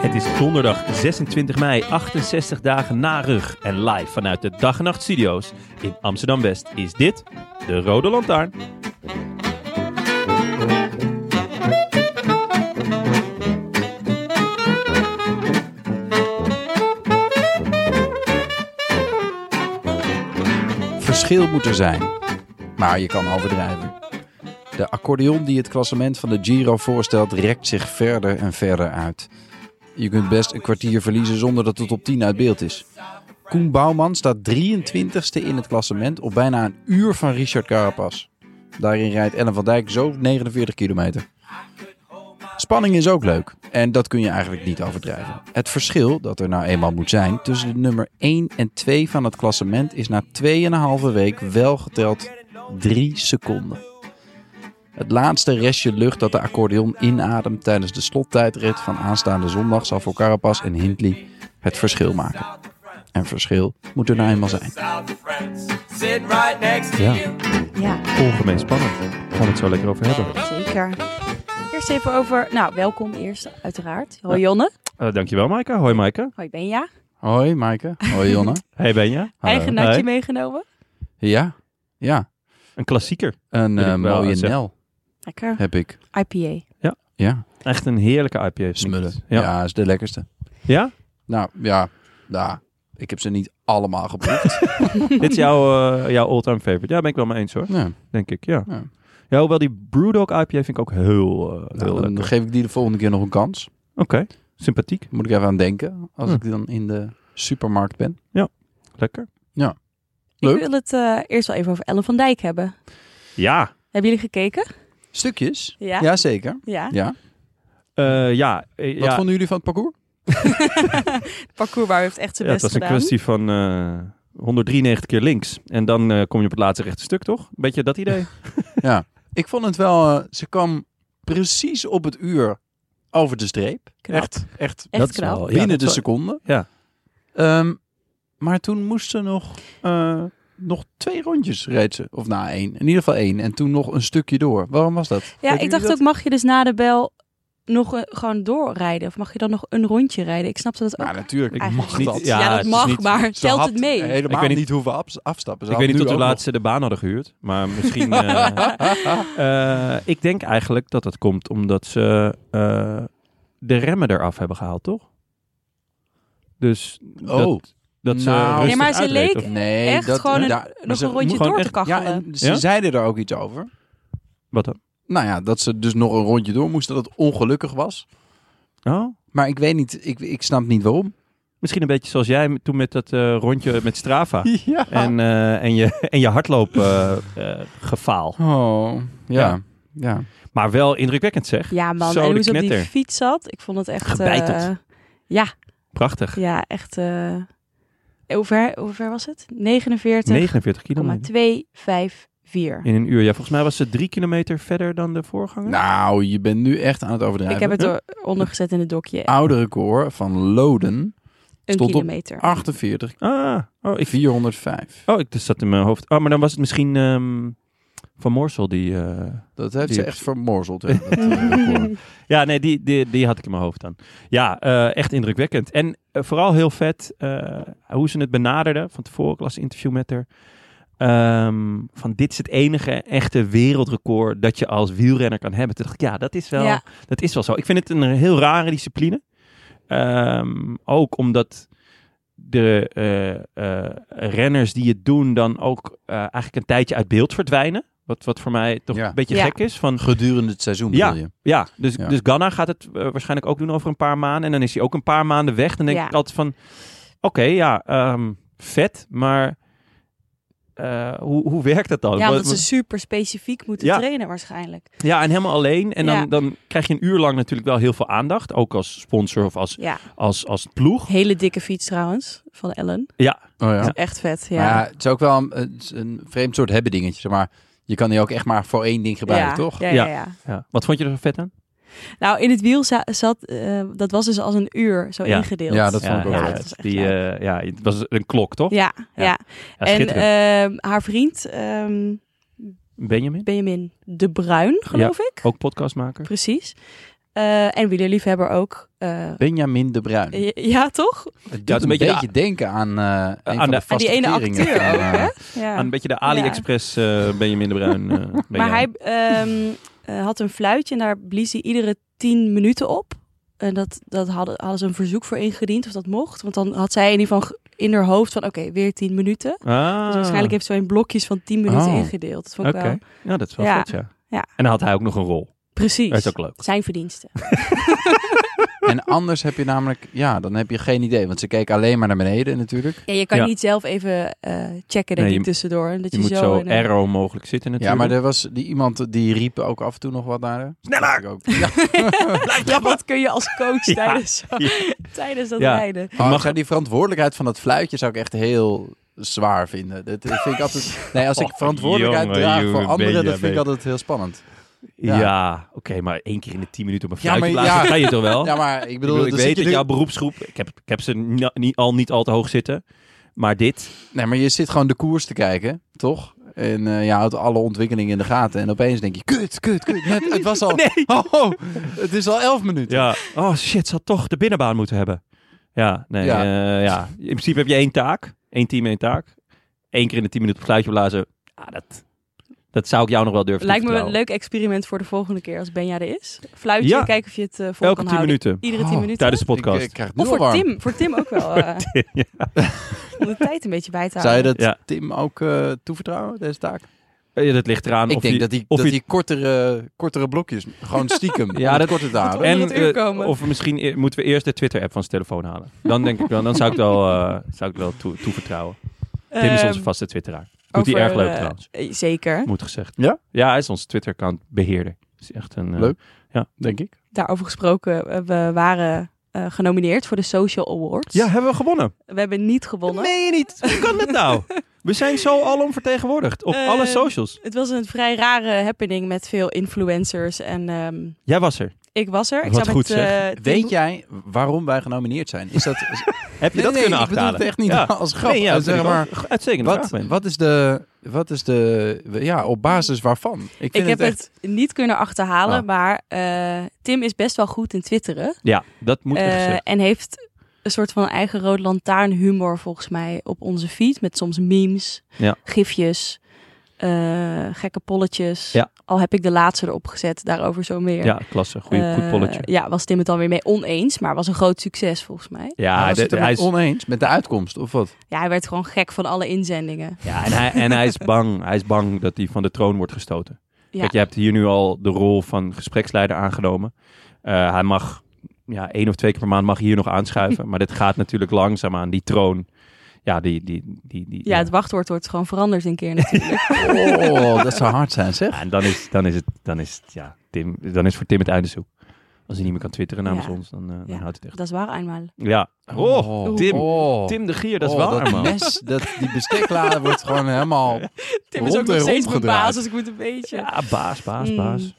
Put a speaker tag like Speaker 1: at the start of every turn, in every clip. Speaker 1: Het is donderdag 26 mei, 68 dagen na rug. En live vanuit de Dag en Nacht Studio's in Amsterdam West is dit de Rode Lantaarn.
Speaker 2: Verschil moet er zijn. Maar je kan overdrijven. De accordeon die het klassement van de Giro voorstelt, rekt zich verder en verder uit. Je kunt best een kwartier verliezen zonder dat het op 10 uit beeld is. Koen Bouwman staat 23ste in het klassement op bijna een uur van Richard Carapaz. Daarin rijdt Ellen van Dijk zo 49 kilometer. Spanning is ook leuk en dat kun je eigenlijk niet overdrijven. Het verschil dat er nou eenmaal moet zijn tussen de nummer 1 en 2 van het klassement is na 2,5 week wel geteld 3 seconden. Het laatste restje lucht dat de accordeon inademt tijdens de slottijdrit van aanstaande zondag zal voor Carapaz en Hindley het verschil maken. En verschil moet er nou eenmaal zijn.
Speaker 1: Ja,
Speaker 3: Ja,
Speaker 1: ongemeen spannend. Gaan we het zo lekker over hebben.
Speaker 3: zeker. Eerst even over... Nou, welkom eerst, uiteraard. Hoi Jonne.
Speaker 1: Eh, dankjewel Maaike. Hoi Maaike.
Speaker 3: Hoi Benja.
Speaker 2: Hoi Maaike. Hoi Jonne.
Speaker 1: Hey Benja.
Speaker 2: Hallo.
Speaker 3: Eigen natje
Speaker 1: Hoi.
Speaker 3: meegenomen.
Speaker 2: Ja, ja.
Speaker 1: Een klassieker.
Speaker 2: Een
Speaker 1: Wil ik
Speaker 2: eh,
Speaker 1: wel
Speaker 2: mooie
Speaker 1: zeggen.
Speaker 2: Nel
Speaker 3: Lekker.
Speaker 2: heb ik.
Speaker 3: IPA.
Speaker 2: Ja,
Speaker 1: Echt een heerlijke IPA.
Speaker 2: smullen. Ja.
Speaker 1: Ja? ja?
Speaker 2: is de lekkerste. Nou ja, nou, ik heb ze niet allemaal geproefd.
Speaker 1: Dit is jouw, eh, jouw all-time favorite. Ja, ben ik wel mee eens hoor.
Speaker 2: ja.
Speaker 1: Denk ik, ja.
Speaker 2: Ja.
Speaker 1: Ja, hoewel die Brewdog IPA vind ik ook heel, eh, heel
Speaker 2: Nou, dan
Speaker 1: lekker.
Speaker 2: geef ik die de volgende keer nog een kans.
Speaker 1: Oké, sympathiek.
Speaker 2: Moet ik even aan denken als
Speaker 1: Hm.
Speaker 2: ik dan in de supermarkt ben.
Speaker 1: Lekker.
Speaker 2: Leuk.
Speaker 3: Ik wil het eh, eerst wel even over Ellen van Dijk hebben.
Speaker 1: Ja,
Speaker 3: Hebben jullie gekeken?
Speaker 2: Stukjes?
Speaker 3: Ja.
Speaker 2: Jazeker.
Speaker 3: Ja.
Speaker 2: Ja.
Speaker 1: Eh, ja. eh,
Speaker 2: Wat
Speaker 1: ja.
Speaker 2: vonden jullie van het parcours?
Speaker 3: Parcoursbouw heeft echt zijn
Speaker 1: Ja, het was
Speaker 3: best
Speaker 1: een
Speaker 3: gedaan.
Speaker 1: kwestie van eh 193 keer links. En dan eh, kom je op het laatste rechte stuk, toch? Beetje dat idee.
Speaker 2: Ik vond het wel, eh, ze kwam precies op het uur over de streep.
Speaker 3: Knap.
Speaker 2: Echt, echt
Speaker 3: Echt knap.
Speaker 2: binnen de seconde.
Speaker 1: Ja.
Speaker 2: Ehm, maar toen moest ze nog, eh, nog twee rondjes reed ze. Of na één. In ieder geval één. En toen nog een stukje door. Waarom was dat? Weten
Speaker 3: Ja, ik
Speaker 2: jullie
Speaker 3: dacht
Speaker 2: dat?
Speaker 3: ook, mag je dus na de bel nog eh, gewoon doorrijden? Of mag je dan nog een rondje rijden? Ik snapte dat ook.
Speaker 2: Maar Nou, natuurlijk, ik
Speaker 3: eigenlijk
Speaker 2: mag
Speaker 1: niet.
Speaker 2: dat.
Speaker 1: Ja,
Speaker 3: Ja,
Speaker 1: het
Speaker 3: dat
Speaker 1: is
Speaker 3: mag,
Speaker 1: niet-
Speaker 3: maar
Speaker 2: Ze
Speaker 3: telt
Speaker 2: had
Speaker 3: het mee?
Speaker 2: Helemaal
Speaker 1: Ik weet
Speaker 2: niet,
Speaker 1: niet-
Speaker 2: hoeven abs- afstappen. Ze
Speaker 1: ik
Speaker 2: had
Speaker 1: weet niet
Speaker 2: nu
Speaker 1: of de
Speaker 2: ook nog-
Speaker 1: laatste de baan hadden gehuurd. Maar misschien... eh, eh, ik denk eigenlijk dat dat komt omdat ze eh, de remmen eraf hebben gehaald, toch? Dus
Speaker 2: Oh.
Speaker 1: dat, dat ze
Speaker 2: Nou.
Speaker 1: rustig
Speaker 2: Nee,
Speaker 3: maar ze
Speaker 1: uitreed,
Speaker 3: leek-
Speaker 1: of niet?
Speaker 2: Nee,
Speaker 3: Echt
Speaker 2: dat,
Speaker 3: gewoon een-
Speaker 2: daar- maar
Speaker 3: Nog
Speaker 2: ze-
Speaker 3: een rondje
Speaker 1: gewoon
Speaker 3: door te
Speaker 1: echt-
Speaker 2: Ja,
Speaker 3: kachelen.
Speaker 2: en ze
Speaker 1: Ja?
Speaker 2: zeiden er ook iets over.
Speaker 1: Wat dan?
Speaker 2: Nou ja, dat ze dus nog een rondje door moesten. Dat het ongelukkig was.
Speaker 1: Oh?
Speaker 2: Maar ik weet niet, ik, ik snap niet waarom.
Speaker 1: Misschien een beetje zoals jij toen met dat eh, rondje met Strava.
Speaker 2: Ja.
Speaker 1: En, eh, en je, en je hardloop eh, eh, gefaal.
Speaker 2: Oh, ja.
Speaker 1: Ja.
Speaker 2: ja.
Speaker 1: Maar wel indrukwekkend zeg.
Speaker 3: Ja, man.
Speaker 1: Zo,
Speaker 3: en
Speaker 1: de
Speaker 3: hoe ze op die
Speaker 1: knetter.
Speaker 3: fiets zat. Ik vond het echt... eh,
Speaker 1: Gebeiteld.
Speaker 3: ja,
Speaker 1: Prachtig.
Speaker 3: ja, echt... eh, hoe, ver, hoe ver was het? 49.
Speaker 1: 49 kilometer.
Speaker 3: 254.
Speaker 1: In een uur. Ja, volgens mij was ze drie kilometer verder dan de voorganger.
Speaker 2: Nou, je bent nu echt aan het overdrijven.
Speaker 3: Ik heb het
Speaker 1: Ja.
Speaker 3: er ondergezet in het dokje.
Speaker 2: oude record van Loden.
Speaker 3: Een
Speaker 2: Ah, stond op
Speaker 3: kilometer.
Speaker 2: 48,
Speaker 1: Ah, oh, ik,
Speaker 2: 405.
Speaker 1: oh, ik dus zat in mijn hoofd. Oh, maar dan was het misschien ehm, Van Morsel die... eh,
Speaker 2: Dat heeft
Speaker 1: Die
Speaker 2: ze
Speaker 1: heb-
Speaker 2: echt vermorzeld. hè, dat, eh, record.
Speaker 1: Ja, nee, die, die, die had ik in mijn hoofd dan. Ja, eh, echt indrukwekkend. En eh, vooral heel vet eh, hoe ze het benaderden. Van tevoren, ik las een interview met haar. Ehm, van dit is het enige echte wereldrecord dat je als wielrenner kan hebben. Toen dacht ik, ja, dat is wel,
Speaker 3: Ja.
Speaker 1: dat is wel zo. Ik vind het een heel rare discipline. Ehm, ook omdat de eh, eh, renners die het doen dan ook eh, eigenlijk een tijdje uit beeld verdwijnen. Wat, wat voor mij toch
Speaker 2: Ja.
Speaker 1: een beetje
Speaker 3: Ja.
Speaker 1: gek is. Van,
Speaker 2: Gedurende het seizoen
Speaker 1: Ja.
Speaker 2: bedoel je?
Speaker 1: ja, dus,
Speaker 2: Ja.
Speaker 1: dus Ghana gaat het eh, waarschijnlijk ook doen over een paar maanden. En dan is hij ook een paar maanden weg. Dan denk
Speaker 3: Ja.
Speaker 1: ik altijd van, oké, ja, ehm, vet. Maar eh, hoe, hoe werkt dat dan?
Speaker 3: Ja,
Speaker 1: Oh, Wat-
Speaker 3: omdat ze super specifiek moeten
Speaker 1: Ja.
Speaker 3: trainen waarschijnlijk.
Speaker 1: ja, en helemaal alleen. En dan,
Speaker 3: Ja.
Speaker 1: dan krijg je een uur lang natuurlijk wel heel veel aandacht. Ook als sponsor of als,
Speaker 3: Ja,
Speaker 1: als, als ploeg.
Speaker 3: hele dikke fiets trouwens van Ellen.
Speaker 2: Oh ja.
Speaker 3: Echt vet, ja.
Speaker 2: Maar ja, het is ook wel een, het is een vreemd soort hebben dingetje. Zeg maar je kan die ook echt maar voor één ding gebruiken,
Speaker 3: ja,
Speaker 2: toch?
Speaker 3: Ja, ja,
Speaker 1: Ja.
Speaker 3: ja.
Speaker 1: Ja. Wat vond je er zo vet aan?
Speaker 3: Nou, in het wiel za- zat, eh, dat was dus als een uur zo
Speaker 1: Ja.
Speaker 3: ingedeeld.
Speaker 2: Ja, dat vond
Speaker 1: Ja,
Speaker 2: ik ook
Speaker 1: ja,
Speaker 2: wel
Speaker 3: dat
Speaker 2: vet.
Speaker 3: is echt
Speaker 1: die,
Speaker 3: leuk.
Speaker 1: eh, ja, het was een klok, toch?
Speaker 3: Ja, ja.
Speaker 1: Ja. Ja,
Speaker 3: en
Speaker 1: schitterend.
Speaker 3: ehm, haar vriend ehm,
Speaker 1: Benjamin,
Speaker 3: Benjamin de Bruin, geloof ik.
Speaker 1: ook podcastmaker.
Speaker 3: Precies. Eh en wielerliefhebber ook. eh,
Speaker 2: Benjamin de Bruin.
Speaker 3: ja, ja, toch?
Speaker 2: Het
Speaker 1: Ja,
Speaker 2: doet
Speaker 1: het
Speaker 2: een
Speaker 1: is
Speaker 2: beetje,
Speaker 1: een
Speaker 2: denken aan, eh een van
Speaker 1: de-
Speaker 2: de,
Speaker 1: aan
Speaker 2: vaste
Speaker 3: die ene
Speaker 2: verteringen
Speaker 3: acteur
Speaker 2: van,
Speaker 3: ook,
Speaker 2: eh,
Speaker 3: hè? Ja.
Speaker 1: Aan een beetje de AliExpress eh, Benjamin de Bruin. eh,
Speaker 3: maar
Speaker 1: Benjamin.
Speaker 3: hij ehm, eh, had een fluitje en daar blies hij iedere tien minuten op. En dat, dat hadden, hadden ze een verzoek voor ingediend of dat mocht. Want dan had zij in ieder geval ge- in haar hoofd van oké, weer tien minuten.
Speaker 1: Ah,
Speaker 3: Dus waarschijnlijk heeft ze in blokjes van tien minuten
Speaker 2: Oh.
Speaker 3: ingedeeld. Dat vond ik
Speaker 1: Oké,
Speaker 3: wel.
Speaker 1: ja, dat is wel
Speaker 3: Ja.
Speaker 1: vet, ja.
Speaker 3: Ja.
Speaker 1: En dan had hij ook nog een rol. Dat
Speaker 3: Precies.
Speaker 1: is ook leuk.
Speaker 3: Zijn verdiensten.
Speaker 2: En anders heb je namelijk, ja, dan heb je geen idee. Want ze keken alleen maar naar beneden natuurlijk.
Speaker 3: Ja, je kan
Speaker 1: Ja.
Speaker 3: niet zelf even eh, checken denk
Speaker 1: Nee, je-
Speaker 3: ik tussendoor. En dat
Speaker 1: Je
Speaker 3: je,
Speaker 1: moet
Speaker 3: zo,
Speaker 1: zo
Speaker 3: in eh, een-
Speaker 1: arrow mogelijk zitten
Speaker 2: Ja,
Speaker 1: natuurlijk.
Speaker 2: maar er was die, iemand die riep ook af en toe nog wat naar haar.
Speaker 1: Sneller!
Speaker 2: Ik ook. Ja.
Speaker 3: Ja, wat kun je als coach
Speaker 1: Ja.
Speaker 3: tijdens,
Speaker 1: Ja.
Speaker 3: tijdens dat
Speaker 1: Ja.
Speaker 3: rijden?
Speaker 2: Oh, ik zou die verantwoordelijkheid van dat fluitje zou ik echt heel zwaar vinden. Dat vind ik altijd. Nee, als ik
Speaker 1: Och,
Speaker 2: verantwoordelijkheid
Speaker 1: jongen,
Speaker 2: draag voor
Speaker 1: jongen,
Speaker 2: anderen,
Speaker 1: ben
Speaker 2: dat
Speaker 1: je-
Speaker 2: vind ik altijd heel spannend.
Speaker 1: Ja,
Speaker 2: Ja.
Speaker 1: oké, maar één keer in de tien minuten op een
Speaker 2: Ja, maar
Speaker 1: fluitje blazen,
Speaker 2: ja.
Speaker 1: dat ga je toch wel?
Speaker 2: Ja, maar ik
Speaker 1: Oh. Ik bedoel,
Speaker 2: bedoel,
Speaker 1: ik
Speaker 2: dan
Speaker 1: weet
Speaker 2: zit je
Speaker 1: dat
Speaker 2: nu-
Speaker 1: jouw beroepsgroep... Ik heb, ik heb ze ni- niet- al niet al te hoog zitten. Maar dit...
Speaker 2: Nee, maar je zit gewoon de koers te kijken, toch? En eh, je houdt alle ontwikkelingen in de gaten. En opeens denk je, kut, kut, kut. Net, het was al... Oh, oh, het is al elf minuten.
Speaker 1: Ja. Oh shit, ze had toch de binnenbaan moeten hebben. Ja, nee.
Speaker 2: Ja.
Speaker 1: Ja. ja. In principe heb je één taak. Één team, één taak. Eén keer in de tien minuten op het fluitje blazen. Ja, Ah, dat, dat zou ik jou nog wel durven
Speaker 3: Lijkt me een
Speaker 1: toevertrouwen.
Speaker 3: leuk experiment voor de volgende keer als Benja er is. Fluitje,
Speaker 1: Ja.
Speaker 3: kijken of je het eh vol
Speaker 1: Elke
Speaker 3: kan
Speaker 1: tien
Speaker 3: houden.
Speaker 1: minuten.
Speaker 3: Iedere tien
Speaker 2: Oh,
Speaker 3: minuten.
Speaker 1: Tijdens de
Speaker 2: Ik,
Speaker 1: podcast.
Speaker 2: eh, krijg het nu
Speaker 3: Of
Speaker 2: al
Speaker 3: voor
Speaker 2: warm.
Speaker 3: Tim. Voor Tim ook wel. eh, om de tijd een beetje bij te houden.
Speaker 2: Zou je dat
Speaker 1: Ja.
Speaker 2: Tim ook eh, toevertrouwen, deze taak?
Speaker 1: Ja, dat ligt eraan
Speaker 2: ik
Speaker 1: of
Speaker 2: denk
Speaker 1: je-
Speaker 2: dat die,
Speaker 1: of
Speaker 2: dat
Speaker 1: je-
Speaker 2: die kortere, kortere blokjes, gewoon stiekem,
Speaker 1: Ja,
Speaker 2: ja,
Speaker 1: dat-
Speaker 2: dat korter te houden.
Speaker 3: Onder het uur
Speaker 1: eh,
Speaker 3: komen.
Speaker 1: of misschien e- moeten we eerst de Twitter-app van zijn telefoon halen. Dan denk ik wel, dan zou ik wel, eh, zou ik wel toe, toevertrouwen. Tim is
Speaker 3: Ehm,
Speaker 1: onze vaste twitteraar. Doet hij
Speaker 3: over,
Speaker 1: erg leuk
Speaker 3: eh,
Speaker 1: trouwens,
Speaker 3: eh, Zeker.
Speaker 1: moet gezegd.
Speaker 2: Ja?
Speaker 1: Ja, hij is ons Twitter-account beheerder. Is echt een, eh,
Speaker 2: Leuk. Denk ik.
Speaker 3: Daarover gesproken, eh, we waren eh, genomineerd voor de Social Awards.
Speaker 1: Ja, hebben we gewonnen.
Speaker 3: We hebben niet gewonnen.
Speaker 1: Nee, je niet. Hoe kan dat nou? We zijn zo alom vertegenwoordigd op
Speaker 3: Eh,
Speaker 1: alle
Speaker 2: Ehm,
Speaker 1: socials.
Speaker 3: Het was een vrij rare happening met veel influencers. En ehm,
Speaker 1: Jij was er.
Speaker 3: ik was er. Ik
Speaker 1: Wat
Speaker 3: zou
Speaker 1: goed,
Speaker 3: met,
Speaker 1: zeg.
Speaker 3: eh, Tim-
Speaker 2: Weet jij waarom wij genomineerd zijn? Is dat...
Speaker 1: Heb je
Speaker 2: Nee,
Speaker 1: dat kunnen
Speaker 2: nee, ik bedoel
Speaker 1: achterhalen?
Speaker 2: het echt niet
Speaker 1: Ja.
Speaker 2: als grap.
Speaker 1: Nee, ja,
Speaker 2: Eh, zeg
Speaker 1: natuurlijk
Speaker 2: maar,
Speaker 1: wel. Uitstekende
Speaker 2: wat,
Speaker 1: vraag, Ben.
Speaker 2: wat is de... Wat is de... Ja, op basis waarvan? Ik, vind
Speaker 3: Ik heb
Speaker 2: het echt...
Speaker 3: het niet kunnen achterhalen,
Speaker 2: Ah.
Speaker 1: Oh.
Speaker 3: maar eh, Tim is best wel goed in twitteren.
Speaker 1: Ja, dat moet
Speaker 3: Eh,
Speaker 1: echt gezegd.
Speaker 3: en heeft een soort van eigen rood lantaarn humor volgens mij op onze feed. Met soms memes,
Speaker 1: Ja.
Speaker 3: gifjes, eh, gekke polletjes.
Speaker 1: Ja.
Speaker 3: Al heb ik de laatste erop gezet, daarover zo meer.
Speaker 1: Ja, klasse. Goeie, goed
Speaker 3: Eh,
Speaker 1: polletje.
Speaker 3: Ja, was Tim het dan weer mee oneens, maar was een groot succes volgens mij.
Speaker 1: Ja,
Speaker 2: Nou, was
Speaker 1: de-
Speaker 2: het hem
Speaker 1: hij is
Speaker 2: oneens met de uitkomst, of wat?
Speaker 3: Ja, hij werd gewoon gek van alle inzendingen.
Speaker 1: Ja, en hij, en hij is bang. Hij is bang dat hij van de troon wordt gestoten.
Speaker 3: Ja.
Speaker 1: Kijk, je hebt hier nu al de rol van gespreksleider aangenomen. Eh, hij mag ja, één of twee keer per maand mag hij hier nog aanschuiven. maar dit gaat natuurlijk langzaam aan. Die troon. Ja, die... die, die, die
Speaker 3: Ja, het wachtwoord wordt gewoon veranderd een keer natuurlijk.
Speaker 2: Oh, dat zou hard zijn, zeg.
Speaker 1: Ja, en dan is, dan is het... Dan is het ja, Tim, dan is voor Tim het einde zoek. Als hij niet meer kan twitteren namens
Speaker 3: Ja.
Speaker 1: ons, dan, eh, dan
Speaker 3: Ja.
Speaker 1: houdt het echt.
Speaker 3: dat is waar eenmaal.
Speaker 1: Ja. Oh, Tim.
Speaker 2: Oh.
Speaker 1: Tim de Gier, dat is
Speaker 2: Oh,
Speaker 1: waar,
Speaker 2: dat
Speaker 1: man.
Speaker 2: mes, dat, die besteklader wordt gewoon helemaal...
Speaker 3: Tim
Speaker 2: Rond
Speaker 3: is ook nog
Speaker 2: en
Speaker 3: steeds
Speaker 2: rond
Speaker 3: mijn baas,
Speaker 2: gedraaid.
Speaker 3: dus ik moet een beetje...
Speaker 1: Ja, baas, baas,
Speaker 3: Mm.
Speaker 1: baas.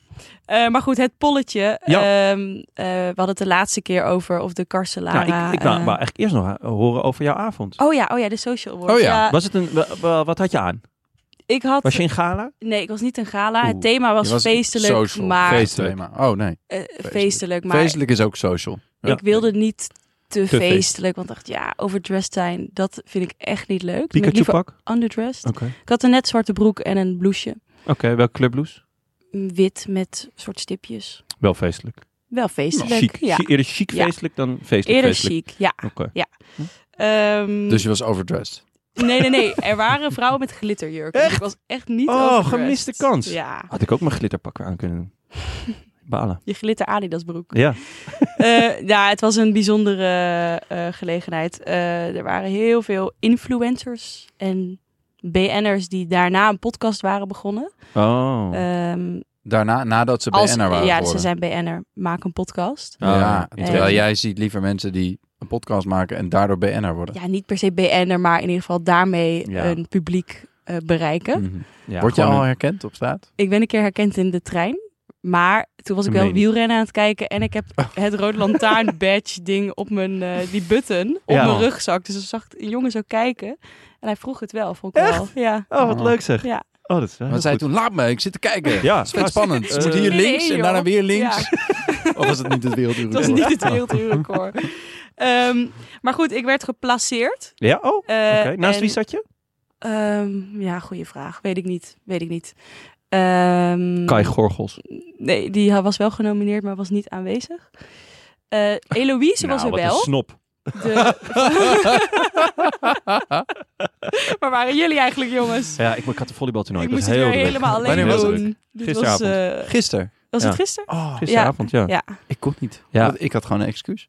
Speaker 3: Eh, maar goed, het polletje.
Speaker 1: Ja.
Speaker 3: Ehm, eh, we hadden het de laatste keer over of de Carcelara...
Speaker 1: Nou, ik, ik wou,
Speaker 3: eh,
Speaker 1: wou eigenlijk eerst nog eh, horen over jouw avond.
Speaker 3: Oh ja, oh ja, de Social Awards.
Speaker 2: Oh ja.
Speaker 1: Was het een, wa- wa- wat had je aan?
Speaker 3: ik had...
Speaker 1: Was je in gala?
Speaker 3: Nee, ik was niet een gala.
Speaker 1: Oeh.
Speaker 3: Het thema was,
Speaker 2: Je was
Speaker 3: feestelijk,
Speaker 2: social,
Speaker 3: maar...
Speaker 1: feest-
Speaker 2: feestelijk. maar- Oh, nee.
Speaker 3: eh, feestelijk, maar Mm.
Speaker 2: Feestelijk is ook social.
Speaker 1: Ja.
Speaker 3: ik wilde niet te,
Speaker 1: feest.
Speaker 3: feestelijk. Want ik dacht, ja, overdressed zijn, dat vind ik echt niet leuk. Dan ben ik
Speaker 1: Pikachu Oh.
Speaker 3: liever
Speaker 1: pak?
Speaker 3: underdressed.
Speaker 1: Oké.
Speaker 3: Ik had een net zwarte broek en een blouseje.
Speaker 1: Oké, welke clubblouse?
Speaker 3: Wit met soort stipjes.
Speaker 1: Wel feestelijk.
Speaker 3: Wel
Speaker 1: Nou,
Speaker 3: feestelijk.
Speaker 1: chic.
Speaker 3: ja.
Speaker 1: Chi- Eerder chic
Speaker 3: Ja.
Speaker 1: feestelijk dan feestelijk
Speaker 3: Eerder
Speaker 1: feestelijk.
Speaker 3: chic, ja.
Speaker 1: Oké.
Speaker 3: Ehm,
Speaker 2: Dus je was overdressed.
Speaker 3: Nee, nee, nee. Er waren vrouwen met glitterjurken. Dus ik was echt niet
Speaker 1: Oh,
Speaker 3: overdressed.
Speaker 1: gemiste kans.
Speaker 3: Ja,
Speaker 1: Had ik ook mijn glitterpak aan kunnen doen. Balen.
Speaker 3: je glitter Adidas broek.
Speaker 1: Ja.
Speaker 3: Eh, ja, het was een bijzondere eh, gelegenheid. Eh, er waren heel veel influencers en BN'ers die daarna een podcast waren begonnen.
Speaker 1: Oh.
Speaker 3: Ehm,
Speaker 2: Daarna, nadat ze
Speaker 3: als,
Speaker 2: BN'er waren
Speaker 3: ja,
Speaker 2: geworden.
Speaker 3: ze zijn BN'er, maak een podcast.
Speaker 1: Oh,
Speaker 2: ja,
Speaker 1: ja.
Speaker 2: terwijl
Speaker 3: Ja.
Speaker 2: jij ziet liever mensen die een podcast maken en daardoor BN'er worden.
Speaker 3: Ja, niet per se BN'er, maar in ieder geval daarmee
Speaker 1: Ja.
Speaker 3: een publiek eh, bereiken.
Speaker 2: Mhm.
Speaker 1: Ja,
Speaker 2: Word je
Speaker 1: gewoon
Speaker 2: al
Speaker 1: een-
Speaker 2: herkend op straat?
Speaker 3: Ik ben een keer herkend in de trein. Maar toen was ik wel
Speaker 1: Meen je?
Speaker 3: wielrennen aan het kijken. En ik heb het rood lantaarn badge ding op mijn, eh, die button, op
Speaker 1: Ja.
Speaker 3: mijn rugzak. Dus dan zag ik een jongen zo kijken. En hij vroeg het wel, vond ik wel. Ja.
Speaker 1: Oh, wat leuk zeg.
Speaker 3: Ja.
Speaker 1: Oh, dat is wel
Speaker 2: Want
Speaker 1: heel
Speaker 2: zij toen, laat me, ik zit te kijken.
Speaker 1: Ja,
Speaker 2: Ja, het is vet
Speaker 1: gast.
Speaker 2: spannend. Ze
Speaker 1: Eh,
Speaker 2: moet hier
Speaker 3: Nee, nee,
Speaker 2: links en
Speaker 3: joh.
Speaker 2: daarna weer links.
Speaker 3: Ja,
Speaker 2: Of was het niet het
Speaker 3: het was
Speaker 2: wereldrecord?
Speaker 3: niet het wereldrecord. Ehm, maar goed, ik werd geplaceerd.
Speaker 1: goed. Ja, oh. Oké.
Speaker 3: Eh,
Speaker 1: Naast
Speaker 3: en-
Speaker 1: wie zat je?
Speaker 3: Ehm, ja, goede vraag. Weet ik niet. Weet ik niet. Ehm,
Speaker 1: Kai Gorgels.
Speaker 3: nee, die was wel genomineerd, maar was niet aanwezig. Eh Eloïse
Speaker 1: Nou,
Speaker 3: was er
Speaker 1: wat een
Speaker 3: wel.
Speaker 1: snop.
Speaker 3: De- maar waren jullie eigenlijk, jongens?
Speaker 1: Ja, ik, ik had de volleybaltoernooi.
Speaker 3: ik
Speaker 1: Nou, Ik
Speaker 3: moest
Speaker 1: was
Speaker 3: het
Speaker 1: heel
Speaker 3: weer
Speaker 1: druk.
Speaker 3: helemaal alleen
Speaker 2: Wanneer was
Speaker 3: doen.
Speaker 1: het?
Speaker 3: Dit was,
Speaker 1: Gisteravond.
Speaker 3: eh,
Speaker 2: Gisteren.
Speaker 3: was
Speaker 1: Ja.
Speaker 3: het gisteren?
Speaker 1: Oh, Gisteravond, ja.
Speaker 3: Ja.
Speaker 2: Ik kon niet.
Speaker 1: Ja.
Speaker 2: Want ik had gewoon een excuus.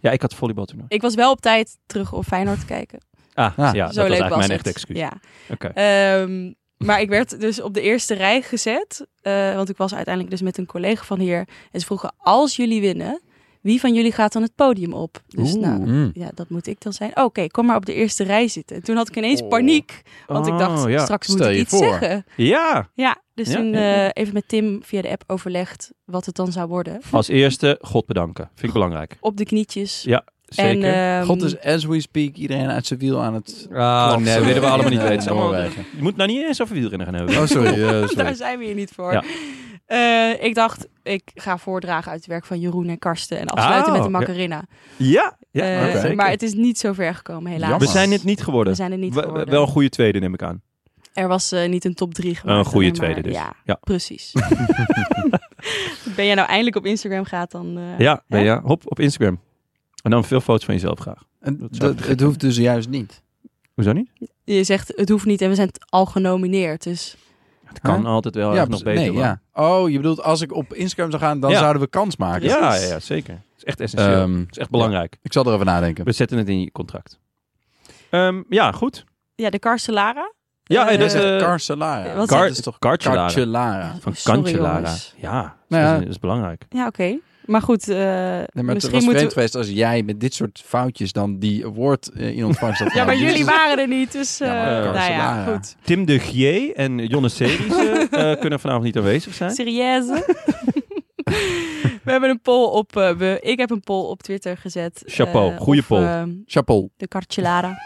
Speaker 1: Ja, ik had volleybaltoernooi.
Speaker 3: Ik was wel op tijd terug op Feyenoord kijken.
Speaker 1: Ah, ja,
Speaker 2: Ah.
Speaker 1: dat was
Speaker 3: Zo leuk
Speaker 1: eigenlijk
Speaker 3: was
Speaker 1: mijn
Speaker 3: het.
Speaker 1: echte excuus.
Speaker 3: Ja.
Speaker 1: Oké.
Speaker 3: Ehm, maar ik werd dus op de eerste rij gezet. eh, want ik was uiteindelijk dus met een collega van hier. En ze vroegen, als jullie winnen, wie van jullie gaat dan het podium op? Dus nou,
Speaker 2: Mm.
Speaker 3: ja, dat moet ik dan zijn. Oké, kom maar op de eerste rij zitten. En toen had ik ineens
Speaker 2: Oh.
Speaker 3: paniek. Want ik dacht,
Speaker 1: Oh, ja.
Speaker 3: straks moet
Speaker 2: Stel
Speaker 3: ik
Speaker 2: je
Speaker 3: iets
Speaker 2: voor.
Speaker 3: zeggen.
Speaker 1: Ja,
Speaker 3: Ja, dus
Speaker 1: Ja,
Speaker 3: toen
Speaker 1: ja,
Speaker 3: eh, even met Tim via de app overlegd wat het dan zou worden.
Speaker 1: als eerste God bedanken. Vind ik belangrijk.
Speaker 3: Op de knietjes.
Speaker 1: Ja, zeker.
Speaker 3: En, ehm,
Speaker 2: God is, as we speak, iedereen uit zijn wiel aan het...
Speaker 1: ah, nee,
Speaker 2: Klapsen.
Speaker 1: willen we allemaal niet
Speaker 2: Nee,
Speaker 1: weten. Het is allemaal-
Speaker 2: Noorwegen.
Speaker 1: Je moet nou niet eens over wielrennen gaan hebben.
Speaker 2: Oh, sorry. eh,
Speaker 3: daar
Speaker 2: sorry.
Speaker 3: zijn we hier niet voor.
Speaker 1: Ja.
Speaker 3: Eh, ik dacht, ik ga voordragen uit het werk van Jeroen en Karsten en afsluiten
Speaker 1: Oh,
Speaker 3: met de
Speaker 1: ja.
Speaker 3: Macarena.
Speaker 1: Ja,
Speaker 3: Eh,
Speaker 2: oké.
Speaker 1: zeker.
Speaker 3: Maar het is niet zo ver gekomen, helaas.
Speaker 1: we zijn het niet
Speaker 3: We
Speaker 1: geworden.
Speaker 3: zijn er niet
Speaker 1: We- we-
Speaker 3: geworden.
Speaker 1: Wel een goede tweede, neem ik aan.
Speaker 3: Er was eh, niet een top 3 gemaakt.
Speaker 1: Een goede
Speaker 3: alleen maar-
Speaker 1: tweede dus.
Speaker 3: Ja,
Speaker 1: Ja.
Speaker 3: precies. ben jij nou eindelijk op Instagram gaat, dan... eh,
Speaker 1: Ja, ben
Speaker 3: hè?
Speaker 1: je, hop, op Instagram. En dan veel foto's van jezelf graag.
Speaker 2: En
Speaker 1: Dat zou
Speaker 2: dat-
Speaker 1: ik
Speaker 2: het hoeft dus juist niet.
Speaker 1: Hoezo niet?
Speaker 3: Je zegt, het hoeft niet en we zijn t- al genomineerd. Dus
Speaker 1: Het kan
Speaker 2: Huh?
Speaker 1: altijd wel ja, nog
Speaker 2: precies.
Speaker 1: beter.
Speaker 2: nee,
Speaker 1: maar-
Speaker 2: ja. Oh, je bedoelt als ik op Instagram zou gaan, dan
Speaker 1: Ja.
Speaker 2: zouden we kans maken.
Speaker 1: ja, ja, ja, zeker. Het is echt essentieel.
Speaker 2: Ehm,
Speaker 1: het is echt belangrijk.
Speaker 2: Ik zal erover nadenken.
Speaker 1: We zetten het in je contract. Ehm, ja, goed.
Speaker 3: ja, de Carcelara.
Speaker 1: Ja,
Speaker 3: Eh,
Speaker 1: dat is...
Speaker 3: eh,
Speaker 1: eh,
Speaker 2: Carcelara.
Speaker 3: wat-
Speaker 1: Kar-
Speaker 2: dat is toch
Speaker 1: Kartjelara.
Speaker 2: Carcelara?
Speaker 1: Van
Speaker 3: Sorry,
Speaker 1: Kantjelara.
Speaker 3: jongens.
Speaker 1: Ja,
Speaker 2: Nou
Speaker 1: dat,
Speaker 2: ja.
Speaker 1: is, dat is belangrijk.
Speaker 3: Ja, oké. Maar goed, eh,
Speaker 2: Nee, maar het
Speaker 3: misschien
Speaker 2: was
Speaker 3: moeten
Speaker 2: vreemd
Speaker 3: we...
Speaker 2: geweest als jij met dit soort foutjes dan die award eh, in ontvangst had
Speaker 3: Ja, maar
Speaker 2: genomen.
Speaker 3: jullie
Speaker 2: Dus-
Speaker 3: waren er niet, dus... eh
Speaker 2: Ja, maar
Speaker 1: de
Speaker 3: nou ja,
Speaker 2: Carcelara.
Speaker 3: goed.
Speaker 1: Tim de Gier en Jonne Series eh, eh, kunnen vanavond niet aanwezig zijn.
Speaker 3: Serieus? we hebben een poll op. eh, we, ik heb een poll op Twitter gezet.
Speaker 1: Chapeau,
Speaker 3: eh,
Speaker 1: goeie
Speaker 3: of,
Speaker 1: poll.
Speaker 3: ehm,
Speaker 2: Chapeau.
Speaker 3: de Carcellara.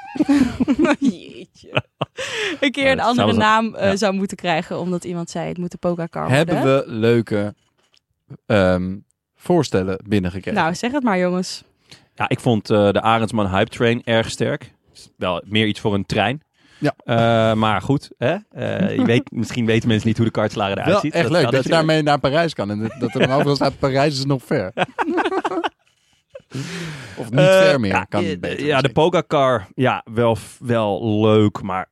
Speaker 3: Jeetje. Een keer
Speaker 1: Ja,
Speaker 3: een
Speaker 1: dat
Speaker 3: andere
Speaker 1: zou-
Speaker 3: naam eh,
Speaker 1: ja.
Speaker 3: zou moeten krijgen, omdat iemand zei het moet de Poca Car
Speaker 2: Hebben we leuke ehm, voorstellen binnengekregen?
Speaker 3: Nou, zeg het maar, jongens.
Speaker 1: Ja, ik vond eh, de Arendsman Hype Train erg sterk. Is Wel meer iets voor een trein.
Speaker 2: Ja.
Speaker 1: Eh, maar goed, hè? Eh, je weet, misschien weten mensen niet hoe de kartslager eruit
Speaker 2: Wel
Speaker 1: ziet.
Speaker 2: echt leuk dat, je
Speaker 1: is-
Speaker 2: daarmee naar Parijs kan. En dat- dat er dan overal staat, Parijs is nog ver. of niet
Speaker 1: Eh,
Speaker 2: ver meer,
Speaker 1: ja,
Speaker 2: kan
Speaker 1: eh,
Speaker 2: beter.
Speaker 1: Ja, de
Speaker 2: misschien.
Speaker 1: Pogacar, ja, wel, wel leuk, maar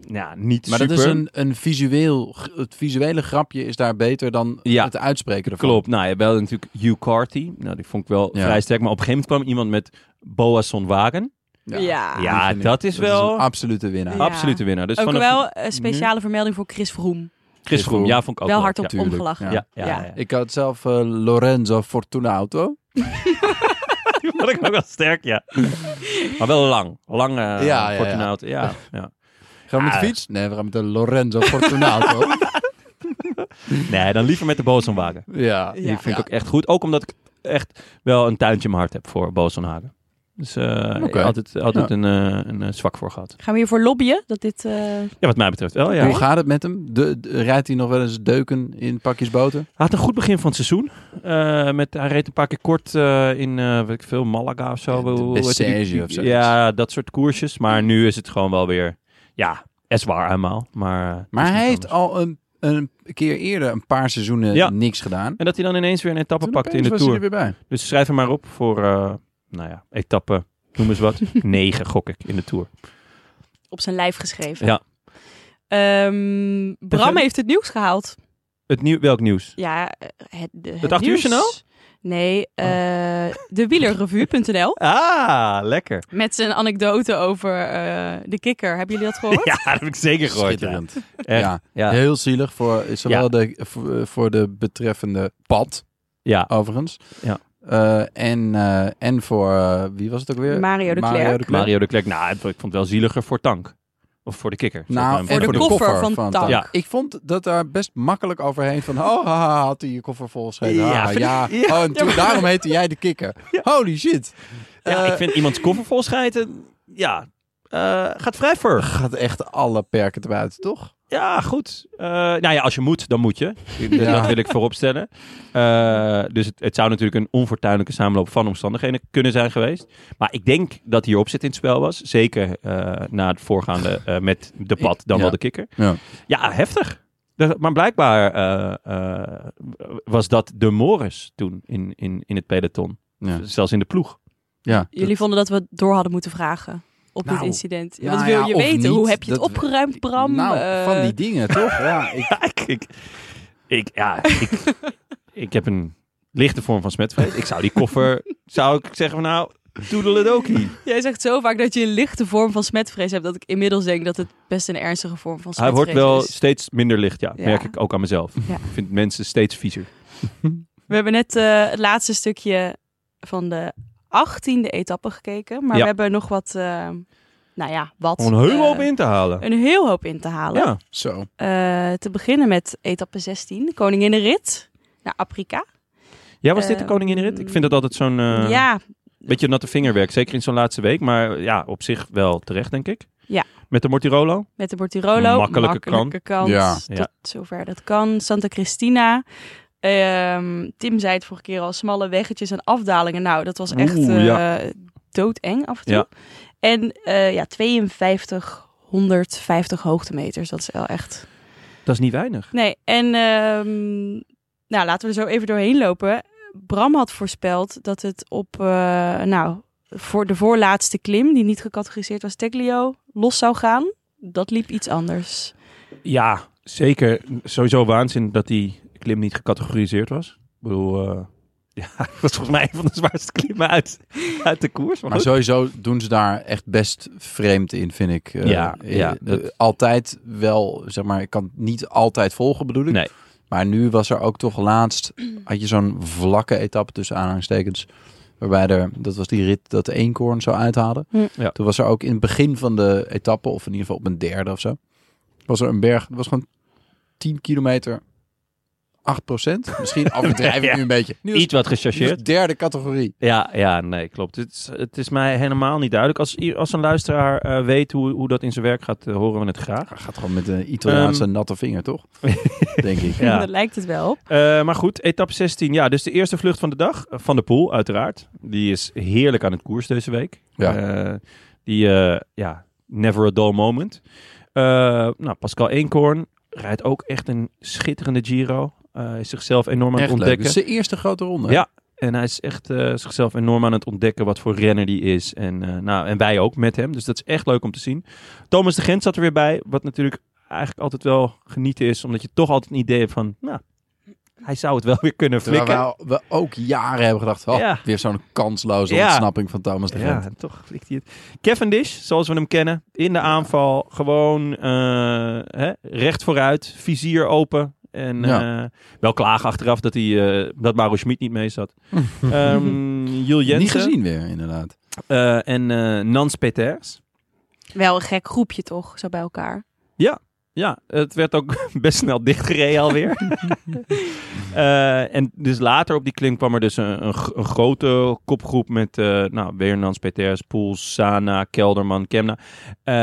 Speaker 1: ja, niet
Speaker 2: Maar
Speaker 1: super.
Speaker 2: dat is een, een visueel, het visuele grapje is daar beter dan
Speaker 1: Ja.
Speaker 2: het uitspreken ervan.
Speaker 1: Klopt, nou ja, wel natuurlijk Hugh Carty. Nou, die vond ik wel
Speaker 2: Ja.
Speaker 1: vrij sterk. Maar op een gegeven moment kwam iemand met Boasson Wagen.
Speaker 3: Ja.
Speaker 2: die
Speaker 1: Ja,
Speaker 2: vind ik-
Speaker 1: dat is wel-
Speaker 2: een absolute winnaar.
Speaker 3: Ja.
Speaker 1: Absolute winnaar. Dus
Speaker 3: Ook
Speaker 1: vanaf
Speaker 3: wel een speciale vermelding voor Chris Vroom.
Speaker 1: Chris Froome, ja, vond ik ook
Speaker 3: Wel hardop
Speaker 1: ja.
Speaker 2: tuurlijk,
Speaker 3: omgelachen.
Speaker 1: Ja, ja, ja.
Speaker 3: Ja.
Speaker 2: Ik had zelf eh, Lorenzo Fortuna Auto.
Speaker 1: Die vond ik ook wel sterk, ja. maar wel lang. Lang eh ja,
Speaker 2: ja, ja.
Speaker 1: Ja, ja.
Speaker 2: Gaan we met
Speaker 1: Ah.
Speaker 2: de fiets? Nee, we gaan met de Lorenzo Fortuna Auto.
Speaker 1: Nee, dan liever met de Bosonwagen.
Speaker 2: ja.
Speaker 3: Ja.
Speaker 1: Die vind ik ook echt goed. Ook omdat ik echt wel een tuintje in mijn hart heb voor Bosonhagen. Dus eh
Speaker 2: Oké.
Speaker 1: altijd, altijd
Speaker 2: Ja.
Speaker 1: een, eh, een eh, zwak voor gehad.
Speaker 3: Gaan we hiervoor lobbyen? Dat dit. eh,
Speaker 1: Ja, wat mij betreft wel, ja.
Speaker 2: Hoe gaat het met hem? De, de- rijdt hij nog wel eens deuken in pakjes boter?
Speaker 1: Hij had een goed begin van het seizoen. Eh, met, hij reed een paar keer kort eh, in, eh, weet ik veel, Malaga of zo.
Speaker 2: Ja, de
Speaker 1: Hoe- hoe heet die-
Speaker 2: Bessèges
Speaker 1: die-
Speaker 2: of zoiets.
Speaker 1: Ja, dat soort koersjes. Maar nu is het gewoon wel weer, ja, es waar eenmaal. Maar, eh, het is
Speaker 2: Maar
Speaker 1: niet
Speaker 2: hij heeft
Speaker 1: anders.
Speaker 2: al een, een keer eerder een paar seizoenen
Speaker 1: Ja.
Speaker 2: niks gedaan.
Speaker 1: En dat hij dan ineens weer een etappe
Speaker 2: Toen
Speaker 1: pakte in
Speaker 2: opeens
Speaker 1: de
Speaker 2: was hij
Speaker 1: Tour.
Speaker 2: er weer bij.
Speaker 1: Dus schrijf hem maar op voor, eh, nou ja, etappe, noem eens wat. Negen gok ik in de Tour.
Speaker 3: Op zijn lijf geschreven.
Speaker 1: Ja.
Speaker 3: Ehm, Bram
Speaker 1: verder?
Speaker 3: heeft het nieuws gehaald.
Speaker 1: Het nieuw, welk nieuws?
Speaker 3: Ja, eh, het, de- het,
Speaker 1: acht uur
Speaker 3: nieuws.
Speaker 1: journaal?
Speaker 3: Nee, eh de wielerrevue.nl
Speaker 1: Ah, lekker.
Speaker 3: met zijn anekdote over eh, de kikker. Hebben jullie
Speaker 2: Oh,
Speaker 3: dat gehoord?
Speaker 1: Ja, dat heb ik zeker gehoord. Ja.
Speaker 2: Schitterend.
Speaker 1: Echt,
Speaker 2: Ja.
Speaker 1: ja.
Speaker 2: Heel zielig voor zowel
Speaker 1: Ja.
Speaker 2: de, voor, eh, voor de betreffende pad,
Speaker 1: Ja.
Speaker 2: overigens.
Speaker 1: Ja.
Speaker 2: Eh, en, eh, en voor, eh, wie was het ook weer?
Speaker 3: Mario de Klerk.
Speaker 1: Mario de Klerk. Nou, ik vond het wel zieliger voor Tank. Of voor de kikker. zeg maar.
Speaker 2: Nou, en
Speaker 3: de
Speaker 2: voor de
Speaker 3: koffer
Speaker 2: koffer,
Speaker 3: van
Speaker 2: van,
Speaker 3: Tank.
Speaker 2: Tank.
Speaker 1: Ja.
Speaker 2: Ik vond dat daar best makkelijk overheen van... Oh, haha, had hij je koffer vol geschreven.
Speaker 1: Ja,
Speaker 2: Ah,
Speaker 1: vind ik-
Speaker 2: ja.
Speaker 1: ja.
Speaker 2: Oh, en toen, daarom heette jij de kikker. Holy shit.
Speaker 1: Ja,
Speaker 2: Eh,
Speaker 1: ik vind iemands koffer vol schijten. Ja, eh, gaat vrij ver.
Speaker 2: gaat echt alle perken te buiten, toch?
Speaker 1: Ja, goed. Eh, nou ja, als je moet, dan moet je. Dus
Speaker 2: Ja.
Speaker 1: Dat wil ik vooropstellen. Eh, dus het, het zou natuurlijk een onfortuinlijke samenloop van omstandigheden kunnen zijn geweest. Maar ik denk dat hierop zit in het spel was. Zeker eh, na het voorgaande eh, met de pad, dan
Speaker 2: Ja.
Speaker 1: wel de kikker.
Speaker 2: Ja.
Speaker 1: Ja, heftig. Dat- Maar blijkbaar eh, eh, was dat de Morris toen in, in, in het peloton.
Speaker 2: Ja.
Speaker 1: Zelfs in de ploeg.
Speaker 2: ja.
Speaker 3: Jullie vonden dat we het door hadden moeten vragen op dit
Speaker 2: Nou,
Speaker 3: incident.
Speaker 2: nou
Speaker 3: Wat wil
Speaker 2: ja,
Speaker 3: je
Speaker 2: of
Speaker 3: weten?
Speaker 2: niet,
Speaker 3: Hoe heb je het
Speaker 2: dat-
Speaker 3: opgeruimd, Bram?
Speaker 2: Nou,
Speaker 3: Eh,
Speaker 2: van die dingen, toch? Ja, ik,
Speaker 1: Ja, ik, ik, ik- ja, ik, ik heb een lichte vorm van smetvrees. Ik zou die koffer, zou ik zeggen van nou, toedeledokie.
Speaker 3: Jij zegt zo vaak dat je een lichte vorm van smetvrees hebt... dat ik inmiddels denk dat het best een ernstige vorm van
Speaker 1: Hij
Speaker 3: smetvrees
Speaker 1: wordt wel
Speaker 3: is.
Speaker 1: steeds minder licht, ja.
Speaker 3: Ja.
Speaker 1: Merk ik ook aan mezelf.
Speaker 3: Ja.
Speaker 1: Ik vind mensen steeds viezer.
Speaker 3: We hebben net eh, het laatste stukje van de achttiende etappe gekeken. Maar
Speaker 1: Ja.
Speaker 3: we hebben nog wat, eh, nou ja, wat.
Speaker 1: Om een heel
Speaker 3: eh,
Speaker 1: hoop in te halen.
Speaker 3: Een heel hoop in te halen.
Speaker 1: Ja,
Speaker 2: zo.
Speaker 3: Eh, te beginnen met etappe 16, Koninginrit naar Afrika.
Speaker 1: ja was dit de
Speaker 3: Eh,
Speaker 1: koninginrit? Ik vind dat altijd zo'n eh,
Speaker 3: ja,
Speaker 1: beetje natte vingerwerk. Zeker in zo'n laatste week. Maar ja, op zich wel terecht, denk ik.
Speaker 3: Ja.
Speaker 1: Met de Mortirolo.
Speaker 3: met de Bortirolo.
Speaker 1: Makkelijke
Speaker 3: kant.
Speaker 2: Ja.
Speaker 3: Tot
Speaker 1: Ja.
Speaker 3: zover dat kan. Santa Cristina. Ehm, Tim zei het vorige keer al, smalle weggetjes en afdalingen. Nou, dat was echt
Speaker 1: Oeh,
Speaker 3: eh,
Speaker 1: ja.
Speaker 3: doodeng af en toe.
Speaker 1: Ja.
Speaker 3: En eh, ja, 52, 150 hoogtemeters. Dat is wel echt...
Speaker 1: Dat is niet weinig.
Speaker 3: Nee, en ehm, nou, laten we er zo even doorheen lopen. Bram had voorspeld dat het op eh, nou, voor de voorlaatste klim, die niet gecategoriseerd was, Teglio, los zou gaan. Dat liep iets anders.
Speaker 1: Ja, zeker. Sowieso waanzin dat die klim niet gecategoriseerd was. Ik bedoel, eh, ja, dat was volgens mij een van de zwaarste klimmen uit, uit de koers. Maar
Speaker 2: Maar
Speaker 1: goed.
Speaker 2: sowieso doen ze daar echt best vreemd in, vind ik. Eh,
Speaker 1: Ja,
Speaker 2: eh,
Speaker 1: ja,
Speaker 2: eh,
Speaker 1: dat-
Speaker 2: Altijd wel, zeg maar, ik kan het niet altijd volgen, bedoel ik.
Speaker 1: Nee.
Speaker 2: Maar nu was er ook toch laatst, had je zo'n vlakke etappe tussen aanhalingstekens. Waarbij er, dat was die rit dat de eenkoorn zou uithalen.
Speaker 3: Hm.
Speaker 1: Ja.
Speaker 2: Toen was er ook in het begin van de etappe, of in ieder geval op een derde of zo. Was er een berg, dat was gewoon 10 kilometer, 8 procent. Misschien overdrijf ik
Speaker 1: Ja.
Speaker 2: nu een beetje. Nu was-
Speaker 1: Iets wat
Speaker 2: nu was
Speaker 1: gechargeerd.
Speaker 2: derde categorie.
Speaker 1: Ja, ja, nee, klopt. Het is, het is mij helemaal niet duidelijk. Als, i- als een luisteraar eh, weet hoe, hoe dat in zijn werk gaat, eh, horen we het graag.
Speaker 2: Hij gaat gewoon met een Italiaanse
Speaker 1: Ehm.
Speaker 2: natte vinger, toch? Denk ik.
Speaker 1: Ja.
Speaker 3: Daar lijkt het wel op.
Speaker 1: Eh, maar goed, etappe 16. Ja, dus de eerste vlucht van de dag. eh, Van de Poel, uiteraard. Die is heerlijk aan het koers deze week.
Speaker 2: Ja.
Speaker 1: Eh, die, eh, ja, never a dull moment. Eh, nou, Pascal Eenkorn rijdt ook echt een schitterende Giro. Eh, is zichzelf enorm aan het
Speaker 2: Echt leuk. Het
Speaker 1: ontdekken.
Speaker 2: is de eerste grote ronde.
Speaker 1: Ja. En hij is echt eh, zichzelf enorm aan het ontdekken wat voor renner die is. En, eh, nou, en wij ook met hem. Dus dat is echt leuk om te zien. Thomas de Gent zat er weer bij. Wat natuurlijk eigenlijk altijd wel genieten is. Omdat je toch altijd een idee hebt van... Nou, hij zou het wel weer kunnen
Speaker 2: Terwijl
Speaker 1: flikken.
Speaker 2: we, we ook jaren hebben gedacht, oh,
Speaker 1: Ja.
Speaker 2: weer zo'n kansloze
Speaker 1: Ja.
Speaker 2: ontsnapping van Thomas de
Speaker 1: Ja,
Speaker 2: Gent.
Speaker 1: en toch flikt hij het. Cavendish, zoals we hem kennen. In de aanval. Gewoon eh, hè, recht vooruit. Vizier open. En
Speaker 2: Ja.
Speaker 1: eh, wel klagen achteraf dat, hij, eh, dat Mauro Schmid niet mee zat. Ehm Jules Jensen.
Speaker 2: Niet gezien weer, inderdaad.
Speaker 1: Eh, en eh, Nans Peters.
Speaker 3: Wel een gek groepje toch, zo bij elkaar.
Speaker 1: Ja, het werd ook best snel dichtgereden alweer. Eh, en dus later op die klim kwam er dus een, een, gro- een grote kopgroep met eh nou, weer Nans Peters, Poels, Sana, Kelderman, Kemna, eh,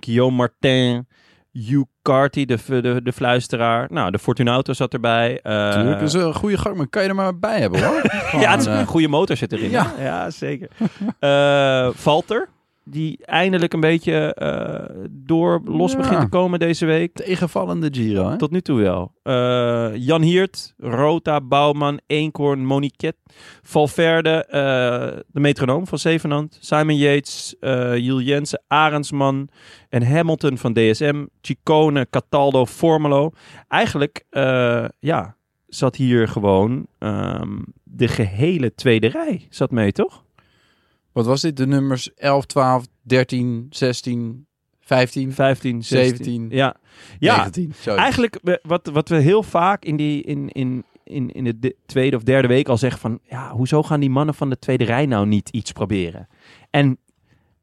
Speaker 1: Guillaume Martin, Hugh Carty, de, v- de, de fluisteraar. Nou, de Fortunato zat erbij. eh,
Speaker 2: Tuurlijk, dat is een goede gang, maar kan je er maar bij hebben hoor. Gewoon,
Speaker 1: ja, het is
Speaker 2: eh,
Speaker 1: een goede motor zit erin. hè?
Speaker 2: Ja.
Speaker 1: ja zeker. Eh Valter, die eindelijk een beetje eh, door los
Speaker 2: Ja.
Speaker 1: begint te komen deze week.
Speaker 2: Tegenvallende Giro, hè?
Speaker 1: Tot nu toe wel. Eh, Jan Hiert, Rota, Bouwman, Eenkhoorn, Moniquet, Valverde, eh, de metronoom van Zevenand, Simon Yates, eh Jules Jensen, Arendsman en Hamilton van DSM, Ciccone, Cataldo, Formelo. Eigenlijk, eh, ja, zat hier gewoon ehm, de gehele tweede rij zat mee, toch?
Speaker 2: Wat was dit? De nummers 11, 12, 13, 16, 15,
Speaker 1: 15,
Speaker 2: 17.
Speaker 1: Ja, ja
Speaker 2: 19. Zo.
Speaker 1: Eigenlijk we- wat, wat we heel vaak in, die, in, in, in, in de di- tweede of derde week al zeggen van... Ja, hoezo gaan die mannen van de tweede rij nou niet iets proberen? En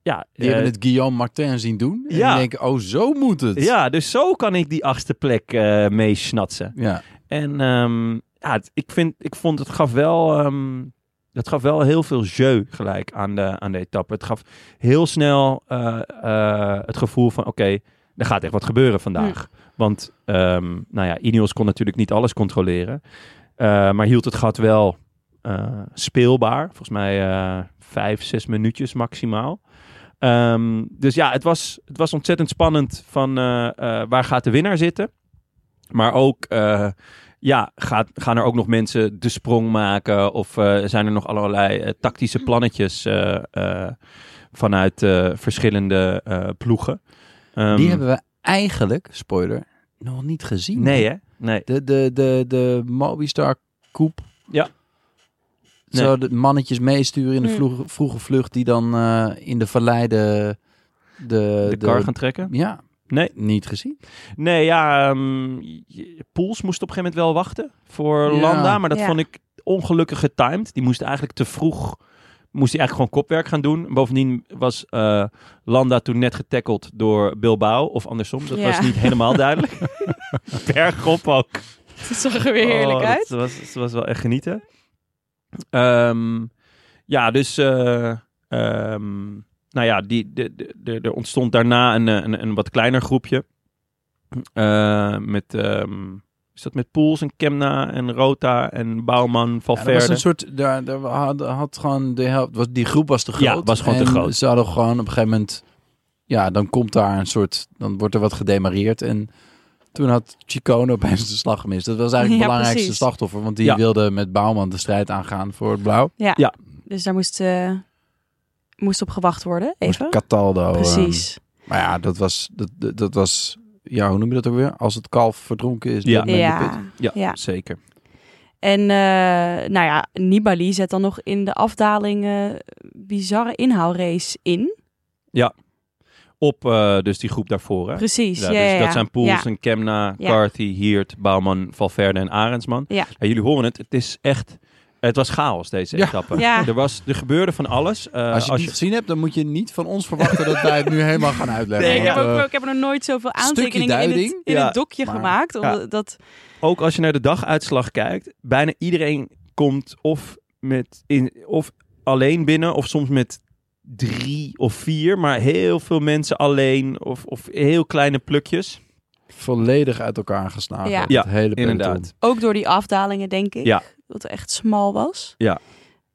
Speaker 1: ja...
Speaker 2: Die
Speaker 1: eh,
Speaker 2: hebben het Guillaume Martin zien doen. En
Speaker 1: Ja.
Speaker 2: die denken, oh, zo moet het.
Speaker 1: ja, dus zo kan ik die achtste plek eh meesnatsen.
Speaker 2: Ja.
Speaker 1: En ehm, ja, het- ik, vind, ik vond het gaf wel... ehm, dat gaf wel heel veel jeu gelijk aan de, aan de etappe. Het gaf heel snel eh, eh, het gevoel van... Oké, er gaat echt wat gebeuren vandaag. Want ehm, nou ja, Ineos kon natuurlijk niet alles controleren. Eh, maar hield het gat wel eh, speelbaar. Volgens mij eh, vijf, zes minuutjes maximaal. Ehm, dus ja, het was, het was ontzettend spannend van eh, eh, waar gaat de winnaar zitten. Maar ook, eh, ja, gaat, gaan er ook nog mensen de sprong maken? Of eh, zijn er nog allerlei eh, tactische plannetjes eh, eh, vanuit eh, verschillende eh, ploegen? Ehm,
Speaker 2: Die hebben we eigenlijk, spoiler, nog niet gezien.
Speaker 1: Nee, hè? Nee.
Speaker 2: De, de, de, de Mobistar Coupe.
Speaker 1: Ja. Nee.
Speaker 2: Zo de mannetjes meesturen in de
Speaker 3: Mm.
Speaker 2: vroege, vroege vlucht die dan eh, in de vallei de... Eh, De,
Speaker 1: De kar gaan trekken?
Speaker 2: Ja.
Speaker 1: Nee.
Speaker 2: Niet gezien.
Speaker 1: Nee, ja. ehm, je- Poels moest op een gegeven moment wel wachten voor
Speaker 2: Ja.
Speaker 1: Landa. Maar dat
Speaker 3: Ja.
Speaker 1: vond ik ongelukkig getimed. Die moest eigenlijk te vroeg. Moest hij eigenlijk gewoon kopwerk gaan doen. Bovendien was eh, Landa toen net getackled door Bilbao. Of andersom. Dat
Speaker 3: Ja.
Speaker 1: was niet helemaal duidelijk. Bergop ook.
Speaker 3: Het zag er weer heerlijk
Speaker 1: Oh,
Speaker 3: uit.
Speaker 1: Dat was, dat was wel echt genieten. Ehm, ja, dus. eh, ehm, nou ja, die, de, de, de- er ontstond daarna een, eh, een, een wat kleiner groepje. Eh, met. ehm, is dat met Poels en Kemna en Rota en Bouwman,
Speaker 2: Ja, dat was
Speaker 1: Valverde?
Speaker 2: een soort... Daar, daar had, had gewoon de helft... Was, die groep was te groot.
Speaker 1: Ja, was gewoon te
Speaker 2: En
Speaker 1: groot.
Speaker 2: Ze hadden gewoon op een gegeven moment... Ja, dan komt daar een soort... Dan wordt er wat gedemareerd. En toen had Chicone opeens de slag gemist. Dat was eigenlijk het
Speaker 3: Ja,
Speaker 2: belangrijkste
Speaker 3: precies.
Speaker 2: slachtoffer. Want die
Speaker 1: Ja.
Speaker 2: wilde met Bouwman de strijd aangaan voor het blauw.
Speaker 3: Dus daar moest, eh, moest op gewacht worden,
Speaker 2: Moest
Speaker 3: even.
Speaker 2: Cataldo. ehm,
Speaker 3: Precies.
Speaker 2: maar ja, dat was, dat, dat, dat was... Ja, hoe noem je dat ook weer? Als het kalf verdronken is.
Speaker 1: Ja.
Speaker 2: loopt men de put.
Speaker 3: ja.
Speaker 1: Ja,
Speaker 3: ja.
Speaker 1: zeker.
Speaker 3: En eh, nou ja, Nibali zet dan nog in de afdaling eh, bizarre inhaalrace in.
Speaker 1: Op eh, dus die groep daarvoor. Hè?
Speaker 3: Precies.
Speaker 1: Ja,
Speaker 3: Ja,
Speaker 1: dus
Speaker 3: ja, ja.
Speaker 1: dat zijn Poels
Speaker 3: Ja.
Speaker 1: en Kemna,
Speaker 3: Ja.
Speaker 1: Carthy, Hiert, Bouwman, Valverde en Arendsman.
Speaker 3: Ja.
Speaker 1: jullie horen het, het is echt... Het was chaos deze
Speaker 2: Ja.
Speaker 1: etappe.
Speaker 3: Ja.
Speaker 1: Er, was, er gebeurde van alles. Eh,
Speaker 2: Als je het niet gezien hebt, dan moet je niet van ons verwachten dat wij het nu helemaal gaan uitleggen.
Speaker 3: Nee, ik, heb
Speaker 2: Want,
Speaker 3: ook,
Speaker 2: eh,
Speaker 3: ik heb er nog nooit zoveel
Speaker 2: stukje
Speaker 3: aantekeningen in, het,
Speaker 2: duiding,
Speaker 3: in
Speaker 1: ja,
Speaker 3: het dokje
Speaker 2: maar-
Speaker 3: gemaakt.
Speaker 1: ja.
Speaker 3: Omdat dat,
Speaker 1: ook als je naar de daguitslag kijkt, bijna iedereen komt of, met in, of alleen binnen of soms met drie of vier, maar heel veel mensen alleen of, of heel kleine plukjes.
Speaker 2: volledig uit elkaar geslagen.
Speaker 3: Ja.
Speaker 2: Het
Speaker 1: Ja,
Speaker 2: hele peloton.
Speaker 1: inderdaad.
Speaker 3: ook door die afdalingen, denk ik.
Speaker 1: Ja.
Speaker 3: Dat het echt smal was.
Speaker 1: Ja.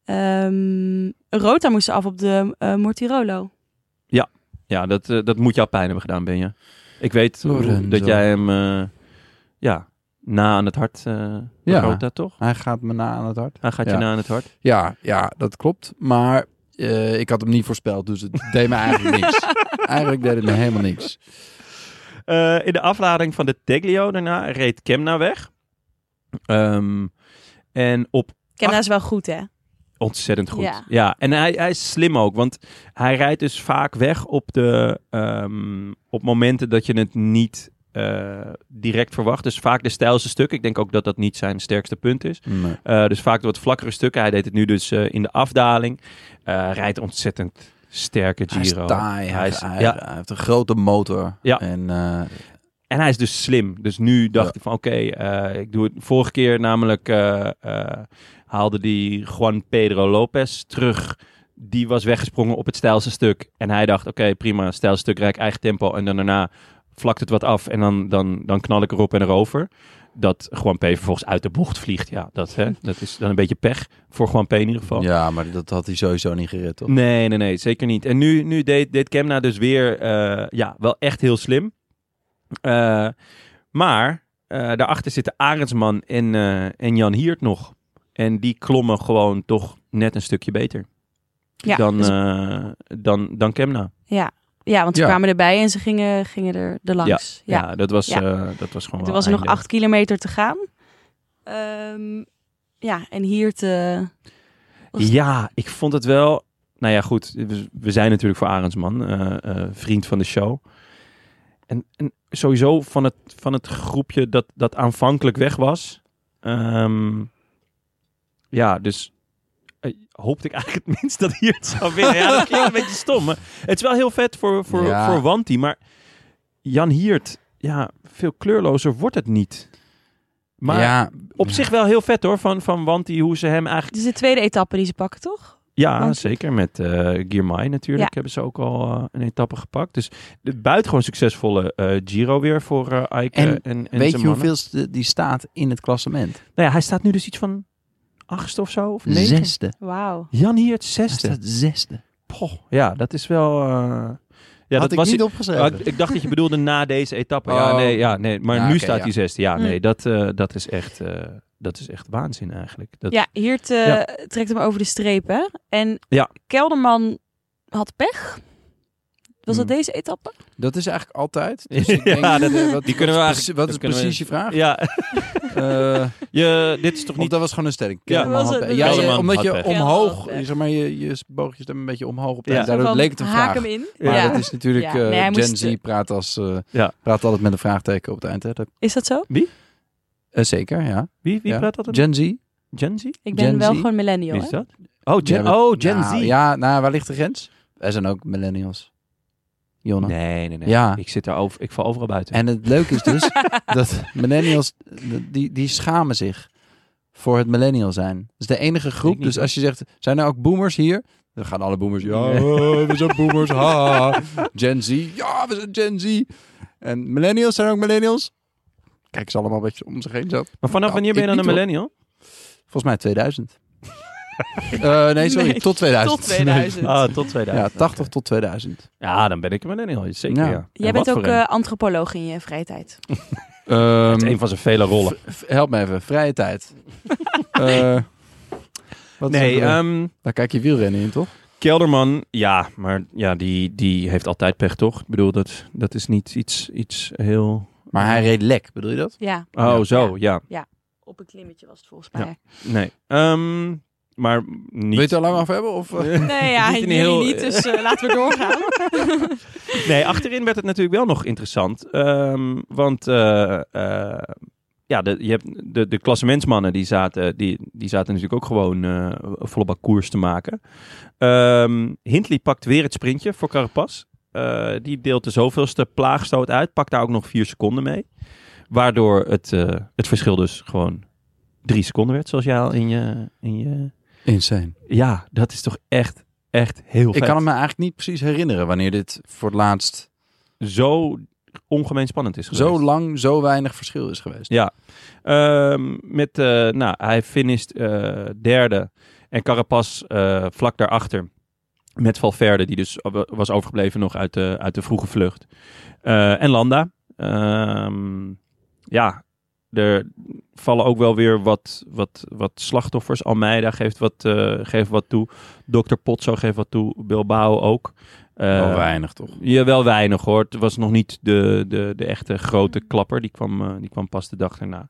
Speaker 3: Ehm, Rota moest af op de eh, Mortirolo.
Speaker 1: Ja, dat, eh, dat moet jou pijn hebben gedaan, ben je. Ik weet
Speaker 2: Lorenzo.
Speaker 1: dat jij hem eh, ja, na aan het hart eh
Speaker 2: Ja.
Speaker 1: ja. dat toch?
Speaker 2: Hij gaat me na aan het hart.
Speaker 1: Hij gaat je
Speaker 2: Ja.
Speaker 1: na aan het hart.
Speaker 2: Ja, ja dat klopt. Maar eh, ik had hem niet voorspeld, dus het deed me eigenlijk niks. Eigenlijk deed het me helemaal niks.
Speaker 1: Eh, in de aflading van de Teglio daarna reed Kemna weg. Ehm, en op
Speaker 3: Kemna is wel goed, hè?
Speaker 1: Ontzettend goed. Ja,
Speaker 3: Ja.
Speaker 1: en hij, hij is slim ook, want hij rijdt dus vaak weg op, de, ehm, op momenten dat je het niet eh, direct verwacht. Dus vaak de stijlste stukken. Ik denk ook dat dat niet zijn sterkste punt is. Eh, dus vaak de wat vlakkere stukken. Hij deed het nu dus eh, in de afdaling. Eh, rijdt ontzettend sterke
Speaker 2: Hij is
Speaker 1: Giro.
Speaker 2: taai. Hij,
Speaker 1: Hij is-
Speaker 2: is- hij-
Speaker 1: ja.
Speaker 2: hij heeft een grote motor.
Speaker 1: Ja.
Speaker 2: En, eh,
Speaker 1: En hij is dus slim. Dus nu dacht
Speaker 2: Ja.
Speaker 1: ik van oké, eh, ik doe het vorige keer namelijk eh, eh, haalde die Juan Pedro Lopez terug. Die was weggesprongen op het stijlste stuk. En hij dacht oké, prima, stijlste stuk, rijk eigen tempo. En dan daarna vlakt het wat af en dan, dan, dan knal ik erop en erover. dat Juan P. vervolgens uit de bocht vliegt. Ja, dat, hè, dat is dan een beetje pech voor Juan P. in ieder geval.
Speaker 2: Ja, maar dat had hij sowieso niet gered, toch?
Speaker 1: Nee, nee, nee, zeker niet. En nu, nu deed, deed Kemna dus weer, eh, ja, wel echt heel slim. Eh, maar eh, daarachter zitten Arendsman en, eh, en Jan Hiert nog. En die klommen gewoon toch net een stukje beter
Speaker 3: Ja,
Speaker 1: dan,
Speaker 3: dus-
Speaker 1: eh, dan, dan Kemna.
Speaker 3: ja. ja, want ze
Speaker 2: Ja.
Speaker 3: kwamen erbij en ze gingen, gingen er, er langs. Ja,
Speaker 1: Ja, dat, was,
Speaker 3: Ja.
Speaker 1: eh, dat was gewoon
Speaker 3: Toen
Speaker 1: wel
Speaker 3: was er nog
Speaker 1: einde.
Speaker 3: acht kilometer te gaan. Ehm, ja, en hier te... Was-
Speaker 1: Ja, ik vond het wel. Nou ja, goed. we- We zijn natuurlijk voor Arendsman, eh, eh, vriend van de show. En, en sowieso van het, van het groepje dat, dat aanvankelijk weg was. Ehm, ja, dus eh, hoopte ik eigenlijk het minst dat hier het zou winnen. Ja, dat klinkt een beetje stom. maar het is wel heel vet voor, voor,
Speaker 2: Ja.
Speaker 1: voor Wanti. Maar Jan Hiert, ja, veel kleurlozer wordt het niet. Maar
Speaker 2: ja,
Speaker 1: op zich wel heel vet hoor, van, van Wanti, hoe ze hem eigenlijk
Speaker 3: Dit is de tweede etappe die ze pakken, toch?
Speaker 1: ja,
Speaker 3: Want-
Speaker 1: zeker. Met eh Girmay natuurlijk
Speaker 3: Ja.
Speaker 1: hebben ze ook al eh, een etappe gepakt. Dus de buitengewoon succesvolle eh, Giro weer voor eh Eike en,
Speaker 2: En
Speaker 1: en, zijn
Speaker 2: weet je
Speaker 1: mannen.
Speaker 2: hoeveel die staat in het klassement?
Speaker 1: Nou ja, hij staat nu dus iets van achtste of zo, of negen.
Speaker 2: Zesde.
Speaker 3: Wauw.
Speaker 1: Jan hier het
Speaker 2: Hij
Speaker 1: zesde.
Speaker 2: staat zesde.
Speaker 1: Poh, ja, dat is wel... eh, Ja,
Speaker 2: Ja, had
Speaker 1: dat
Speaker 2: ik
Speaker 1: was
Speaker 2: niet
Speaker 1: Ah,
Speaker 2: opgeschreven.
Speaker 1: ik, ik dacht dat je bedoelde na deze etappe. Ja,
Speaker 2: Oh.
Speaker 1: nee, ja, nee. Maar
Speaker 2: Ja,
Speaker 1: nu
Speaker 2: oké,
Speaker 1: staat
Speaker 2: ja.
Speaker 1: hij zesde. Ja,
Speaker 3: Hm.
Speaker 1: nee, dat, eh, dat, is echt, eh, dat is echt waanzin eigenlijk. Dat,
Speaker 3: Ja, hier te,
Speaker 1: Ja.
Speaker 3: trekt hem over de streep, hè? En
Speaker 1: Ja.
Speaker 3: Kelderman had pech. Was dat
Speaker 1: Hmm.
Speaker 3: deze etappe?
Speaker 2: dat is eigenlijk altijd.
Speaker 1: Ja, dat-
Speaker 2: eh, wat,
Speaker 1: die kunnen we eigenlijk-
Speaker 2: wat is precie- Wat is
Speaker 1: dat kunnen we-
Speaker 2: precies je vraag?
Speaker 1: Ja,
Speaker 2: Eh,
Speaker 1: je, dit is toch
Speaker 2: Of
Speaker 1: niet...
Speaker 2: dat was gewoon een sterk.
Speaker 1: Ja.
Speaker 2: Kelderman
Speaker 3: Was
Speaker 2: had-
Speaker 3: het-
Speaker 2: ja,
Speaker 1: Kelderman
Speaker 2: ja, omdat
Speaker 1: had
Speaker 2: je
Speaker 1: pech.
Speaker 2: omhoog,
Speaker 3: Kelderman had pech.
Speaker 2: zeg maar, je, je boog je stem een beetje omhoog op.
Speaker 1: Ja.
Speaker 2: Ja. Daardoor
Speaker 3: Zo van,
Speaker 2: leek het een
Speaker 3: haak
Speaker 2: vraag.
Speaker 3: hem in.
Speaker 2: Maar
Speaker 3: ja.
Speaker 2: dat is natuurlijk,
Speaker 3: Ja.
Speaker 2: eh,
Speaker 3: Nee, hij
Speaker 2: Gen
Speaker 3: moest-
Speaker 2: Z praat, als, eh,
Speaker 1: Ja.
Speaker 2: praat altijd met een vraagteken op het eind. Hè? Dat,
Speaker 3: Is dat zo?
Speaker 2: eh, zeker, ja.
Speaker 1: Wie, wie
Speaker 2: Ja.
Speaker 1: praat dat?
Speaker 2: Gen Z.
Speaker 1: Gen Z?
Speaker 3: Ik ben
Speaker 2: Gen
Speaker 3: wel
Speaker 2: Z?
Speaker 3: gewoon millennial,
Speaker 1: Wie
Speaker 3: hè?
Speaker 1: is dat? Oh, Gen,
Speaker 2: Ja, we-
Speaker 1: oh, Gen
Speaker 2: Nou,
Speaker 1: Z.
Speaker 2: Ja, nou, waar ligt de grens? Wij zijn ook millennials. Jonna.
Speaker 1: Nee, nee, nee.
Speaker 2: Ja.
Speaker 1: Ik zit daar over, ik val overal buiten.
Speaker 2: En het leuke is dus dat millennials, die, die schamen zich voor het millennial zijn. Dat is de enige groep.
Speaker 1: niet,
Speaker 2: dus
Speaker 1: hoor.
Speaker 2: als je zegt, zijn er ook boomers hier? Dan gaan alle boomers, ja,
Speaker 1: Nee.
Speaker 2: we zijn boomers, ha. Gen Z, ja, we zijn Gen Z. En millennials zijn ook millennials. Kijk ze allemaal een beetje om zich heen zo.
Speaker 1: maar vanaf
Speaker 2: Nou,
Speaker 1: wanneer ben je
Speaker 2: ik
Speaker 1: dan een
Speaker 2: niet, hoor.
Speaker 1: millennial?
Speaker 2: Volgens mij 2000. Eh, nee, sorry,
Speaker 3: Nee,
Speaker 2: tot 2000.
Speaker 3: Tot 2000.
Speaker 1: Ah, tot
Speaker 2: Ja,
Speaker 1: 2000.
Speaker 2: 80 tot 2000.
Speaker 1: Ja, dan ben ik een millennial. Zeker, ja.
Speaker 2: Ja.
Speaker 1: En wat
Speaker 3: Jij bent ook
Speaker 1: voor een?
Speaker 3: eh, antropoloog in je vrije tijd.
Speaker 2: Ehm,
Speaker 1: Het is een van zijn vele rollen.
Speaker 2: V- Help me even, vrije tijd. Eh, wat is
Speaker 1: Nee,
Speaker 2: het?
Speaker 1: ehm,
Speaker 2: Daar kijk je wielrennen in, toch?
Speaker 1: Kelderman, ja, maar ja, die, die heeft altijd pech, toch? Ik bedoel, dat, dat is niet iets, iets heel...
Speaker 2: Maar hij reed lek, bedoel je dat?
Speaker 3: Ja,
Speaker 1: Oh, zo, ja.
Speaker 3: op een klimmetje was het volgens
Speaker 1: Ja.
Speaker 3: mij.
Speaker 1: Nee. Ehm, maar niet...
Speaker 2: Wil je het al lang af hebben? Of, eh?
Speaker 3: Nee, ja,
Speaker 1: Niet in
Speaker 3: jullie
Speaker 1: heel-
Speaker 3: niet, dus eh, laten we doorgaan.
Speaker 1: Nee, achterin werd het natuurlijk wel nog interessant. Ehm, want eh, eh, ja, de, je hebt de, de klassementsmannen die zaten, die, die zaten natuurlijk ook gewoon eh volle bak koers te maken. Ehm, Hindley pakt weer het sprintje voor Carapaz. Eh, die deelt de zoveelste plaagstoot uit. Pakt daar ook nog vier seconden mee. Waardoor het, eh, het verschil dus gewoon drie seconden werd. Zoals jij al in je... In je...
Speaker 2: Insane.
Speaker 1: Ja, dat is toch echt, echt heel
Speaker 2: Ik
Speaker 1: vet.
Speaker 2: kan me eigenlijk niet precies herinneren wanneer dit voor het laatst
Speaker 1: Zo ongemeen spannend is geweest.
Speaker 2: zo lang, zo weinig verschil is geweest.
Speaker 1: Ja. Ehm, met, eh, nou, hij finisht eh, derde. En Carapaz eh, vlak daarachter. Met Valverde, die dus wa- was overgebleven nog uit de, uit de vroege vlucht. Eh, en Landa. Ehm, ja, er vallen ook wel weer wat, wat, wat slachtoffers. Almeida geeft wat, eh, geeft wat toe. Dr. Potso geeft wat toe. Bilbao ook. Eh,
Speaker 2: Wel weinig, toch?
Speaker 1: ja, wel weinig hoor. Het was nog niet de, de, de echte grote
Speaker 3: Mm.
Speaker 1: klapper. Die kwam, eh, die kwam pas de dag erna.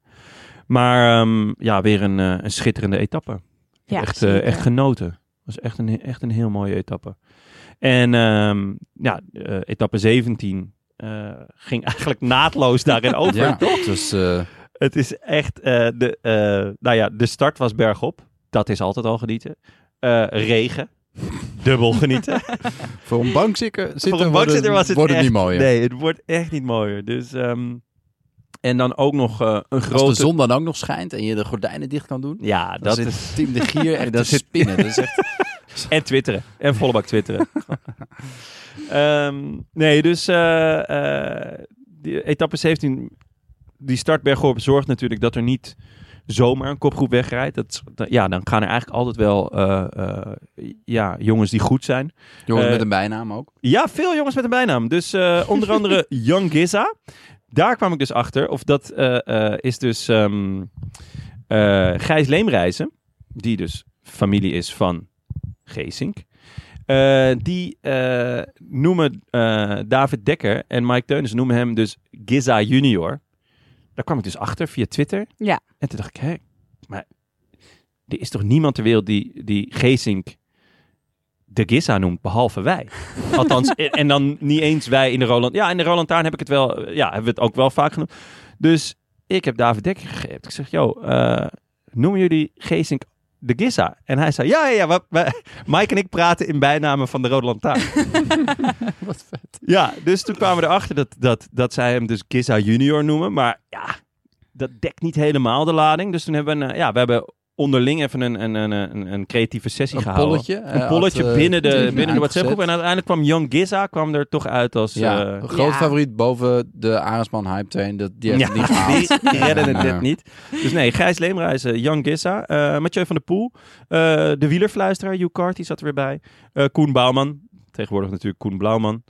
Speaker 1: Maar ehm, ja, weer een, eh, een schitterende etappe.
Speaker 3: Ja,
Speaker 1: echt, eh,
Speaker 3: zeker.
Speaker 1: echt genoten. Het was echt een, echt een heel mooie etappe. En ehm, ja, eh, etappe 17 eh, ging eigenlijk naadloos daarin over.
Speaker 2: Ja, dus eh,
Speaker 1: Het is echt, eh, de, eh, nou ja, de start was bergop. Dat is altijd al genieten. Eh, regen. Dubbel genieten.
Speaker 2: voor een bankzitter,
Speaker 1: Voor een
Speaker 2: worden,
Speaker 1: bankzitter was het
Speaker 2: worden
Speaker 1: echt,
Speaker 2: niet mooier.
Speaker 1: Nee, het wordt echt niet mooier. Dus, ehm, en dan ook nog eh, een grote...
Speaker 2: Als de zon dan ook nog schijnt en je de gordijnen dicht kan doen,
Speaker 1: Ja,
Speaker 2: dan
Speaker 1: dat
Speaker 2: zit
Speaker 1: is...
Speaker 2: Team de Gier echt te
Speaker 1: zit-
Speaker 2: spinnen. Dat is echt
Speaker 1: En twitteren. En volle bak twitteren. Ehm, nee, dus eh, eh, die etappe 17 die start bergop zorgt natuurlijk dat er niet zomaar een kopgroep wegrijdt. Dat, dat- ja, dan gaan er eigenlijk altijd wel eh, eh, ja, jongens die goed zijn.
Speaker 2: Jongens
Speaker 1: Eh,
Speaker 2: met een bijnaam ook.
Speaker 1: Ja, veel jongens met een bijnaam. Dus eh, onder andere Young Giza. Daar kwam ik dus achter. Of dat eh, eh, is dus ehm, eh, Gijs Leemreizen. Die dus familie is van Geesink. Eh, die eh, noemen eh, David Dekker en Mike Teunis noemen hem dus Giza Junior. Daar kwam ik dus achter via Twitter.
Speaker 3: Ja.
Speaker 1: En toen dacht ik, hé, maar er is toch niemand ter wereld die, die Geesink de Giza noemt, behalve wij. Althans, en- en dan niet eens wij in de Roland. Ja, in de Roland Taarn heb ik het wel, eh, ja, hebben we het ook wel vaak genoemd. Dus ik heb David Dekker gegeven. Ik zeg, joh, eh, noemen jullie Geesink de Giza? En hij zei, ja, ja, ja, we- we- Mike en ik praten in bijnamen van de Rode Lantaarn.
Speaker 2: Wat vet.
Speaker 1: ja, dus toen kwamen we erachter dat, dat, dat zij hem dus Giza Junior noemen. Maar ja, dat dekt niet helemaal de lading. Dus toen hebben we, een, eh, ja, we hebben onderling even een, een, een, een, een creatieve sessie
Speaker 2: Een
Speaker 1: gehouden.
Speaker 2: polletje.
Speaker 1: Een polletje
Speaker 2: eh,
Speaker 1: binnen de, binnen de WhatsApp-groep. En
Speaker 2: En
Speaker 1: uiteindelijk kwam Young Giza kwam er toch uit als...
Speaker 2: ja,
Speaker 1: eh,
Speaker 2: een groot
Speaker 3: Ja.
Speaker 2: favoriet boven de Arendsman Hype Train. Dat, die heeft het niet gehaald.
Speaker 1: die, die redden het
Speaker 2: Ja.
Speaker 1: net niet. Dus nee, Gijs Leemreizen, Jan Gissa, eh, Mathieu van der Poel, eh, de wielerfluisteraar, Hugh Carty zat er weer bij, eh, Koen Bouwman, tegenwoordig natuurlijk Koen Blauwman,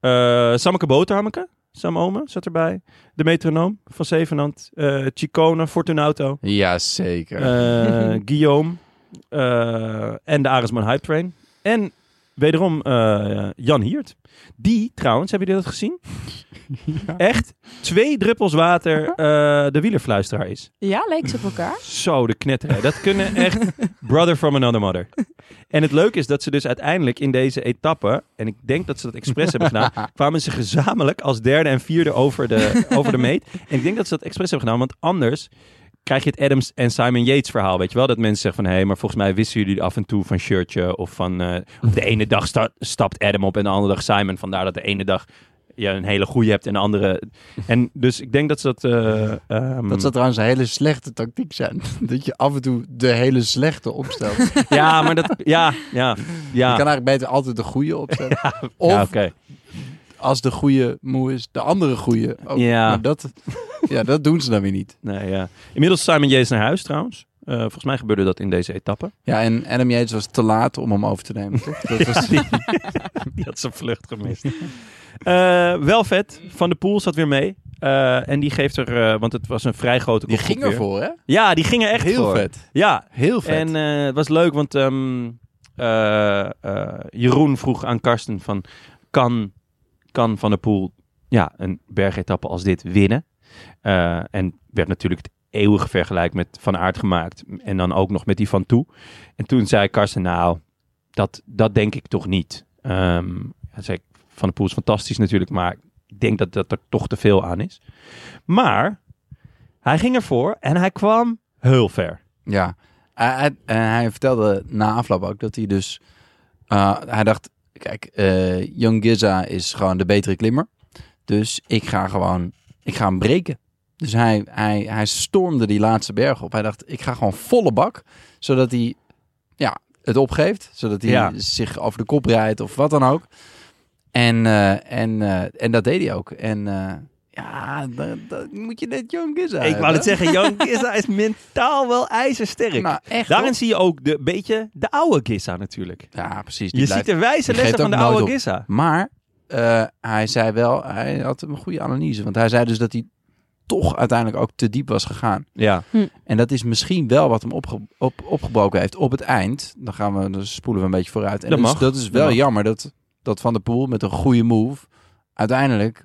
Speaker 1: eh Sammeke Boterhammeke, Sam Omen zat erbij, de metronoom van Zevenand, eh Chicone, Fortunato,
Speaker 2: Jazeker.
Speaker 1: eh, Guillaume eh, en de Arisman Hype Train. En wederom eh, Jan Hiert. Die trouwens, hebben jullie dat gezien? Echt twee druppels water eh, de wielerfluisteraar is.
Speaker 3: Ja, leek ze op elkaar.
Speaker 1: Zo, de knetterij. Dat kunnen echt brother from another mother. En het leuke is dat ze dus uiteindelijk in deze etappe, en ik denk dat ze dat expres hebben gedaan, kwamen ze gezamenlijk als derde en vierde over de, over de meet. En ik denk dat ze dat expres hebben gedaan, want anders krijg je het Adams en Simon Yates verhaal, weet je wel? Dat mensen zeggen van, hé, maar volgens mij wisten jullie af en toe van shirtje of van... eh, op de ene dag sta- stapt Adam op en de andere dag Simon. Vandaar dat de ene dag je een hele goede hebt en de andere... En dus ik denk dat ze dat... eh, ehm,
Speaker 2: Dat zou trouwens een hele slechte tactiek zijn. Dat je af en toe de hele slechte opstelt. Je
Speaker 1: Ja, maar dat... Ja, ja, ja.
Speaker 2: kan eigenlijk beter altijd de goede opstellen. Of
Speaker 1: ja, oké.
Speaker 2: als de goede moe is, de andere goede. ook.
Speaker 1: Ja.
Speaker 2: Maar dat, ja, dat doen ze dan weer niet.
Speaker 1: Nee, ja. Inmiddels Simon Yates naar huis trouwens. Eh, volgens mij gebeurde dat in deze etappe.
Speaker 2: Ja, en Adam Yates was te laat om hem over te nemen. Toch? Dat was,
Speaker 1: Die had zijn vlucht gemist. Eh, wel vet. Van de Poel zat weer mee. Eh, en die geeft er... eh, want het was een vrij grote
Speaker 2: die
Speaker 1: kopgroep
Speaker 2: ging
Speaker 1: weer.
Speaker 2: ervoor, hè?
Speaker 1: Ja, die ging er echt
Speaker 2: Heel
Speaker 1: voor.
Speaker 2: vet.
Speaker 1: Ja,
Speaker 2: Heel vet.
Speaker 1: En eh, het was leuk, want ehm, eh, eh, Jeroen vroeg aan Karsten van... Kan, kan Van der Poel ja, een bergetappe als dit winnen? Eh, en werd natuurlijk het eeuwige vergelijk met Van Aert gemaakt. En dan ook nog met die Van Toe. En toen zei Karsten, nou, dat, dat denk ik toch niet. Ehm, hij zei, Van der Poel is fantastisch natuurlijk, maar ik denk dat, dat er toch te veel aan is. Maar hij ging ervoor en hij kwam heel ver.
Speaker 2: Ja, hij, hij- en hij vertelde na afloop ook dat hij dus... eh, hij dacht, kijk, eh Young Giza is gewoon de betere klimmer. Dus ik ga gewoon, ik ga hem breken. Dus hij, hij, hij stormde die laatste berg op. Hij dacht, ik ga gewoon volle bak, zodat hij ja, het opgeeft. Zodat hij
Speaker 1: Ja.
Speaker 2: zich over de kop rijdt of wat dan ook. En, eh, en, eh, en dat deed hij ook. En eh, ja, dat, dat moet je net Young Giza
Speaker 1: Ik wou het zeggen, Jan Gissa is mentaal wel ijzersterk.
Speaker 2: Nou, echt
Speaker 1: Daarin
Speaker 2: hoor.
Speaker 1: zie je ook de beetje de oude Gissa natuurlijk.
Speaker 2: Ja, precies. Die
Speaker 1: Je
Speaker 2: blijft-
Speaker 1: ziet de wijze
Speaker 2: die
Speaker 1: lessen
Speaker 2: geeft
Speaker 1: van de
Speaker 2: ook nooit
Speaker 1: oude
Speaker 2: op.
Speaker 1: Gissa.
Speaker 2: Maar eh, hij zei wel, hij had een goede analyse. Want hij zei dus dat hij toch uiteindelijk ook te diep was gegaan.
Speaker 1: Ja.
Speaker 2: En dat is misschien wel wat hem opge- op, opgebroken heeft op het eind. Dan gaan we, dan spoelen we een beetje vooruit. En
Speaker 1: Dat
Speaker 2: dus
Speaker 1: mag.
Speaker 2: dat is
Speaker 1: Dat
Speaker 2: wel
Speaker 1: mag.
Speaker 2: jammer dat, dat Van der Poel met een goede move uiteindelijk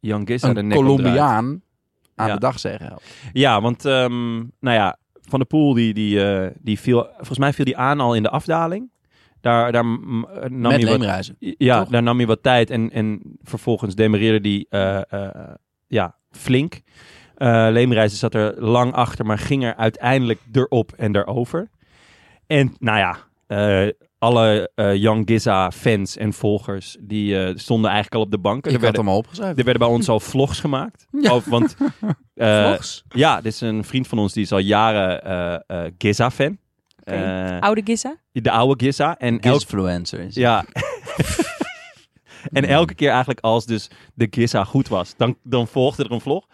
Speaker 1: Jan Gissa de
Speaker 2: een
Speaker 1: nek omdraait.
Speaker 2: Colombiaan aan
Speaker 1: Ja.
Speaker 2: de dag zeggen helpt.
Speaker 1: Ja, want ehm, nou ja, Van der Poel die, die, eh, die viel, volgens mij viel die aan al in de afdaling. Daar, daar mm, eh, nam
Speaker 2: Met
Speaker 1: hij wat
Speaker 2: leemreizen.
Speaker 1: Ja,
Speaker 2: Toch?
Speaker 1: daar nam hij wat tijd en, en vervolgens demereerde hij eh, eh, ja, flink. Eh Leemreizen zat er lang achter, maar ging er uiteindelijk erop en daarover. En nou ja, eh, alle eh Young Giza fans en volgers die eh, stonden eigenlijk al op de banken.
Speaker 2: Ik
Speaker 1: Er
Speaker 2: had
Speaker 1: werden,
Speaker 2: hem al opgeschreven.
Speaker 1: er werden bij ons al vlogs gemaakt. Over- want, eh,
Speaker 2: Vlogs?
Speaker 1: Ja, dit is een vriend van ons die is al jaren eh Giza-fan. Eh,
Speaker 3: Oké. Oude Gissa.
Speaker 1: de oude Giza. En elk
Speaker 2: Influencer is.
Speaker 1: ja. en elke keer eigenlijk als dus de Giza goed was, dan, dan volgde er een vlog.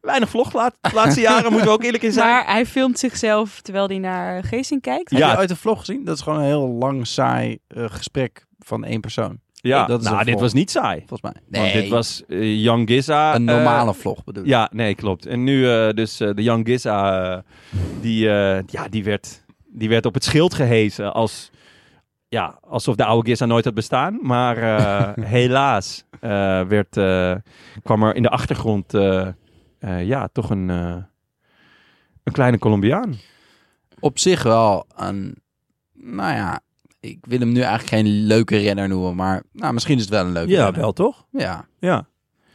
Speaker 1: weinig vlog laat, de laatste jaren, moeten we ook eerlijk in zijn.
Speaker 3: Maar hij filmt zichzelf terwijl hij naar Geesing kijkt.
Speaker 1: Ja.
Speaker 2: Heb je uit de vlog gezien? Dat is gewoon een heel lang, saai eh, gesprek van één persoon.
Speaker 1: ja,
Speaker 2: dat is
Speaker 1: nou,
Speaker 2: een
Speaker 1: dit
Speaker 2: vlog.
Speaker 1: was niet saai.
Speaker 2: Volgens mij.
Speaker 1: Want dit was eh, Young Giza.
Speaker 2: een
Speaker 1: eh,
Speaker 2: normale vlog bedoel ik.
Speaker 1: ja, nee, klopt. En nu eh, dus eh, de Young Giza, eh, die, eh, ja, die, werd, die werd op het schild gehezen als... Ja, alsof de oude Giza nooit had bestaan. Maar eh, helaas eh, werd, eh, kwam er in de achtergrond eh, eh, ja, toch een, eh, een kleine Colombiaan.
Speaker 2: Op zich wel een... Nou ja, ik wil hem nu eigenlijk geen leuke renner noemen. Maar nou, misschien is het wel een leuke renner.
Speaker 1: toch?
Speaker 2: Ja.
Speaker 1: Ja.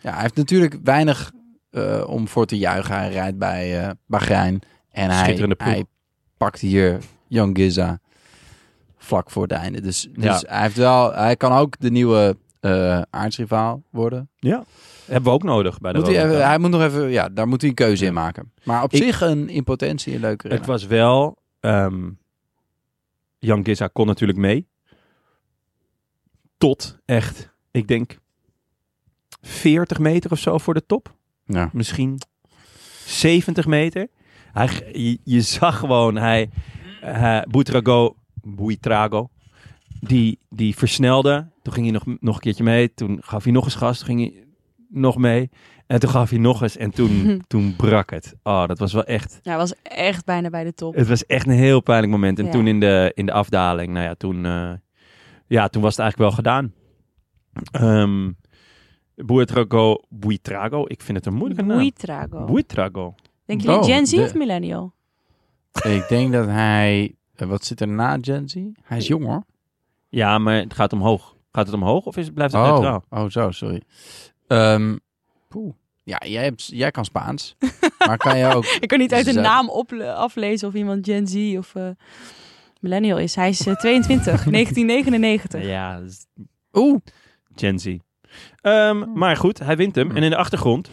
Speaker 2: ja, hij heeft natuurlijk weinig eh, om voor te juichen. Hij rijdt bij eh, Bahrein. En hij,
Speaker 1: Schitterende ploeg.
Speaker 2: hij pakt hier Jan Giza vlak voor het einde. Dus, dus hij, heeft wel, hij kan ook de nieuwe eh aardsrivaal worden.
Speaker 1: Hebben we ook nodig bij de
Speaker 2: Moet hij,
Speaker 1: Rode
Speaker 2: even-
Speaker 1: Kaart.
Speaker 2: hij moet nog even, ja, daar moet hij een keuze in maken. Maar op
Speaker 1: Ik-
Speaker 2: zich een in potentie een leuke
Speaker 1: Het
Speaker 2: renner.
Speaker 1: was wel... ehm Jan Giza kon natuurlijk mee. Tot echt, ik denk, 40 meter of zo voor de top.
Speaker 2: Ja.
Speaker 1: Misschien 70 meter. Hij, g- je, je zag gewoon, hij, eh Boetrago, Boeitrago, die, die versnelde. Toen ging hij nog, nog een keertje mee. Toen gaf hij nog eens gas. Toen ging hij nog mee. En toen gaf hij nog eens. En toen, toen brak het. Oh, dat was wel echt...
Speaker 3: Nou, hij was echt bijna bij de top.
Speaker 1: Het was echt een heel pijnlijk moment. En
Speaker 3: Ja.
Speaker 1: toen in de, in de afdaling, nou ja, toen, eh, ja, toen was het eigenlijk wel gedaan. Ehm Buitrago, Buitrago, ik vind het een moeilijke naam.
Speaker 3: Buitrago.
Speaker 1: Buitrago.
Speaker 3: Denk jullie
Speaker 2: Oh,
Speaker 3: Gen Z
Speaker 2: de-
Speaker 3: of millennial?
Speaker 2: Ik denk dat hij... eh, Wat zit er na Gen Z? Hij is jong hoor.
Speaker 1: Ja, maar het gaat omhoog. Gaat het omhoog of is het, blijft het
Speaker 2: Oh,
Speaker 1: neutraal?
Speaker 2: oh zo, sorry. Ehm, poeh. Ja, jij, hebt, jij kan Spaans. maar kan je ook...
Speaker 3: Ik kan niet uit de
Speaker 2: Zou-
Speaker 3: naam op, aflezen of iemand Gen Z of eh, millennial is. Hij is eh, 22, 1999.
Speaker 1: Ja, dat is
Speaker 2: Oeh,
Speaker 1: Gen Z. Ehm, Maar goed, hij wint hem. En in de achtergrond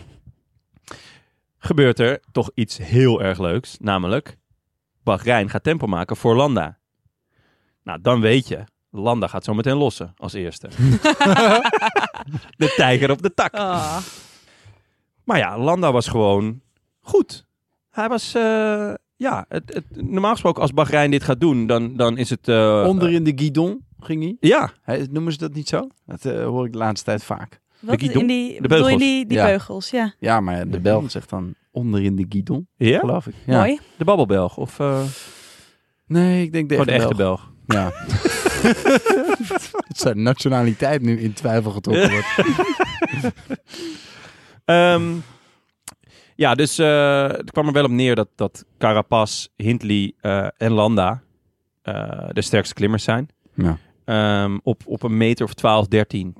Speaker 1: gebeurt er toch iets heel erg leuks. Namelijk, Bahrein gaat tempo maken voor Landa. Nou, dan weet je, Landa gaat zo meteen lossen als eerste. de tijger op de tak.
Speaker 3: Ah.
Speaker 1: Maar ja, Landa was gewoon goed. Hij was, eh, ja, het, het- normaal gesproken als Bahrein dit gaat doen, dan, dan is het... eh,
Speaker 2: onder in de guidon ging hij.
Speaker 1: ja,
Speaker 2: Hij- Noemen ze dat niet zo? Dat eh, hoor ik de laatste tijd vaak.
Speaker 3: Wat
Speaker 1: guidon?
Speaker 3: in die,
Speaker 1: De
Speaker 3: bedoel je
Speaker 1: beugels.
Speaker 3: die, die
Speaker 2: Ja.
Speaker 3: beugels? Ja,
Speaker 2: Ja, maar de Belg zegt dan onder in de guidon,
Speaker 1: ja?
Speaker 2: geloof ik. Ja.
Speaker 3: mooi.
Speaker 1: de babbelbelg of eh,
Speaker 2: Nee, ik denk de
Speaker 1: gewoon
Speaker 2: echte,
Speaker 1: de echte
Speaker 2: Belg.
Speaker 1: Belg.
Speaker 2: Ja. Dat zijn nationaliteit nu in twijfel getrokken wordt.
Speaker 1: Ehm, ja, dus eh, het kwam er wel op neer dat, dat Carapaz, Hindley eh, en Landa eh, de sterkste klimmers zijn.
Speaker 2: Ja.
Speaker 1: Ehm, op, op een meter of 12, 13.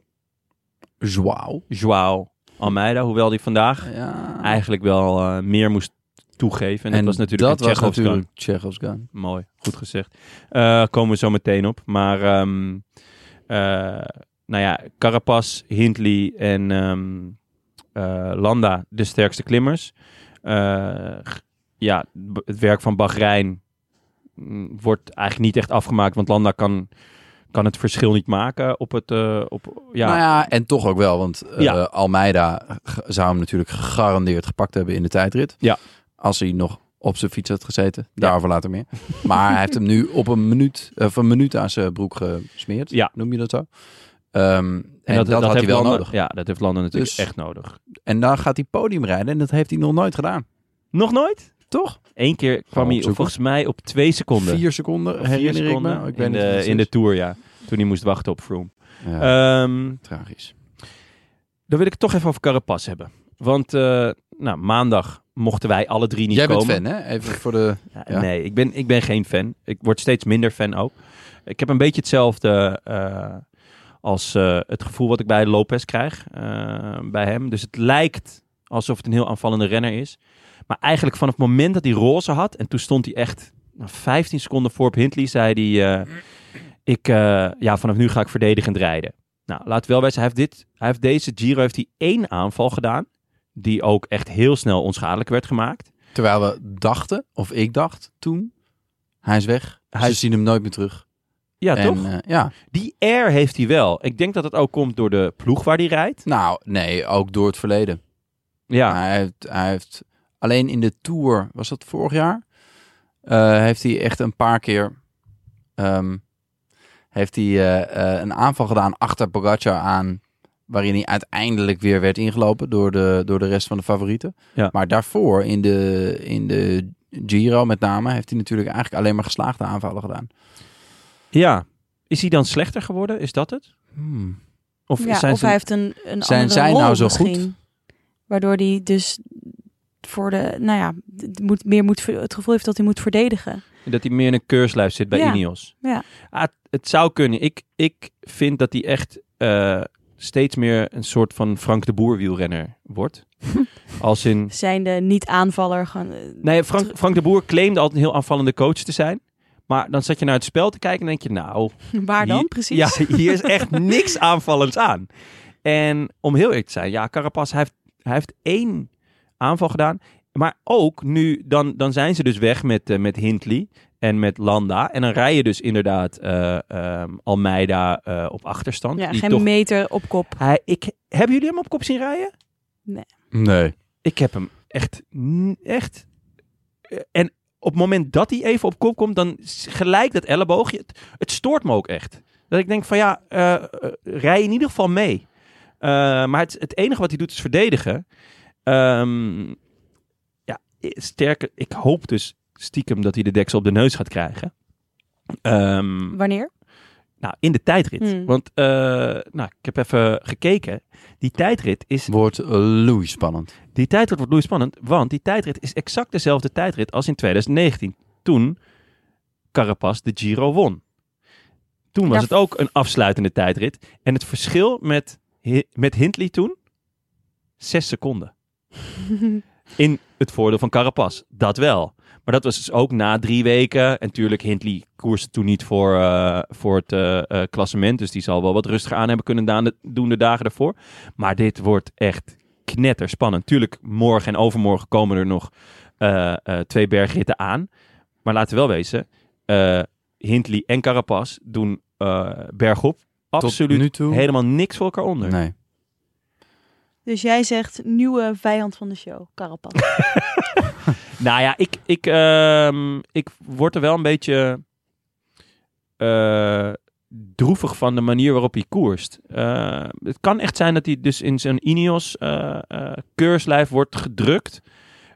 Speaker 2: Zwauw.
Speaker 1: Joao Almeida, hoewel die vandaag
Speaker 2: Ja.
Speaker 1: eigenlijk wel eh, meer moest toegeven. En, dat was natuurlijk
Speaker 2: dat
Speaker 1: een
Speaker 2: was
Speaker 1: Tsjechovs
Speaker 2: natuurlijk Tsjechovs gun.
Speaker 1: gun. Mooi, goed gezegd. Eh, komen we zo meteen op. Maar ehm, eh, nou ja, Carapaz, Hindley en ehm, eh, Landa de sterkste klimmers. Eh, g- ja, b- het werk van Bahrein mm, wordt eigenlijk niet echt afgemaakt, want Landa kan, kan het verschil niet maken op het... eh, op, ja,
Speaker 2: Nou ja, en toch ook wel, want eh,
Speaker 1: Ja.
Speaker 2: Almeida g- zou hem natuurlijk gegarandeerd gepakt hebben in de tijdrit.
Speaker 1: Ja.
Speaker 2: Als hij nog op zijn fiets had gezeten. Daarover later meer. Maar hij heeft hem nu op een minuut, of een minuut aan zijn broek gesmeerd.
Speaker 1: Ja.
Speaker 2: Noem je dat zo? Ehm, en, dat, had hij
Speaker 1: heeft
Speaker 2: wel
Speaker 1: Landa-
Speaker 2: nodig.
Speaker 1: Ja, dat heeft Landa natuurlijk
Speaker 2: Dus-
Speaker 1: echt nodig.
Speaker 2: En dan gaat hij podium rijden en dat heeft hij nog nooit gedaan.
Speaker 1: Nog nooit?
Speaker 2: Toch?
Speaker 1: Eén keer kwam hij
Speaker 2: opzoeken.
Speaker 1: volgens mij op twee seconden.
Speaker 2: Vier seconden, herinner
Speaker 1: Vier
Speaker 2: ik me. Ik weet
Speaker 1: in,
Speaker 2: niet of
Speaker 1: de,
Speaker 2: het
Speaker 1: in de
Speaker 2: is.
Speaker 1: Tour, ja. Toen hij moest wachten op Froome.
Speaker 2: Ja,
Speaker 1: Ehm,
Speaker 2: tragisch.
Speaker 1: dan wil ik het toch even over Carapaz hebben. Want eh, nou, maandag mochten wij alle drie niet
Speaker 2: Jij
Speaker 1: komen.
Speaker 2: bent fan, hè? Even voor de...
Speaker 1: Ja,
Speaker 2: Ja.
Speaker 1: Nee, ik ben, ik ben geen fan. Ik word steeds minder fan ook. Ik heb een beetje hetzelfde eh, als eh, het gevoel wat ik bij Lopez krijg. eh, bij hem. Dus het lijkt alsof het een heel aanvallende renner is. Maar eigenlijk vanaf het moment dat hij roze had... en toen stond hij echt nou, 15 seconden voor op Hindley... zei hij, eh, ik, eh, ja, vanaf nu ga ik verdedigend rijden. Nou, laat wel wijzen, hij heeft, dit, hij heeft deze Giro heeft hij één aanval gedaan... die ook echt heel snel onschadelijk werd gemaakt.
Speaker 2: Terwijl we dachten, of ik dacht toen, hij is weg.
Speaker 1: Hij
Speaker 2: Ze
Speaker 1: is-
Speaker 2: zien hem nooit meer terug.
Speaker 1: Ja,
Speaker 2: en,
Speaker 1: toch?
Speaker 2: eh, ja.
Speaker 1: Die air heeft hij wel. Ik denk dat het ook komt door de ploeg waar hij rijdt.
Speaker 2: Nou, nee, ook door het verleden.
Speaker 1: Ja,
Speaker 2: Maar Hij, heeft, hij heeft alleen in de Tour, was dat vorig jaar? Eh, heeft hij echt een paar keer ehm, heeft hij, eh, eh, een aanval gedaan achter Pogacar aan. Waarin hij uiteindelijk weer werd ingelopen door de, door de rest van de favorieten.
Speaker 1: Ja.
Speaker 2: Maar daarvoor in de, in de Giro met name heeft hij natuurlijk eigenlijk alleen maar geslaagde aanvallen gedaan.
Speaker 1: ja. Is hij dan slechter geworden? Is dat het? Hmm. Of
Speaker 3: ja,
Speaker 1: zijn
Speaker 3: of
Speaker 1: ze...
Speaker 3: hij heeft een, een
Speaker 2: zijn
Speaker 3: andere
Speaker 2: zij
Speaker 3: rol
Speaker 2: nou zo
Speaker 3: misschien.
Speaker 2: goed?
Speaker 3: Waardoor hij dus voor de, nou ja, d- moet, meer moet, ver- het gevoel heeft dat hij moet verdedigen.
Speaker 1: Dat hij meer in een keurslijf zit bij
Speaker 3: Ja,
Speaker 1: Ineos.
Speaker 3: ja.
Speaker 1: Ah, het- het zou kunnen. Ik, ik vind dat hij echt eh, steeds meer een soort van Frank de Boer wielrenner wordt. Als in...
Speaker 3: Zijn de niet-aanvaller gaan... eh,
Speaker 1: Nee, Frank, Frank de Boer claimde altijd een heel aanvallende coach te zijn. Maar dan zat je naar het spel te kijken en denk je, nou,
Speaker 3: Waar dan
Speaker 1: Hier-
Speaker 3: precies?
Speaker 1: Ja, hier is echt niks aanvallends aan. En om heel eerlijk te zijn, ja, Carapaz hij heeft, hij heeft één aanval gedaan. Maar ook nu, dan, dan zijn ze dus weg met, eh, met Hindley en met Landa. En dan rij je dus inderdaad eh, ehm, Almeida eh, op achterstand.
Speaker 3: Ja,
Speaker 1: die
Speaker 3: geen
Speaker 1: toch-
Speaker 3: meter op kop.
Speaker 1: hij, ik, hebben jullie hem op kop zien rijden?
Speaker 2: Nee.
Speaker 1: Ik heb hem echt, n- echt. eh, En op het moment dat hij even op kop komt, dan s- gelijk dat elleboogje. Het, het stoort me ook echt. Dat ik denk van ja, eh, eh, rij in ieder geval mee. Eh, maar het, het enige wat hij doet is verdedigen. Ehm, ja, i- sterker, ik hoop dus stiekem dat hij de deksel op de neus gaat krijgen. Ehm,
Speaker 3: Wanneer?
Speaker 1: nou, in de tijdrit.
Speaker 3: Hmm.
Speaker 1: Want eh, nou, ik heb even gekeken. Die tijdrit is
Speaker 2: Wordt eh, loei spannend.
Speaker 1: die tijdrit wordt spannend, want die tijdrit is exact dezelfde tijdrit als in 2019. Toen Carapaz de Giro won. Toen was
Speaker 3: Daar-
Speaker 1: het ook een afsluitende tijdrit. En het verschil met, Hi- met Hindley toen? Zes seconden. In het voordeel van Carapaz. Dat wel. Maar dat was dus ook na drie weken. En natuurlijk, Hindley koerste toen niet voor, eh, voor het eh, eh, klassement. Dus die zal wel wat rustiger aan hebben kunnen daan- doen de dagen daarvoor. Maar dit wordt echt knetterspannend. Tuurlijk, morgen en overmorgen komen er nog eh, eh, twee bergritten aan. Maar laten we wel wezen, eh, Hindley en Carapaz doen eh, bergop absoluut
Speaker 2: nu toe?
Speaker 1: helemaal niks voor elkaar onder.
Speaker 2: Nee.
Speaker 3: Dus jij zegt nieuwe vijand van de show, Carapaz.
Speaker 1: Nou ja, ik, ik, ehm, ik word er wel een beetje eh, droevig van de manier waarop hij koerst. Eh, het kan echt zijn dat hij dus in zijn Ineos-keurslijf wordt gedrukt.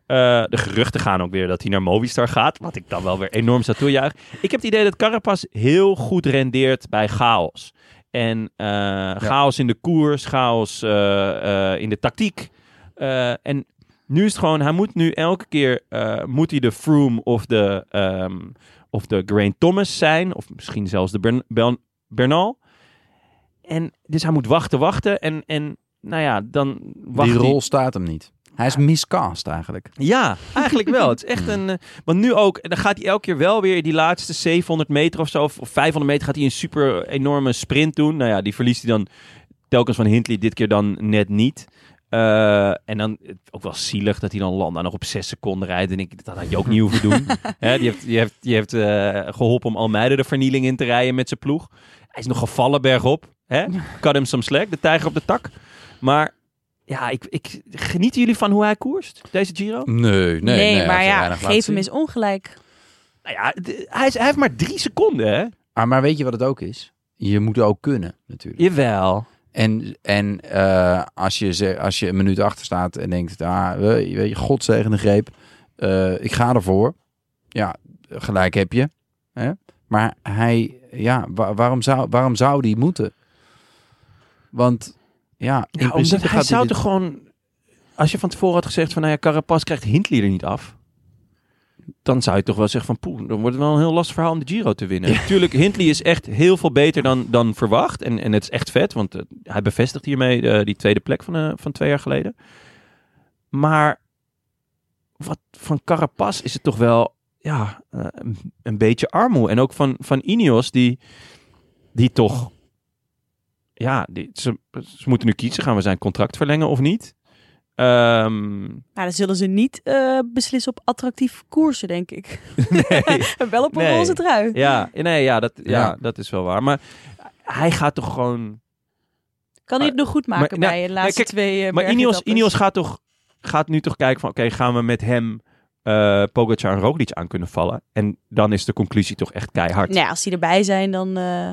Speaker 1: Eh, de geruchten gaan ook weer dat hij naar Movistar gaat. Wat ik dan wel weer enorm zou toejuichen. Ik heb het idee dat Carapaz heel goed rendeert bij chaos. En eh, chaos in de koers, chaos eh, eh, in de tactiek. Eh, en nu is het gewoon, hij moet nu elke keer, eh, moet hij de Froome of de, ehm, of de Grain Thomas zijn. Of misschien zelfs de Bern- Bern- Bernal. En dus hij moet wachten, wachten. En, en nou ja, dan wacht
Speaker 2: Die
Speaker 1: hij-
Speaker 2: rol staat hem niet. Hij is miscast eigenlijk.
Speaker 1: ja, eigenlijk wel. Het is echt een. eh, want nu ook, dan gaat hij elke keer wel weer die laatste 700 meter of zo, of of 500 meter, gaat hij een super enorme sprint doen. Nou ja, die verliest hij dan telkens van Hindley, dit keer dan net niet. Eh, en dan eh, ook wel zielig dat hij dan Landa nog op 6 seconden rijdt. En ik, dat had je ook niet hoeven doen. Hè, die heeft, die heeft, die heeft eh, geholpen om Almeida de vernieling in te rijden met zijn ploeg. Hij is nog gevallen bergop. Hè? Cut him some slack, de tijger op de tak. Maar ja, ik, ik, genieten jullie van hoe hij koerst, deze Giro?
Speaker 2: Nee, nee, hij
Speaker 3: maar
Speaker 2: heeft er
Speaker 3: ja,
Speaker 2: weinig laten
Speaker 3: geef hem
Speaker 2: zien.
Speaker 3: eens ongelijk.
Speaker 1: Nou ja, d- hij, is, hij heeft maar drie seconden, hè?
Speaker 2: Ah, maar weet je wat het ook is? Je moet ook kunnen, natuurlijk.
Speaker 1: Jawel.
Speaker 2: En, en eh, als, je, ze- als je een minuut achter staat en denkt, ah, weet je, weet je, godzegende greep, eh, ik ga ervoor. Ja, gelijk heb je. Hè? Maar hij, ja, wa- waarom, zou, waarom zou die moeten? Want, ja, in
Speaker 1: Ja,
Speaker 2: principe
Speaker 1: omdat hij
Speaker 2: gaat
Speaker 1: zou
Speaker 2: dit-
Speaker 1: toch gewoon... Als je van tevoren had gezegd van... Nou ja, Carapaz krijgt Hindley er niet af. Dan zou je toch wel zeggen van... Poeh, dan wordt het wel een heel lastig verhaal om de Giro te winnen. Natuurlijk, Hindley is echt heel veel beter dan, dan verwacht. En, en het is echt vet, want eh, hij bevestigt hiermee eh, die tweede plek van, eh, van twee jaar geleden. Maar wat van Carapaz is het toch wel... Ja, eh, een, een beetje armoe. En ook van, van Ineos, die, die toch ja, die- ze, ze moeten nu kiezen. Gaan we zijn contract verlengen of niet? Ehm,
Speaker 3: Maar Nou, dan zullen ze niet eh, beslissen op attractief koersen, denk ik.
Speaker 1: nee.
Speaker 3: Wel op een
Speaker 1: Nee.
Speaker 3: roze trui.
Speaker 1: ja, nee, ja, dat, ja,
Speaker 2: Ja.
Speaker 1: dat is wel waar. Maar hij gaat toch gewoon...
Speaker 3: Kan hij het nog goed maken
Speaker 1: Maar, nou,
Speaker 3: bij de laatste
Speaker 1: kijk,
Speaker 3: twee eh,
Speaker 1: maar Ineos,
Speaker 3: bergetappes?
Speaker 1: Ineos gaat toch gaat nu toch kijken van... Oké, gaan we met hem eh Pogacar en Roglic aan kunnen vallen? En dan is de conclusie toch echt keihard.
Speaker 3: Nou ja, als die erbij zijn, dan... eh,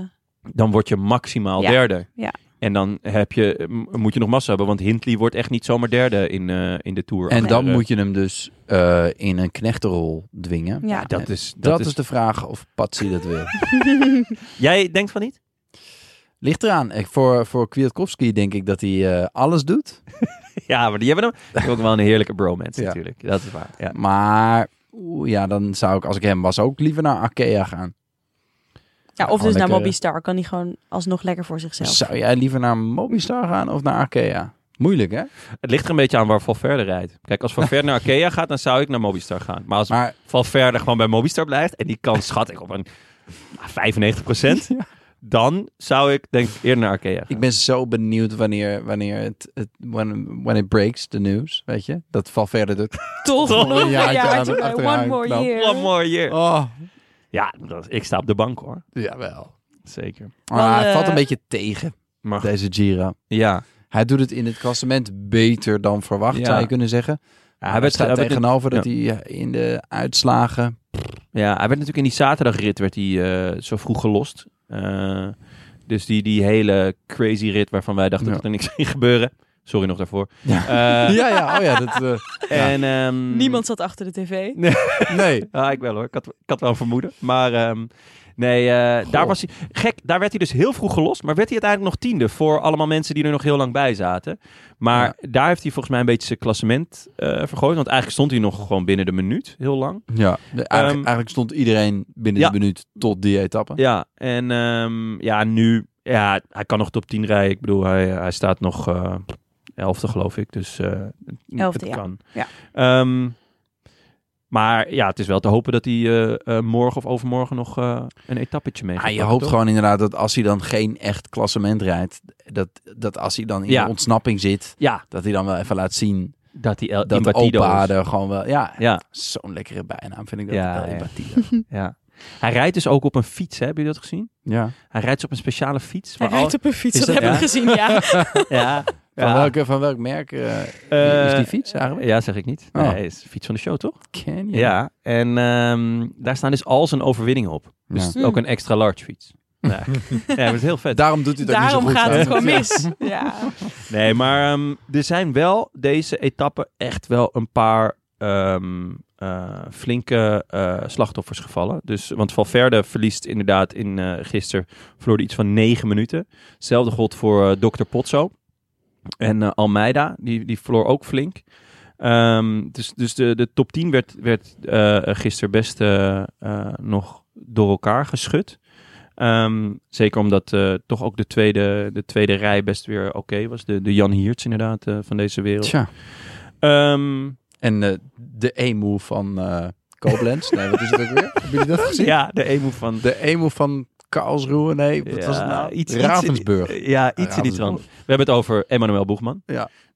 Speaker 1: Dan word je maximaal
Speaker 3: Ja,
Speaker 1: derde.
Speaker 3: ja.
Speaker 1: En dan heb je, m- moet je nog massa hebben. Want Hindley wordt echt niet zomaar derde in, eh, in de Tour.
Speaker 2: En dan
Speaker 1: Eh,
Speaker 2: moet je hem dus eh, in een knechtenrol dwingen.
Speaker 3: ja.
Speaker 1: Dat is... Dat
Speaker 2: Dat,
Speaker 1: is,
Speaker 2: is de vraag of Patsy dat wil.
Speaker 1: Jij denkt van niet?
Speaker 2: Ligt eraan. Ik- Voor, voor Kwiatkowski denk ik dat hij eh, alles doet.
Speaker 1: Ja, maar die hebben hem die hebben ook wel een heerlijke bromance
Speaker 2: Ja.
Speaker 1: natuurlijk. Dat is waar. Ja.
Speaker 2: Maar oeh, ja, dan zou ik als ik hem was ook liever naar Arkea gaan.
Speaker 3: ja, of dus
Speaker 2: lekker,
Speaker 3: naar Bobby
Speaker 2: eh.
Speaker 3: Star. Kan hij gewoon alsnog lekker voor zichzelf.
Speaker 2: Zou jij liever naar Mobistar gaan of naar Arkea? Moeilijk hè?
Speaker 1: Het ligt er een beetje aan waar Valverde rijdt. Kijk, als Valverde naar Arkea gaat, dan zou ik naar Mobistar gaan. Maar als
Speaker 2: Maar
Speaker 1: Valverde gewoon bij Mobistar blijft, en die kans schat ik op een nou, 95 dan zou ik denk ik eerder naar Arkea gaan.
Speaker 2: ik ben zo benieuwd wanneer, wanneer het, het when, when it breaks the news, weet je? Dat Valverde doet.
Speaker 1: Toch?
Speaker 2: nog een jaartje
Speaker 3: ja,
Speaker 2: aan-
Speaker 3: want je-
Speaker 2: achteraan
Speaker 3: one more
Speaker 2: knalt.
Speaker 3: year.
Speaker 1: One more year.
Speaker 2: Oh,
Speaker 1: Ja, dat, ik sta op de bank hoor.
Speaker 2: jawel.
Speaker 1: Zeker.
Speaker 2: Maar
Speaker 3: Wel,
Speaker 2: hij
Speaker 3: eh,
Speaker 2: valt een beetje tegen,
Speaker 1: Maar
Speaker 2: deze Giro.
Speaker 1: ja,
Speaker 2: Hij doet het in het klassement beter dan verwacht,
Speaker 1: Ja.
Speaker 2: zou je kunnen zeggen.
Speaker 1: hij,
Speaker 2: hij
Speaker 1: werd,
Speaker 2: staat
Speaker 1: hij werd-
Speaker 2: tegenover dat hij eh, in de uitslagen...
Speaker 1: ja, hij werd natuurlijk in die zaterdagrit werd hij, eh, zo vroeg gelost. Eh, dus die, die hele crazy rit waarvan wij dachten
Speaker 2: Ja.
Speaker 1: dat er niks ging gebeuren. Sorry nog daarvoor.
Speaker 2: Ja.
Speaker 1: Eh,
Speaker 2: ja, ja, oh ja. Dat, Ja.
Speaker 1: En, ehm,
Speaker 3: Hmm. Niemand zat achter de tv.
Speaker 2: eh, nee.
Speaker 1: Ah, ik wel hoor. Ik had, ik had wel een vermoeden. Maar ehm, nee, eh, daar was hij... Gek, daar werd hij dus heel vroeg gelost. Maar werd hij uiteindelijk nog tiende voor allemaal mensen die er nog heel lang bij zaten. Maar daar heeft hij volgens mij een beetje zijn klassement eh, vergooid. Want eigenlijk stond hij nog gewoon binnen de minuut. Heel lang.
Speaker 2: Ja. De- Eigenlijk, eigenlijk stond iedereen binnen
Speaker 1: Ehm, ja.
Speaker 2: de minuut tot die etappe.
Speaker 1: Ja, en ehm, ja, nu... Ja, hij kan nog top 10 rijden. Ik bedoel, hij, hij staat nog eh, elfde, geloof ik. Dus eh het-
Speaker 3: Elfde,
Speaker 1: het
Speaker 3: ja.
Speaker 1: kan.
Speaker 3: Ja.
Speaker 1: Ehm, maar ja, het is wel te hopen dat hij eh, eh, morgen of overmorgen nog eh, een etappetje mee gaat
Speaker 2: Ah, je
Speaker 1: pakken,
Speaker 2: hoopt
Speaker 1: toch?
Speaker 2: gewoon inderdaad dat als hij dan geen echt klassement rijdt, dat, dat als hij dan in
Speaker 1: Ja.
Speaker 2: de ontsnapping zit,
Speaker 1: Ja,
Speaker 2: dat hij dan wel even laat zien
Speaker 1: dat hij El
Speaker 2: dat
Speaker 1: Imbatido
Speaker 2: opa
Speaker 1: is.
Speaker 2: er gewoon wel... Ja,
Speaker 1: Ja.
Speaker 2: zo'n lekkere bijnaam vind ik dat.
Speaker 1: Ja,
Speaker 2: El
Speaker 1: ja.
Speaker 2: Imbatido.
Speaker 1: ja. Hij rijdt dus ook op een fiets, hè? hebben jullie dat gezien?
Speaker 2: ja.
Speaker 1: Hij rijdt dus op een speciale fiets.
Speaker 3: Hij
Speaker 1: waar al-
Speaker 3: rijdt op een fiets,
Speaker 1: Is
Speaker 3: dat,
Speaker 1: dat-
Speaker 3: heb ik
Speaker 1: ja?
Speaker 3: gezien, ja.
Speaker 1: Ja,
Speaker 2: Van,
Speaker 1: ja.
Speaker 2: welke, van welk merk eh, is die
Speaker 1: Eh,
Speaker 2: fiets eigenlijk?
Speaker 1: Ja, zeg ik niet.
Speaker 2: Oh.
Speaker 1: Nee, is de fiets van de show, toch?
Speaker 2: Canyon.
Speaker 1: Ja. En ehm, daar staan dus al zijn overwinningen op. Dus
Speaker 2: Ja.
Speaker 1: het is ook een extra large fiets. Ja, ja maar het is heel vet.
Speaker 2: Daarom doet hij dat
Speaker 3: Daarom
Speaker 2: niet zo goed.
Speaker 3: gaat het
Speaker 2: namelijk.
Speaker 3: gewoon mis. Ja.
Speaker 1: Nee, maar ehm, er zijn wel deze etappe echt wel een paar ehm, eh, flinke eh, slachtoffers gevallen. Dus, want Valverde verliest inderdaad in eh gisteren verloor hij iets van negen minuten. Hetzelfde geldt voor eh, Dr. Potso. En eh, Almeida, die, die verloor ook flink. Ehm, dus dus de, de top 10 werd, werd eh, gisteren best eh, eh, nog door elkaar geschud. Ehm, zeker omdat eh, toch ook de tweede, de tweede rij best weer oké was. De, de Jan Hiertz inderdaad eh, van deze wereld.
Speaker 2: Tja.
Speaker 1: Ehm,
Speaker 2: En eh, de emu van eh Koblenz. nee, wat is het ook weer? Hebben jullie dat gezien?
Speaker 1: ja, de emu van...
Speaker 2: De emu van Karlsruhe. Nee, wat was het
Speaker 1: Ja,
Speaker 2: nou?
Speaker 1: iets- iets-
Speaker 2: Ravensburg.
Speaker 1: Ja, iets in die
Speaker 2: Ravensburg.
Speaker 1: trant. We hebben het over Emmanuel Boegman.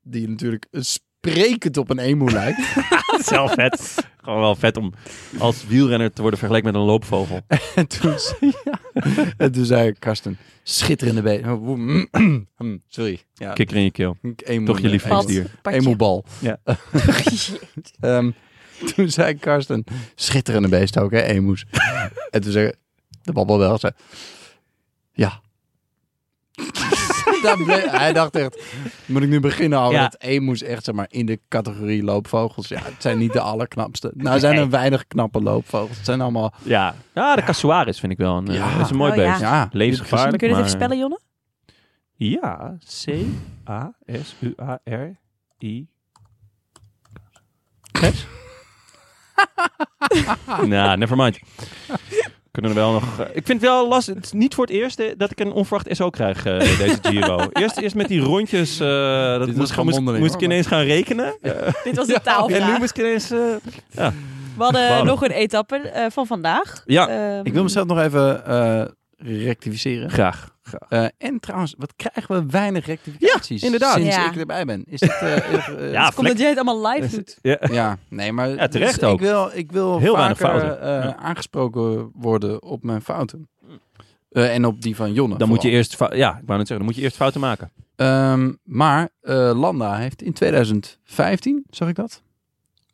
Speaker 2: Die natuurlijk sprekend op een emu lijkt.
Speaker 1: Het is wel vet. Gewoon wel vet om als wielrenner te worden vergeleken met een loopvogel.
Speaker 2: en, toen, zei- ja. en toen zei Karsten, schitterende been. Hm, Sorry. Ja,
Speaker 1: Kikker in je keel.
Speaker 2: emu,
Speaker 1: Toch je
Speaker 2: eh,
Speaker 1: lievelingsdier.
Speaker 3: Patje.
Speaker 2: Emuelbal.
Speaker 1: Ja.
Speaker 2: Ehm, toen zei Karsten, schitterende beest ook, hè, emus. en toen zei de babbel wel, zei, ja. Daar ble- hij dacht echt, moet ik nu beginnen al?
Speaker 1: Ja.
Speaker 2: Dat emus echt zeg maar, in de categorie loopvogels. Ja, het zijn niet de allerknapste. Nou, er zijn er weinig knappe loopvogels. Het zijn allemaal...
Speaker 1: Ja, ja de cassuaris vind ik wel. Een, eh,
Speaker 2: Ja.
Speaker 1: Dat is een mooi
Speaker 3: Oh,
Speaker 1: beest.
Speaker 3: ja.
Speaker 2: Ja,
Speaker 1: Levensgevaarlijk.
Speaker 3: Kun je dat
Speaker 1: maar-
Speaker 3: even spellen, Jonne?
Speaker 1: Ja, C-A-S-U-A-R-I. Kes? nou, never mind. Kunnen we wel nog... eh, ik vind het wel lastig. Het is niet voor het eerst eh, dat ik een onverwacht SO krijg, eh, deze Giro. Eerst, eerst met die rondjes. eh, dat
Speaker 2: was
Speaker 1: moest,
Speaker 2: gewoon
Speaker 1: moest,
Speaker 2: mondeling,
Speaker 1: moest ik
Speaker 2: hoor, maar-
Speaker 1: ineens gaan rekenen. Eh,
Speaker 3: Dit was de taalvraag.
Speaker 1: en nu moest ik ineens... eh,
Speaker 3: We hadden
Speaker 1: Wauw.
Speaker 3: nog een etappe eh, van vandaag.
Speaker 1: Ja,
Speaker 3: Ehm,
Speaker 2: Ik wil mezelf nog even eh, rectificeren.
Speaker 1: graag.
Speaker 2: Eh, en trouwens, wat krijgen we weinig rectificaties
Speaker 1: Ja, inderdaad.
Speaker 2: sinds
Speaker 3: Ja.
Speaker 2: ik erbij ben. Is dat, eh, eh, eh,
Speaker 1: Ja,
Speaker 3: Komt dat jij het allemaal live doet.
Speaker 1: Ja.
Speaker 2: Ja, nee, maar
Speaker 1: Ja, terecht
Speaker 2: dus
Speaker 1: ook.
Speaker 2: Ik wil, ik wil
Speaker 1: Heel weinig
Speaker 2: vaker
Speaker 1: fouten.
Speaker 2: eh,
Speaker 1: Ja.
Speaker 2: aangesproken worden op mijn fouten. Eh, en op die van Jonne.
Speaker 1: Dan moet je
Speaker 2: vooral.
Speaker 1: eerst... fou- Ja, ik wou net zeggen. Dan moet je eerst fouten maken.
Speaker 2: Ehm, maar eh, Landa heeft in 2015, zag ik dat,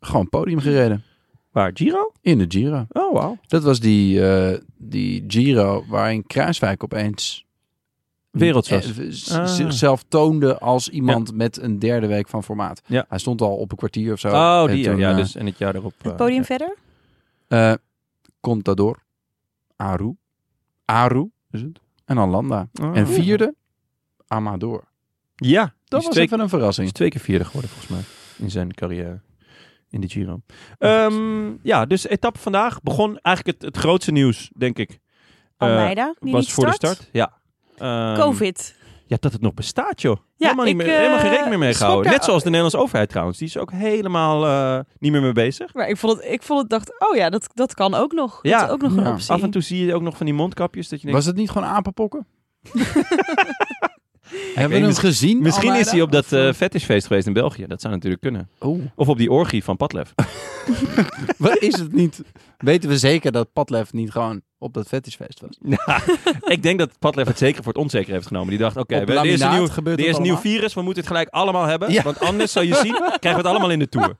Speaker 2: gewoon podium gereden
Speaker 1: Waar, Giro?
Speaker 2: in de Giro.
Speaker 1: Oh, wauw.
Speaker 2: Dat was die, eh, die Giro waarin Kruiswijk opeens
Speaker 1: Werelds was.
Speaker 2: eh, z-
Speaker 1: Ah.
Speaker 2: zichzelf toonde als iemand met een derde week van formaat.
Speaker 1: Ja.
Speaker 2: Hij stond al op een kwartier of zo.
Speaker 1: Oh,
Speaker 2: En
Speaker 1: die. ja,
Speaker 2: toen,
Speaker 1: ja,
Speaker 2: eh,
Speaker 1: dus en het jaar erop.
Speaker 3: Het
Speaker 1: eh,
Speaker 3: podium
Speaker 1: ja.
Speaker 3: verder?
Speaker 2: eh, Contador, Aru, Aru is het, en dan Landa.
Speaker 1: Ah.
Speaker 2: en vierde, Amador.
Speaker 1: Ja, die
Speaker 2: Dat
Speaker 1: is
Speaker 2: was
Speaker 1: twee-
Speaker 2: even een
Speaker 1: Hij
Speaker 2: verrassing.
Speaker 1: is twee keer vierde geworden volgens mij in zijn carrière in de Giro. Ehm, ja, dus etappe vandaag begon eigenlijk het, het grootste nieuws, denk ik. Eh,
Speaker 3: Almeida, die
Speaker 1: was
Speaker 3: niet
Speaker 1: voor de
Speaker 3: start.
Speaker 1: start. Ja. Ehm,
Speaker 3: Covid.
Speaker 1: Ja, dat het nog bestaat, joh.
Speaker 3: Ja,
Speaker 1: helemaal, niet
Speaker 3: ik,
Speaker 1: meer, helemaal geen
Speaker 3: eh,
Speaker 1: rekening mee
Speaker 3: schrok
Speaker 1: gehouden.
Speaker 3: daar-
Speaker 1: Net zoals de Nederlandse overheid trouwens. Die is ook helemaal eh, niet meer mee bezig.
Speaker 3: Maar ik vond het, ik vond het dacht, oh ja, dat, dat kan ook nog.
Speaker 1: Ja,
Speaker 3: dat is ook nog een
Speaker 2: ja.
Speaker 3: optie.
Speaker 1: Af en toe zie je ook nog van die mondkapjes dat je denkt...
Speaker 2: Was het niet gewoon apenpokken? Hebben
Speaker 1: weet
Speaker 2: we hem
Speaker 1: niet.
Speaker 2: gezien?
Speaker 3: Oh,
Speaker 1: Misschien is
Speaker 2: Almeida?
Speaker 1: hij op dat
Speaker 2: Of-
Speaker 1: eh fetishfeest geweest in België. Dat zou natuurlijk kunnen.
Speaker 2: Oh,
Speaker 1: Of op die orgie van Padlef.
Speaker 2: wat is het niet? Weten we zeker dat Padlef niet gewoon op dat fetishfeest was?
Speaker 1: Ja, ik denk dat Padlef het zeker voor het onzeker heeft genomen. Die dacht, oké,
Speaker 2: Op
Speaker 1: we- er is een
Speaker 2: laminaat
Speaker 1: nieuw,
Speaker 2: gebeurt
Speaker 1: er
Speaker 2: het
Speaker 1: is een nieuw
Speaker 2: allemaal.
Speaker 1: virus, we moeten het gelijk allemaal hebben.
Speaker 2: Ja.
Speaker 1: Want anders, zal je zien, krijgen we het allemaal in de tour.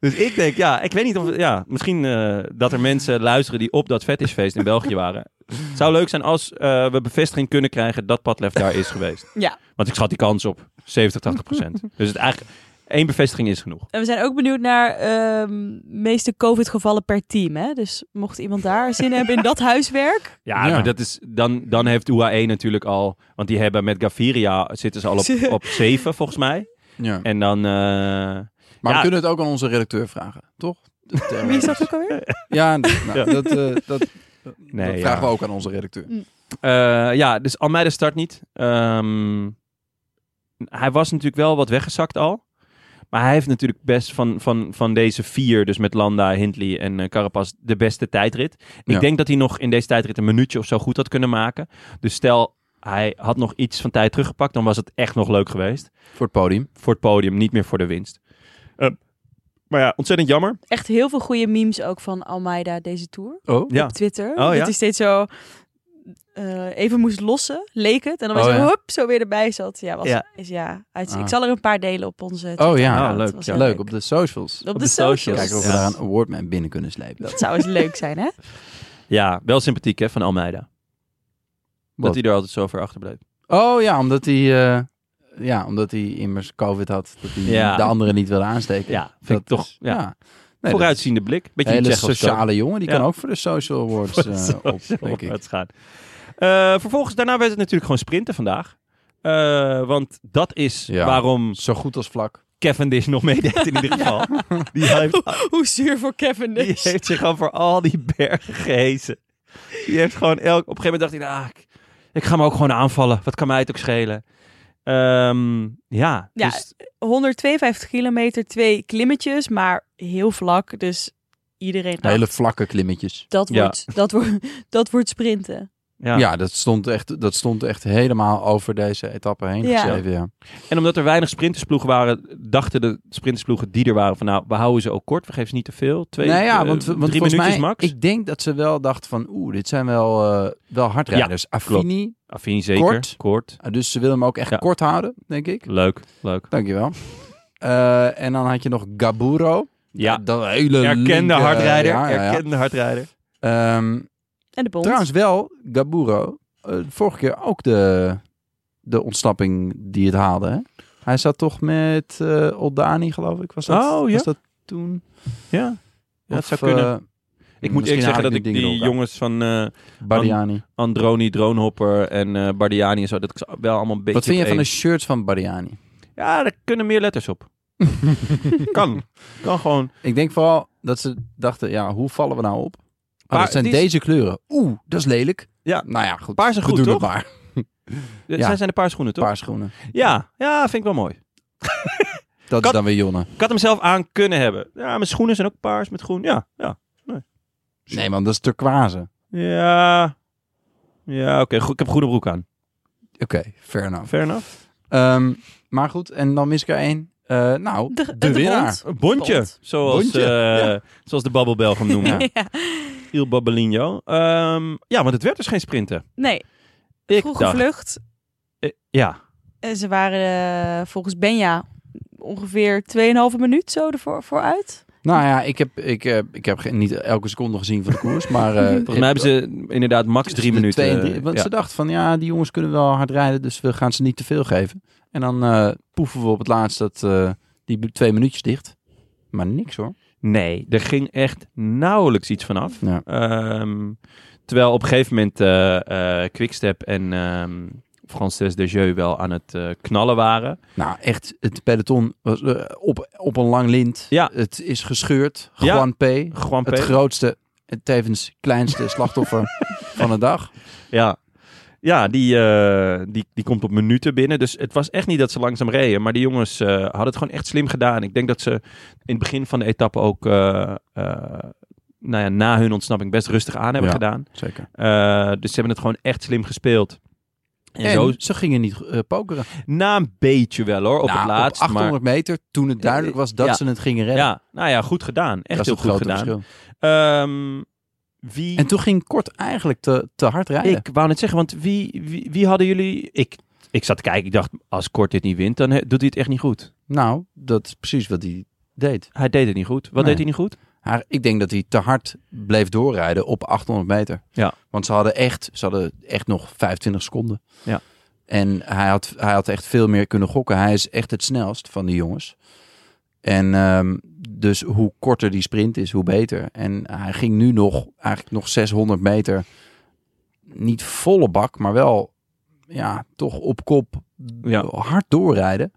Speaker 1: Dus ik denk, ja, ik weet niet of... Ja, misschien eh, dat er mensen luisteren die op dat fetishfeest in België waren. Het zou leuk zijn als eh, we bevestiging kunnen krijgen dat Padlef daar is geweest.
Speaker 3: Ja.
Speaker 1: Want ik schat die kans op 70, 80 procent. Dus het eigenlijk, één bevestiging is genoeg.
Speaker 3: En we zijn ook benieuwd naar ehm meeste COVID-gevallen per team. Hè? Dus mocht iemand daar zin hebben in dat huiswerk,
Speaker 1: Ja,
Speaker 2: Ja.
Speaker 1: maar dat is, dan, dan heeft UAE natuurlijk al... Want die hebben met Gaviria, zitten ze al op, op 7 volgens mij.
Speaker 2: Ja.
Speaker 1: En dan... eh,
Speaker 2: Maar
Speaker 1: Ja.
Speaker 2: we kunnen het ook aan onze redacteur vragen, toch?
Speaker 3: wie is dat ook alweer?
Speaker 2: Ja, nou,
Speaker 1: Ja.
Speaker 2: dat, eh, dat,
Speaker 1: Nee,
Speaker 2: dat
Speaker 1: ja.
Speaker 2: vragen we ook aan onze redacteur.
Speaker 1: Eh, ja, dus Almeida start niet. Ehm, hij was natuurlijk wel wat weggezakt al. Maar hij heeft natuurlijk best van, van, van deze vier, dus met Landa, Hindley en eh, Carapaz, de beste tijdrit. Ik
Speaker 2: Ja.
Speaker 1: denk dat hij nog in deze tijdrit een minuutje of zo goed had kunnen maken. Dus stel, hij had nog iets van tijd teruggepakt, dan was het echt nog leuk geweest.
Speaker 2: Voor het podium.
Speaker 1: Voor het podium, niet meer voor de winst. Eh, maar ja, ontzettend jammer.
Speaker 3: Echt heel veel goede memes ook van Almeida deze tour.
Speaker 2: Oh,
Speaker 1: Ja.
Speaker 3: Op Twitter.
Speaker 1: ja?
Speaker 3: Dat hij steeds zo eh, even moest lossen, leek het. En dan was
Speaker 2: Oh,
Speaker 3: hij
Speaker 2: ja.
Speaker 3: hup, zo weer erbij zat. Ja, was,
Speaker 1: Ja.
Speaker 3: Is, ja uitz-
Speaker 2: Ah.
Speaker 3: ik zal er een paar delen op onze
Speaker 2: oh
Speaker 3: Twitter-account.
Speaker 2: ja,
Speaker 1: Ah,
Speaker 3: Dat
Speaker 1: leuk,
Speaker 3: was
Speaker 1: ja.
Speaker 3: heel
Speaker 2: leuk. Op de socials.
Speaker 3: Op,
Speaker 1: de
Speaker 3: de
Speaker 1: socials.
Speaker 3: socials.
Speaker 2: Kijken of we
Speaker 1: Ja.
Speaker 2: daar een awardman binnen kunnen slepen.
Speaker 3: Dat zou eens leuk zijn, hè?
Speaker 1: Ja, wel sympathiek hè, van Almeida. Dat
Speaker 2: Wat?
Speaker 1: hij er altijd zo ver achter bleef.
Speaker 2: Oh ja, omdat hij, eh, ja, omdat hij immers COVID had. Dat hij
Speaker 1: Ja.
Speaker 2: de anderen niet wilde aansteken.
Speaker 1: Ja, vind ik
Speaker 2: Dat
Speaker 1: toch...
Speaker 2: is-
Speaker 1: ja.
Speaker 2: Nee,
Speaker 1: Vooruitziende blik.
Speaker 2: dat is
Speaker 1: Beetje
Speaker 2: Een
Speaker 1: die
Speaker 2: hele
Speaker 1: Tsjechos
Speaker 2: sociale jongen, die
Speaker 1: Ja.
Speaker 2: kan ook voor de social awards
Speaker 1: Voor de
Speaker 2: eh, op,
Speaker 1: social
Speaker 2: denk ik.
Speaker 1: awards gaan. Eh, vervolgens, daarna werd het natuurlijk gewoon sprinten vandaag. Eh, want dat is
Speaker 2: Ja.
Speaker 1: waarom
Speaker 2: Zo goed als vlak.
Speaker 1: Cavendish nog meedeed in ieder geval. Die, heeft,
Speaker 3: Hoe zuur voor Kevin
Speaker 1: die heeft zich over al die bergen gehezen. Die heeft gewoon elk... Op een gegeven moment dacht hij, nou, ik, ik ga me ook gewoon aanvallen. Wat kan mij het ook schelen? Ehm, ja,
Speaker 3: Ja,
Speaker 1: dus
Speaker 3: 152 kilometer, twee klimmetjes, maar heel vlak. Dus iedereen dacht,
Speaker 2: Hele vlakke klimmetjes.
Speaker 3: dat,
Speaker 1: Ja.
Speaker 3: wordt, dat, wordt, dat wordt sprinten.
Speaker 1: ja.
Speaker 2: Ja, dat, stond echt, dat stond echt helemaal over deze etappe heen
Speaker 3: Ja.
Speaker 2: geschreven, ja.
Speaker 1: En omdat er weinig sprintersploegen waren, dachten de sprintersploegen die er waren van nou, we houden ze ook kort, we geven ze niet te veel. Twee,
Speaker 2: nou ja,
Speaker 1: eh,
Speaker 2: want, want
Speaker 1: drie
Speaker 2: volgens
Speaker 1: minuutjes
Speaker 2: mij,
Speaker 1: max.
Speaker 2: ik denk dat ze wel dachten van, oeh, dit zijn wel, eh, wel hardrijders. Affini,
Speaker 1: Affini zeker.
Speaker 2: Kort.
Speaker 1: Kort.
Speaker 2: ah, dus ze willen hem ook echt
Speaker 1: Ja.
Speaker 2: kort houden, denk ik.
Speaker 1: Leuk, leuk.
Speaker 2: Dankjewel. Eh en dan had je nog Gaburo.
Speaker 1: Ja,
Speaker 2: Dat hele
Speaker 1: erkende
Speaker 2: linker-
Speaker 1: hardrijder.
Speaker 2: eh, ja, ja, ja.
Speaker 1: Erkende hardrijder.
Speaker 2: Ehm,
Speaker 3: En de bond.
Speaker 2: trouwens wel, Gaburo, eh, vorige keer ook de, de ontsnapping die het haalde. Hè? Hij zat toch met eh Oldani, geloof ik. Was dat,
Speaker 1: Oh, ja.
Speaker 2: was dat toen?
Speaker 1: Ja, ja dat
Speaker 2: Of,
Speaker 1: zou kunnen.
Speaker 2: eh,
Speaker 1: ik moet
Speaker 2: misschien
Speaker 1: eerlijk zeggen
Speaker 2: haal
Speaker 1: dat
Speaker 2: nu
Speaker 1: ik
Speaker 2: dingen door
Speaker 1: die
Speaker 2: elkaar.
Speaker 1: jongens van eh,
Speaker 2: Bardiani.
Speaker 1: Androni, Droonhopper en eh Bardiani en zo, dat ik ze wel allemaal een beetje...
Speaker 2: Wat vind je
Speaker 1: op
Speaker 2: van de
Speaker 1: één-
Speaker 2: shirts van Bardiani?
Speaker 1: Ja, daar kunnen meer letters op. kan. Kan gewoon.
Speaker 2: Ik denk vooral dat ze dachten, ja, hoe vallen we nou op? Maar
Speaker 1: Paar-
Speaker 2: dat zijn
Speaker 1: die is-
Speaker 2: deze kleuren. Oeh, dat is lelijk.
Speaker 1: Ja.
Speaker 2: Nou ja,
Speaker 1: Paars
Speaker 2: goed. Paars
Speaker 1: is
Speaker 2: we
Speaker 1: goed,
Speaker 2: doen
Speaker 1: toch?
Speaker 2: het maar.
Speaker 1: Ja. Zij zijn de paar schoenen, toch?
Speaker 2: Paars schoenen.
Speaker 1: Ja, ja, vind ik wel mooi.
Speaker 2: Dat
Speaker 1: Kat-
Speaker 2: is dan weer Jonne.
Speaker 1: Ik had hem zelf aan kunnen hebben. Ja, mijn schoenen zijn ook paars met groen. Ja, ja.
Speaker 2: Nee man, dat is turquoise.
Speaker 1: Ja, ja oké. goed, Ik heb groene broek aan.
Speaker 2: Oké, fair enough.
Speaker 1: Fair enough.
Speaker 2: Ehm, maar goed, en dan mis ik er één. Eh, nou,
Speaker 3: De-
Speaker 2: de,
Speaker 3: de
Speaker 2: winnaar.
Speaker 3: bond.
Speaker 1: Een bondje,
Speaker 3: Bond.
Speaker 1: Zoals,
Speaker 2: Bondje,
Speaker 1: eh, zoals de babbelbel hem noemen.
Speaker 2: Ja.
Speaker 3: Ja.
Speaker 1: Il Babbelinho. Ehm, ja, want het werd dus geen sprinten.
Speaker 3: Nee,
Speaker 1: Ik
Speaker 3: vroege
Speaker 1: dacht,
Speaker 3: vlucht.
Speaker 1: eh, ja,
Speaker 3: En ze waren eh, volgens Benja ongeveer 2,5 minuut zo ervoor vooruit.
Speaker 2: Nou ja, ik heb, ik, eh, ik heb ge- niet elke seconde gezien van de koers, maar... eh,
Speaker 1: Volgens mij hebben ze inderdaad max drie
Speaker 2: de
Speaker 1: minuten.
Speaker 2: twee en drie-
Speaker 1: eh,
Speaker 2: want
Speaker 1: ja.
Speaker 2: ze dachten van, ja, die jongens kunnen wel hard rijden, dus we gaan ze niet te veel geven. En dan eh, poeven we op het laatst dat, eh, die b- twee minuutjes dicht. Maar niks hoor.
Speaker 1: Nee, er ging echt nauwelijks iets vanaf.
Speaker 2: Ja.
Speaker 1: Ehm, terwijl op een gegeven moment eh, eh, Quickstep en ehm Frances de Jeu wel aan het eh, knallen waren.
Speaker 2: Nou, echt, het peloton was eh, op, op een lang lint.
Speaker 1: Ja.
Speaker 2: Het is gescheurd.
Speaker 1: Ja.
Speaker 2: Juan P.
Speaker 1: Gewoon
Speaker 2: Het grootste en tevens kleinste slachtoffer van de dag.
Speaker 1: Ja, ja die, eh, die, die komt op minuten binnen. Dus het was echt niet dat ze langzaam reden. Maar die jongens eh, hadden het gewoon echt slim gedaan. Ik denk dat ze in het begin van de etappe ook eh, eh, nou ja, na hun ontsnapping best rustig aan hebben
Speaker 2: Ja.
Speaker 1: gedaan.
Speaker 2: Zeker.
Speaker 1: Eh, dus ze hebben het gewoon echt slim gespeeld. En,
Speaker 2: En
Speaker 1: zo,
Speaker 2: ze gingen niet eh, pokeren.
Speaker 1: na een beetje wel hoor, op
Speaker 2: Nou,
Speaker 1: het laatst.
Speaker 2: op 800
Speaker 1: maar,
Speaker 2: meter, toen het duidelijk was dat
Speaker 1: Ja.
Speaker 2: ze het gingen redden.
Speaker 1: ja, nou ja, goed gedaan. Echt
Speaker 2: dat
Speaker 1: heel
Speaker 2: is het
Speaker 1: goed
Speaker 2: grote
Speaker 1: gedaan.
Speaker 2: verschil.
Speaker 1: Ehm, wie...
Speaker 2: En toen ging Kort eigenlijk te, te hard rijden.
Speaker 1: Ik wou net zeggen, want wie, wie, wie hadden jullie... Ik, ik zat te kijken, ik dacht, als Kort dit niet wint, dan he- doet hij het echt niet goed.
Speaker 2: Nou, dat is precies wat hij deed.
Speaker 1: Hij deed het niet goed. Wat
Speaker 2: Nee.
Speaker 1: deed hij niet goed?
Speaker 2: Haar, ik denk dat hij te hard bleef doorrijden op 800 meter.
Speaker 1: Ja.
Speaker 2: Want ze hadden echt, ze hadden echt nog 25 seconden.
Speaker 1: Ja.
Speaker 2: En hij had, hij had echt veel meer kunnen gokken. Hij is echt het snelst van die jongens. En ehm, dus hoe korter die sprint is, hoe beter. En hij ging nu nog, eigenlijk nog 600 meter. Niet volle bak, maar wel ja, toch op kop
Speaker 1: Ja.
Speaker 2: hard doorrijden.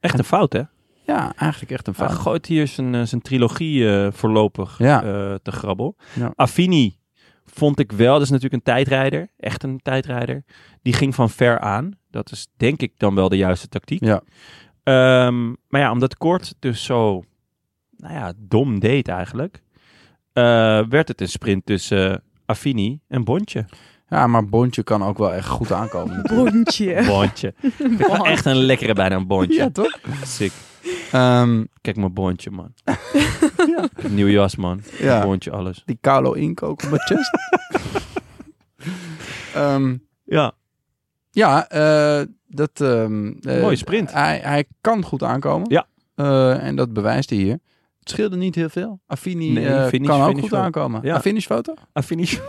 Speaker 1: Echt een fout, hè?
Speaker 2: Ja, eigenlijk echt een
Speaker 1: Hij
Speaker 2: fout.
Speaker 1: gooit hier zijn, eh, zijn trilogie eh, voorlopig
Speaker 2: Ja.
Speaker 1: eh, te grabbel.
Speaker 2: Ja.
Speaker 1: Affini vond ik wel, dat is natuurlijk een tijdrijder. Echt een tijdrijder. Die ging van ver aan. Dat is denk ik dan wel de juiste tactiek.
Speaker 2: Ja.
Speaker 1: Ehm, maar ja, omdat Kort dus zo nou ja, dom deed eigenlijk, eh, werd het een sprint tussen eh, Affini en Bontje.
Speaker 2: Ja, maar Bontje kan ook wel echt goed aankomen. natuurlijk.
Speaker 3: Rondje.
Speaker 1: Bontje. Ik vind het wel echt een lekkere bijna een Bontje.
Speaker 2: Ja, toch?
Speaker 1: Sick.
Speaker 2: Ehm,
Speaker 1: Kijk mijn bondje, man. Nieuw jas, man.
Speaker 2: ja.
Speaker 1: Bondje, alles.
Speaker 2: Die Carlo Inc ook op mijn chest. Ehm,
Speaker 1: Ja,
Speaker 2: ja, eh, dat... ehm, eh,
Speaker 1: mooie sprint.
Speaker 2: Hij, hij kan goed aankomen.
Speaker 1: Ja.
Speaker 2: Eh, en dat bewijst hij hier. Het scheelde niet heel veel. Affini
Speaker 1: Nee,
Speaker 2: eh,
Speaker 1: finish-
Speaker 2: kan ook
Speaker 1: finish
Speaker 2: goed
Speaker 1: wel.
Speaker 2: aankomen.
Speaker 1: Ja.
Speaker 2: Een finishfoto?
Speaker 1: Affinish.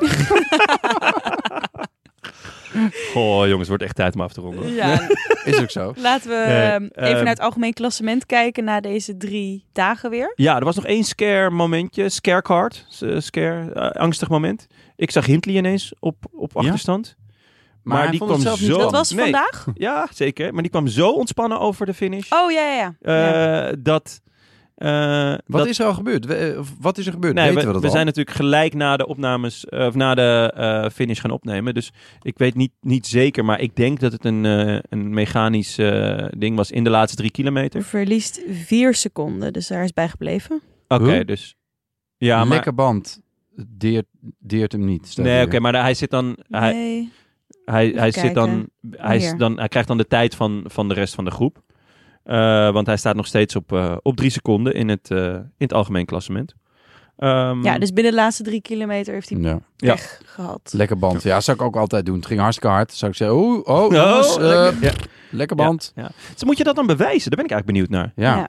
Speaker 1: Goh, jongens, het wordt echt tijd om af te ronden.
Speaker 3: Ja,
Speaker 2: Is ook zo.
Speaker 3: laten we
Speaker 1: Nee,
Speaker 3: ehm, even
Speaker 1: ehm,
Speaker 3: naar het algemeen klassement kijken na deze drie dagen weer.
Speaker 1: Ja, er was nog één scare momentje. Scare card. S- eh, Scare, eh, angstig moment. Ik zag Hindley ineens op, op achterstand.
Speaker 2: Maar,
Speaker 1: Maar
Speaker 2: hij
Speaker 1: die
Speaker 2: vond het
Speaker 1: kwam
Speaker 2: zelf
Speaker 1: zo-
Speaker 2: niet leuk.
Speaker 3: Dat was
Speaker 1: nee.
Speaker 3: vandaag?
Speaker 1: Ja, zeker. Maar die kwam zo ontspannen over de finish.
Speaker 3: Oh, ja, ja, ja.
Speaker 1: eh,
Speaker 3: ja.
Speaker 1: Dat... eh,
Speaker 2: Wat
Speaker 1: dat-
Speaker 2: is er al gebeurd? We- eh, of Wat is er gebeurd?
Speaker 1: Nee,
Speaker 2: Weten we, dat al?
Speaker 1: zijn natuurlijk gelijk na de opnames eh, of na de eh, finish gaan opnemen. Dus ik weet niet, niet zeker, maar ik denk dat het een, eh, een mechanisch eh, ding was in de laatste drie kilometer.
Speaker 3: Verliest vier seconden, dus daar is bij gebleven.
Speaker 1: Oké,
Speaker 2: Huh?
Speaker 1: dus. Ja, maar.
Speaker 2: Lekker band. Deert, deert hem niet. staat
Speaker 1: Nee,
Speaker 2: hier.
Speaker 1: oké, maar hij zit dan. Hij,
Speaker 3: Nee.
Speaker 1: hij,
Speaker 3: Even
Speaker 1: hij, zit dan,
Speaker 3: kijken.
Speaker 1: hij, is
Speaker 3: Hier.
Speaker 1: dan, hij krijgt dan de tijd van, van de rest van de groep. Eh, want hij staat nog steeds op, eh, op drie seconden in het, eh, in het algemeen klassement. Ehm,
Speaker 3: Ja, dus binnen de laatste drie kilometer heeft hij
Speaker 2: Ja.
Speaker 1: Ja.
Speaker 3: pech
Speaker 1: Mm.
Speaker 3: gehad.
Speaker 2: Lekker band. Ja, zou ik ook altijd doen. Het ging hartstikke hard. Zou ik zeggen, oeh, oh, jongens, eh,
Speaker 1: lekker. Ja.
Speaker 2: lekker band.
Speaker 1: Dus moet je dat dan bewijzen? Daar ben ik eigenlijk benieuwd naar.
Speaker 2: Ja. Mm.
Speaker 3: Ja.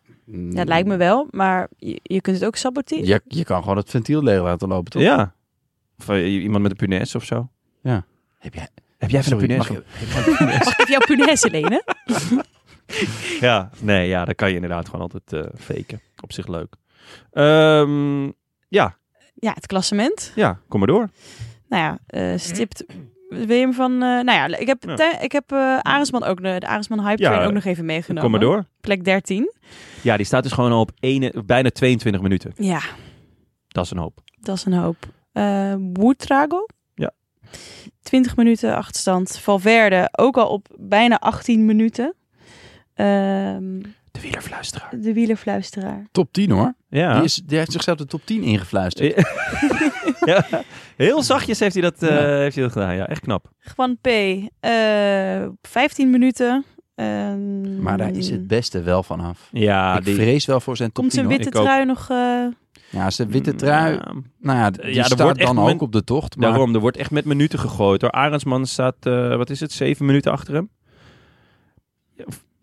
Speaker 3: Ja, het lijkt me wel, maar je, je kunt het ook saboteren.
Speaker 2: Je, je kan gewoon het ventiel leeg laten lopen, toch?
Speaker 1: Ja. Of eh, iemand met een punaise of zo.
Speaker 2: Ja. Heb jij...
Speaker 1: Heb jij
Speaker 2: Sorry, mag
Speaker 1: op?
Speaker 3: Mag ik even jouw punaise lenen?
Speaker 1: Ja, nee, ja, dat kan je inderdaad gewoon altijd eh, faken. Op zich leuk. Ehm,
Speaker 3: Ja, het klassement.
Speaker 1: ja, kom maar door.
Speaker 3: Nou ja, eh, stipt... Wil je hem van... eh, nou ja, ik heb,
Speaker 1: Ja.
Speaker 3: tij- ik heb eh Aresman ook, de, de Aresman Hype
Speaker 1: Ja,
Speaker 3: Train ook nog even meegenomen.
Speaker 1: Kom maar door.
Speaker 3: Plek 13.
Speaker 1: Ja, die staat dus gewoon al op ene, bijna 22 minuten.
Speaker 3: Ja,
Speaker 1: Dat is een hoop.
Speaker 3: dat is een hoop. Eh Woetrago.
Speaker 1: Ja.
Speaker 3: 20 minuten achterstand. Valverde ook al op bijna 18 minuten. Ehm,
Speaker 1: De wielerfluisteraar.
Speaker 3: de wielerfluisteraar.
Speaker 2: Top 10 hoor.
Speaker 1: Ja.
Speaker 2: Die, is, die heeft zichzelf de top 10 ingefluisterd.
Speaker 1: ja. Heel zachtjes heeft hij, dat, eh,
Speaker 2: Ja.
Speaker 1: heeft hij dat gedaan. Ja, echt knap.
Speaker 3: Juan P. eh, 15 minuten. Ehm,
Speaker 2: Maar daar is het beste wel van af.
Speaker 1: Ja,
Speaker 2: ik vrees wel voor zijn top
Speaker 3: Komt
Speaker 2: 10
Speaker 3: zijn
Speaker 2: hoor.
Speaker 3: witte
Speaker 1: Ik ook.
Speaker 3: trui nog... eh,
Speaker 2: Ja, zijn witte trui.
Speaker 1: Mm, Ja,
Speaker 2: Nou ja, die
Speaker 1: Ja, er
Speaker 2: staat
Speaker 1: wordt echt
Speaker 2: dan
Speaker 1: moment-
Speaker 2: ook op de tocht. Maar
Speaker 1: daarom, er wordt echt met minuten gegooid. Hoor. Arendsman staat, eh, wat is het, zeven minuten achter hem.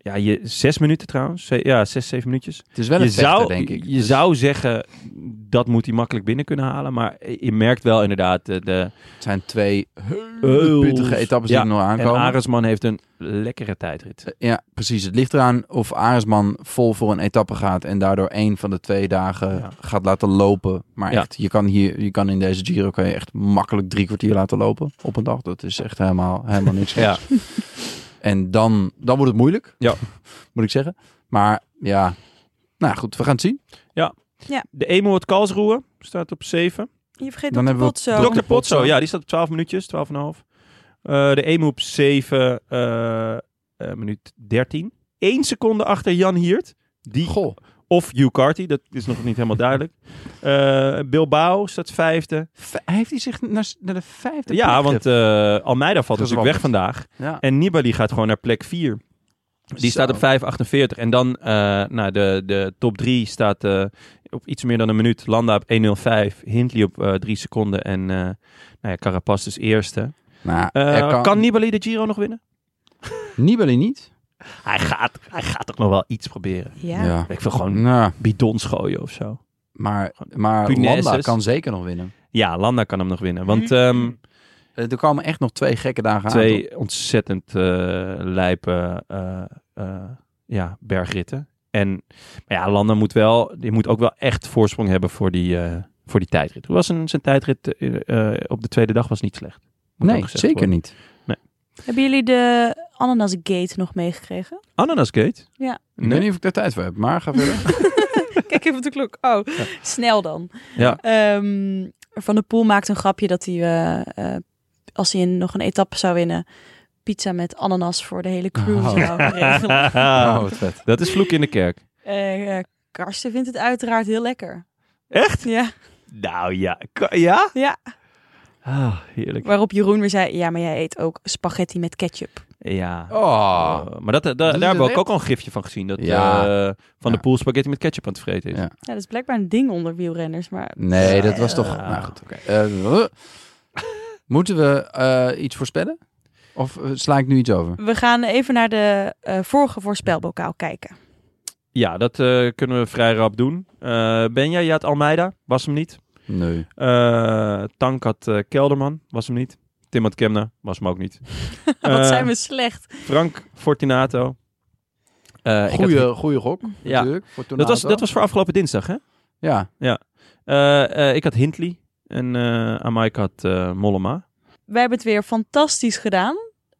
Speaker 1: ja, je, zes minuten trouwens. Ze- Ja, zes, zeven minuutjes.
Speaker 2: Het is wel een
Speaker 1: je
Speaker 2: vechter,
Speaker 1: zou,
Speaker 2: denk ik.
Speaker 1: Je
Speaker 2: Dus-
Speaker 1: zou zeggen, dat moet hij makkelijk binnen kunnen halen. Maar je merkt wel inderdaad de... de
Speaker 2: Het zijn twee hele pittige etappes
Speaker 1: Oh. Ja,
Speaker 2: die er nog
Speaker 1: en
Speaker 2: aankomen.
Speaker 1: Aresman heeft een lekkere tijdrit.
Speaker 2: Ja, precies. Het ligt eraan of Aresman vol voor een etappe gaat en daardoor één van de twee dagen
Speaker 1: Ja.
Speaker 2: gaat laten lopen. Maar
Speaker 1: Ja.
Speaker 2: echt, je kan, hier, je kan in deze Giro kan je echt makkelijk drie kwartier laten lopen op een dag. Dat is echt helemaal, helemaal niks.
Speaker 1: Ja.
Speaker 2: En dan, dan wordt het moeilijk,
Speaker 1: Ja.
Speaker 2: moet ik zeggen. Maar ja, nou goed, we gaan het zien.
Speaker 1: De Emo uit Karlsruhe staat op 7.
Speaker 2: Oh,
Speaker 3: Je vergeet
Speaker 2: Dan
Speaker 3: Dr.
Speaker 2: hebben we
Speaker 3: Potso.
Speaker 2: Dr.
Speaker 1: Dr. Potso,
Speaker 2: Potso.
Speaker 1: ja, die staat op 12 minuutjes, 12,5. Eh, de Emo op 7, eh, eh, minuut 13. 1 seconde achter Jan Hiert. Die,
Speaker 2: Goh,
Speaker 1: of Hugh Carty, dat is nog niet helemaal duidelijk. Eh, Bilbao staat vijfde.
Speaker 2: v- heeft hij zich naar, naar de vijfde
Speaker 1: Ja,
Speaker 2: plek
Speaker 1: want eh, Almeida valt natuurlijk weg
Speaker 2: Gezwabbeld.
Speaker 1: vandaag.
Speaker 2: ge- ja.
Speaker 1: En Nibali gaat gewoon naar plek 4. Die staat
Speaker 2: Zo.
Speaker 1: op 5,48. En dan eh, nou, de, de top 3 staat eh, op iets meer dan een minuut. Landa op 1,05. Hindley op eh 3 seconden. En eh nou ja, Carapaz dus eerste.
Speaker 2: Nou,
Speaker 1: Eh,
Speaker 2: er
Speaker 1: kan...
Speaker 2: kan, niet
Speaker 1: Nibali de Giro nog winnen?
Speaker 2: Nibali niet.
Speaker 1: Hij gaat, hij gaat toch nog wel iets proberen.
Speaker 3: Ja.
Speaker 1: Ik wil gewoon
Speaker 2: Nou,
Speaker 1: bidons gooien of zo.
Speaker 2: maar maar
Speaker 1: Punaises.
Speaker 2: Landa kan zeker nog winnen.
Speaker 1: Ja, Landa kan hem nog winnen. Want ehm,
Speaker 2: Eh, Er komen echt nog twee gekke dagen aan. Ah, toch?
Speaker 1: twee ontzettend eh, lijpe eh, eh, ja, bergritten. En maar ja, Landa moet wel, die moet ook wel echt voorsprong hebben voor die, eh, voor die tijdrit. Hoe was zijn, zijn tijdrit eh, eh, op de tweede dag was niet slecht. Moet ook
Speaker 2: Nee,
Speaker 1: gezegd
Speaker 2: zeker
Speaker 1: worden.
Speaker 2: niet.
Speaker 3: Hebben jullie de Ananas Gate nog meegekregen?
Speaker 1: Ananasgate?
Speaker 3: Ja.
Speaker 2: Ik weet
Speaker 1: Nee.
Speaker 2: niet of ik daar tijd voor heb, maar ga verder.
Speaker 3: Kijk even op de klok. Oh, snel dan.
Speaker 1: Ja.
Speaker 3: Ehm, Van der Poel maakt een grapje dat hij, eh, eh, als hij nog een etappe zou winnen, pizza met ananas voor de hele crew
Speaker 2: Oh.
Speaker 3: zou regelen.
Speaker 2: oh, wat vet.
Speaker 1: Dat is vloek in de kerk.
Speaker 3: Eh, eh, Karsten vindt het uiteraard heel lekker.
Speaker 1: Echt?
Speaker 3: Ja.
Speaker 1: Nou ja. Ka- Ja?
Speaker 3: Ja.
Speaker 1: Ah, heerlijk.
Speaker 3: Waarop Jeroen weer zei, ja, maar jij eet ook spaghetti met ketchup.
Speaker 1: Ja.
Speaker 2: Oh,
Speaker 1: Eh, maar dat, eh, da-
Speaker 2: is
Speaker 1: daar hebben
Speaker 2: het
Speaker 1: we ook,
Speaker 2: echt?
Speaker 1: al een gifje van gezien. Dat
Speaker 2: Ja.
Speaker 1: eh, Van de
Speaker 2: Ja.
Speaker 1: Poel spaghetti met ketchup aan het vreten is.
Speaker 2: Ja.
Speaker 3: Ja, dat is blijkbaar een ding onder wielrenners, maar...
Speaker 2: nee, dat was toch...
Speaker 1: Ja.
Speaker 2: Nou, goed, oké. Eh, huh. moeten we eh, iets voorspellen? Of eh, sla ik nu iets over?
Speaker 3: We gaan even naar de eh, vorige voorspelbokaal kijken.
Speaker 1: Ja, dat eh, kunnen we vrij rap doen. Eh Benja, je had Almeida, was hem niet.
Speaker 2: Nee.
Speaker 1: Eh, Tank had eh, Kelderman, was hem niet. Tim had Kemna, was hem ook niet.
Speaker 3: Wat
Speaker 1: Eh,
Speaker 3: zijn we slecht.
Speaker 1: Frank Fortunato. Eh, ik had-
Speaker 2: Goeie, goeie gok,
Speaker 1: Ja.
Speaker 2: natuurlijk. Voor
Speaker 1: dat, was,
Speaker 2: Tornado.
Speaker 1: dat was voor afgelopen dinsdag, hè?
Speaker 2: Ja,
Speaker 1: Eh, eh, ik had Hindley en eh Amaik had eh, Mollema.
Speaker 3: Wij hebben het weer fantastisch gedaan.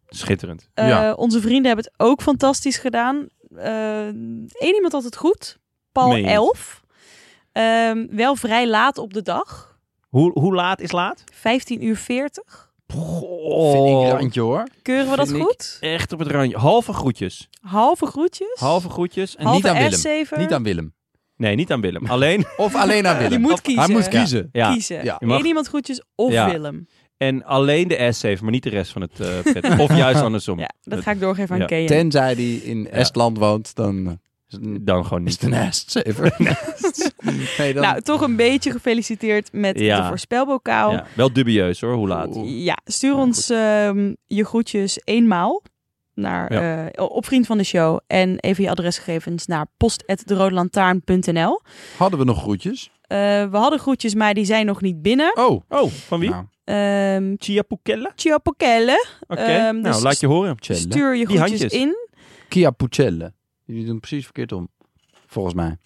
Speaker 1: Schitterend.
Speaker 3: Eh,
Speaker 2: Ja.
Speaker 3: Onze vrienden hebben het ook fantastisch gedaan. Eén iemand had het goed. Paul
Speaker 1: Meen je het?
Speaker 3: 11. Ehm, wel vrij laat op de dag.
Speaker 1: Hoe, hoe laat is laat? Oh,
Speaker 3: 15 uur 40.
Speaker 2: vind ik randje hoor.
Speaker 3: Keuren we dat
Speaker 2: Vind ik-
Speaker 3: goed?
Speaker 1: Echt op het randje. Halve groetjes.
Speaker 3: Halve groetjes.
Speaker 1: Halve groetjes. En
Speaker 2: niet
Speaker 3: Halve
Speaker 2: aan Willem.
Speaker 3: R7.
Speaker 2: Niet aan Willem.
Speaker 1: Nee, niet aan Willem. Alleen.
Speaker 2: Of alleen aan Willem.
Speaker 3: Je moet kiezen.
Speaker 2: Hij moet kiezen.
Speaker 1: Ja.
Speaker 3: Kiezen.
Speaker 2: Ja.
Speaker 1: Je mag-
Speaker 3: Eén iemand groetjes of
Speaker 1: Ja.
Speaker 3: Willem.
Speaker 1: En alleen de S7, maar niet de rest van het eh vet. of juist andersom.
Speaker 3: Ja, dat ga ik doorgeven aan
Speaker 1: Ja.
Speaker 3: Kea.
Speaker 2: Tenzij die in Estland woont, dan eh, is het een-
Speaker 1: Dan gewoon
Speaker 2: is het
Speaker 1: niet.
Speaker 2: een Est-zever. Nee, dan-
Speaker 3: Nou, toch een beetje gefeliciteerd met
Speaker 1: Ja.
Speaker 3: de voorspelbokaal.
Speaker 1: Ja, wel dubieus hoor, hoe laat.
Speaker 3: Ja, stuur ons ehm, je groetjes eenmaal naar, eh, op Vriend van de Show. En even je adresgegevens naar post.deroodlantaarn.nl.
Speaker 2: Hadden we nog groetjes?
Speaker 3: Eh we hadden groetjes, maar die zijn nog niet binnen.
Speaker 2: Oh,
Speaker 1: Oh, van wie?
Speaker 2: Nou,
Speaker 3: Ehm
Speaker 1: Chia Pukella?
Speaker 3: ciao Pokelle.
Speaker 1: Oké,
Speaker 3: Ehm,
Speaker 1: nou
Speaker 3: dus-
Speaker 1: laat je horen.
Speaker 2: Celle.
Speaker 3: Stuur je
Speaker 1: Die
Speaker 3: groetjes
Speaker 1: handjes.
Speaker 3: in.
Speaker 2: Kia Pucelle. Jullie doen precies verkeerd om. Volgens mij. Maar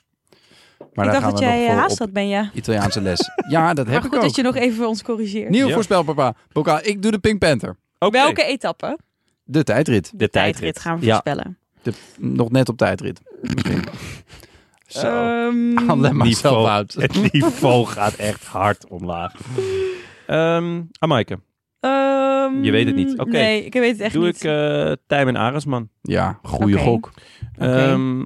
Speaker 3: ik
Speaker 2: daar
Speaker 3: dacht
Speaker 2: gaan
Speaker 3: dat
Speaker 2: we nog
Speaker 3: jij eh,
Speaker 2: voor
Speaker 3: haast
Speaker 2: op
Speaker 3: had, ben je.
Speaker 2: Italiaanse les. Ja, dat
Speaker 3: Maar
Speaker 2: heb
Speaker 3: goed
Speaker 2: ik ook.
Speaker 3: dat je nog even ons corrigeert.
Speaker 2: Nieuw
Speaker 1: Ja.
Speaker 2: voorspelpapa. Bokaal, ik doe de Pink Panther.
Speaker 1: Oké.
Speaker 3: Welke etappe?
Speaker 2: De tijdrit.
Speaker 1: De
Speaker 3: Tijdrit gaan we
Speaker 1: Ja.
Speaker 3: voorspellen.
Speaker 2: De, nog net op tijdrit. Zo.
Speaker 3: Ehm,
Speaker 2: Alleen maar zelf uit.
Speaker 1: Het niveau gaat echt hard omlaag. Ehm Amaike,
Speaker 3: ehm,
Speaker 1: Je weet het niet. Oké.
Speaker 3: Nee, ik weet het echt
Speaker 1: doe
Speaker 3: niet.
Speaker 1: ik eh Tijmen Aresman.
Speaker 2: Ja, goede
Speaker 3: Oké.
Speaker 2: gok.
Speaker 1: Ehm,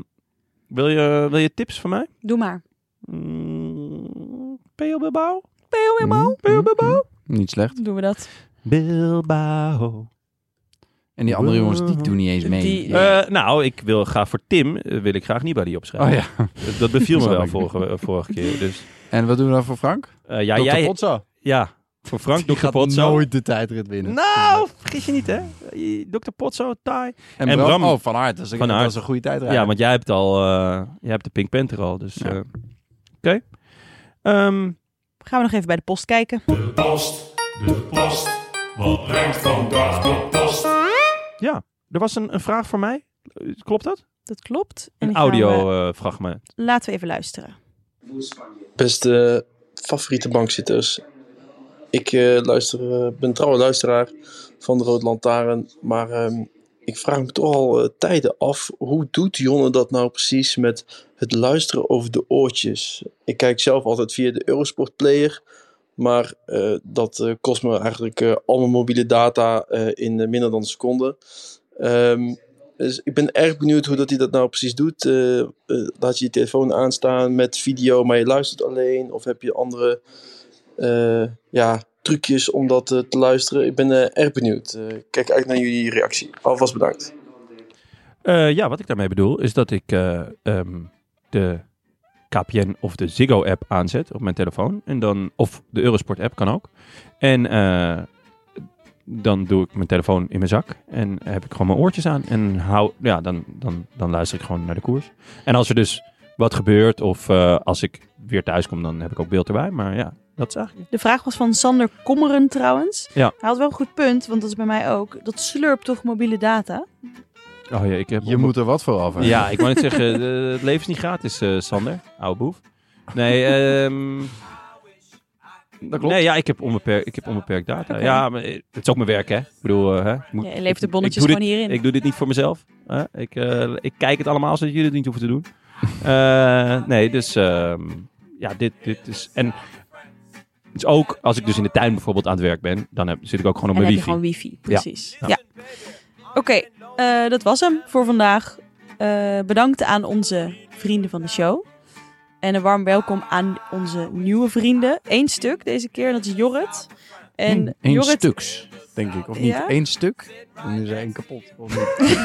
Speaker 1: wil, je, wil je tips van mij?
Speaker 3: Doe maar.
Speaker 1: Mm, Peo Bilbao? Hmm?
Speaker 2: Mm, mm, mm. Niet slecht.
Speaker 3: Doen we dat.
Speaker 1: Bilbao.
Speaker 2: En die andere jongens, die doen niet eens mee.
Speaker 3: Die-
Speaker 2: Ja.
Speaker 1: Eh, nou, ik wil graag voor Tim, eh, wil ik graag Nibali opschrijven.
Speaker 2: oh ja.
Speaker 1: Dat- Dat beviel me
Speaker 2: Snap
Speaker 1: wel eh,
Speaker 2: ik.
Speaker 1: vorige, vorige keer. Dus,
Speaker 2: En wat doen we dan voor Frank?
Speaker 1: eh, ja,
Speaker 2: Dr.
Speaker 1: jij,
Speaker 2: Potso.
Speaker 1: ja, Voor Frank,
Speaker 2: Die
Speaker 1: Dr.
Speaker 2: gaat
Speaker 1: Potso.
Speaker 2: nooit de tijdrit winnen.
Speaker 1: Nou, vergis je niet, hè? Dr. Potso, taai.
Speaker 2: en,
Speaker 1: en
Speaker 2: Bram,
Speaker 1: Bram-
Speaker 2: Oh, van Aert. Dus ik
Speaker 1: Van
Speaker 2: dat
Speaker 1: Aert.
Speaker 2: is een goede tijdrit.
Speaker 1: Ja, want jij hebt al, eh, jij hebt de Pink Panther al, dus...
Speaker 2: Ja.
Speaker 1: eh, Oké. Ehm,
Speaker 3: Gaan we nog even bij de post kijken.
Speaker 4: De post, de post. Wat brengt vandaag de post?
Speaker 1: ja, er was een, een vraag voor mij. Eh, Klopt dat?
Speaker 3: Dat klopt. En eh,
Speaker 1: Een eh,
Speaker 3: die gaan we-
Speaker 1: audio-fragment.
Speaker 3: laten we even luisteren.
Speaker 5: Beste favoriete bankzitters. Ik eh, luister, eh, ben trouwe luisteraar van de Rood Lantaarn. Maar ehm, ik vraag me toch al eh, tijden af. Hoe doet Jonne dat nou precies met het luisteren over de oortjes? Ik kijk zelf altijd via de Eurosport Player. Maar eh, dat eh, kost me eigenlijk eh, al mijn mobiele data eh, in eh, minder dan een seconde. Ehm, dus ik ben erg benieuwd hoe dat hij dat nou precies doet. Eh, eh, laat je je telefoon aanstaan met video, maar je luistert alleen? Of heb je andere eh, ja, trucjes om dat eh, te luisteren? Ik ben eh, erg benieuwd. Eh, Ik kijk uit naar jullie reactie. Alvast bedankt.
Speaker 1: Eh, ja, wat ik daarmee bedoel is dat ik eh, ehm, de KPN of de Ziggo app aanzet op mijn telefoon. En dan, of de Eurosport app kan ook. En eh, dan doe ik mijn telefoon in mijn zak en heb ik gewoon mijn oortjes aan. En hou, ja, dan, dan, dan luister ik gewoon naar de koers. En als er dus wat gebeurt of eh, als ik weer thuis kom, dan heb ik ook beeld erbij. Maar ja, dat is eigenlijk...
Speaker 3: De vraag was van Sander Kommeren trouwens.
Speaker 1: Ja.
Speaker 3: Hij had wel een goed punt, want dat is bij mij ook. Dat slurpt toch mobiele data?
Speaker 1: Oh ja, ik heb
Speaker 2: Je moet er wat voor af. hebben.
Speaker 1: Ja, ik wou net zeggen, eh, het leven is niet gratis, eh, Sander. Oude boef. Nee, ehm
Speaker 2: Dat klopt.
Speaker 1: Nee, ja, ik heb onbeperkt, ik heb onbeperkt data. Ja, maar eh, het is ook mijn werk, hè. Ik bedoel, eh, hè, ik moet-
Speaker 3: Ja, je levert de
Speaker 1: ik-
Speaker 3: bonnetjes
Speaker 1: ik doe
Speaker 3: gewoon
Speaker 1: dit-
Speaker 3: hierin.
Speaker 1: Ik doe dit niet voor mezelf. hè. Ik, eh, ik kijk het allemaal, zodat jullie het niet hoeven te doen. Eh, nee, dus ehm, ja, dit, dit is... En dus ook als ik dus in de tuin bijvoorbeeld aan het werk ben, dan heb, zit ik ook gewoon op
Speaker 3: en
Speaker 1: mijn
Speaker 3: heb je
Speaker 1: wifi.
Speaker 3: gewoon wifi, precies. Ja. Oké, eh, dat was hem voor vandaag. Eh, bedankt aan onze vrienden van de show. En een warm welkom aan onze nieuwe vrienden. Eén stuk deze keer, en dat is Jorrit. En
Speaker 2: Eén- één
Speaker 3: Jorrit,
Speaker 2: stuks, denk ik. Of niet?
Speaker 3: Ja?
Speaker 2: Eén stuk? Dan is er één kapot. Of niet?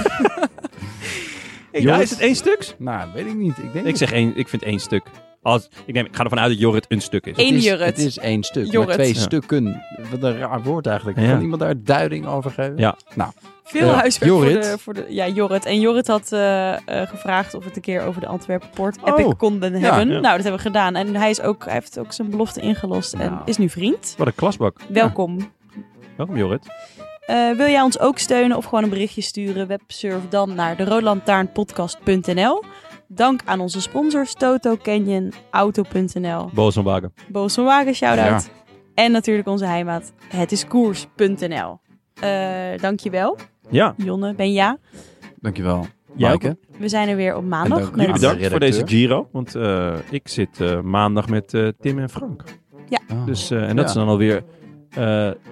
Speaker 1: Hey,
Speaker 2: Joris-
Speaker 1: is het één stuks?
Speaker 2: nou, weet ik niet. Ik denk
Speaker 1: Ik zeg één, ik vind één stuk. Als, ik, neem, ik ga ervan uit dat Jorrit een stuk is.
Speaker 2: Het
Speaker 3: Eén
Speaker 2: is-
Speaker 3: Jurrit.
Speaker 2: Het is één stuk.
Speaker 3: Jurrit.
Speaker 2: Maar twee
Speaker 1: Ja.
Speaker 2: stukken. Wat een raar woord eigenlijk.
Speaker 1: Ja.
Speaker 2: Kan iemand daar duiding over geven?
Speaker 1: Ja.
Speaker 2: Nou,
Speaker 3: Veel
Speaker 2: Ja.
Speaker 3: huiswerk
Speaker 2: Jorrit.
Speaker 3: Voor, de, voor de... Ja, Jorrit. En Jorrit had eh, eh, gevraagd of we het een keer over de Antwerpen Port Epic
Speaker 2: Oh.
Speaker 3: konden hebben. Nou, dat hebben we gedaan. En hij, is ook, hij heeft ook zijn belofte ingelost en
Speaker 2: Nou.
Speaker 3: is nu vriend.
Speaker 1: Wat een klasbak.
Speaker 3: Welkom.
Speaker 1: Welkom, Jorrit.
Speaker 3: Eh, wil jij ons ook steunen of gewoon een berichtje sturen? Websurf dan naar deroodlantaarnpodcast.nl. Dank aan onze sponsors Toto Canyon, Auto.nl,
Speaker 1: Boos wagen.
Speaker 3: Boos van Wagen, shout-out. En natuurlijk onze heimaat, hetiskoers.nl. Eh dankjewel,
Speaker 1: Ja,
Speaker 3: Jonne, Benja.
Speaker 2: dankjewel.
Speaker 1: Jij
Speaker 2: Maaike.
Speaker 3: We zijn er weer op
Speaker 2: En
Speaker 3: maandag.
Speaker 2: dank
Speaker 3: met-
Speaker 1: jullie bedankt
Speaker 2: de
Speaker 1: voor deze
Speaker 2: redacteur.
Speaker 1: Giro. Want eh, ik zit eh, maandag met eh, Tim en Frank.
Speaker 2: Ah.
Speaker 1: Dus, eh, en dat
Speaker 2: Ja.
Speaker 1: is dan alweer eh,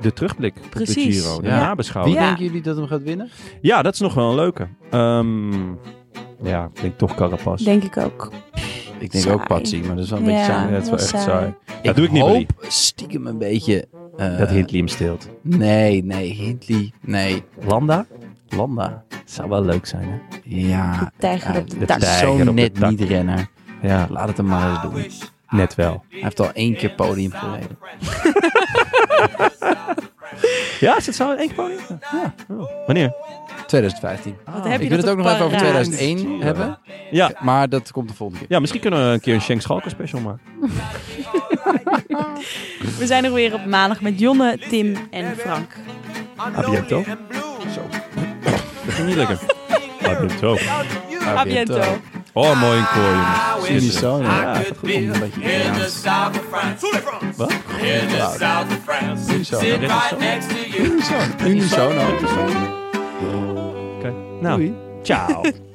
Speaker 1: de terugblik op de
Speaker 3: Precies.
Speaker 1: Giro. De
Speaker 2: Ja. Wie
Speaker 1: nabeschouwing.
Speaker 3: Ja.
Speaker 2: denken jullie dat hem gaat winnen?
Speaker 1: Ja, dat is nog wel een leuke. Ehm, ja, ik denk toch Carapaz.
Speaker 3: Denk ik ook.
Speaker 2: Ik denk
Speaker 3: Saai.
Speaker 2: ook Patsy, maar dat is wel een
Speaker 3: Ja.
Speaker 2: beetje saai.
Speaker 1: ja, dat is wel
Speaker 3: heel
Speaker 1: echt
Speaker 3: saai.
Speaker 1: saai. Dat doe ik niet,
Speaker 2: hoop
Speaker 1: Willy.
Speaker 2: stiekem een beetje... eh,
Speaker 1: dat Hindley hem steelt.
Speaker 2: Nee, nee, Hindley. Nee,
Speaker 1: Landa?
Speaker 2: Landa.
Speaker 1: Zou wel leuk zijn, hè?
Speaker 2: Ja,
Speaker 3: Tijger
Speaker 2: ja,
Speaker 3: op de
Speaker 1: dat
Speaker 2: dat
Speaker 3: tak.
Speaker 2: is
Speaker 1: Tijger op
Speaker 2: zo'n
Speaker 1: de
Speaker 2: net
Speaker 1: tak.
Speaker 2: niet renner.
Speaker 1: Ja,
Speaker 2: Laat het hem maar eens doen.
Speaker 1: net wel.
Speaker 2: Hij heeft al één keer podium gereden.
Speaker 1: Ja, is het zo in één podium? Ja. Oh, Wanneer?
Speaker 2: 2015.
Speaker 3: Wat heb je
Speaker 2: ik wil
Speaker 3: Oh, dat
Speaker 2: het ook
Speaker 3: op eh,
Speaker 2: nog even over
Speaker 3: paraat?
Speaker 2: 2001 hebben.
Speaker 1: Ja.
Speaker 2: Maar dat komt de volgende keer.
Speaker 1: ja, misschien kunnen we een keer een Shank Schalker special maken.
Speaker 3: We zijn er weer op maandag met Jonne, Tim en Frank.
Speaker 1: Abiento. Zo. Dat ging niet lekker. Abiento.
Speaker 3: A biento.
Speaker 1: Oh, mooi een koor, jongens.
Speaker 2: In die
Speaker 1: Schitterend.
Speaker 2: zone. Ja,
Speaker 1: Ja,
Speaker 2: dat komt een beetje.
Speaker 6: In
Speaker 2: Ja.
Speaker 6: the south of France.
Speaker 1: Wat?
Speaker 6: In the south of France.
Speaker 2: Unisono.
Speaker 6: Sit
Speaker 1: Unisono.
Speaker 6: right next to you.
Speaker 2: Unisono.
Speaker 1: Nou, ciao.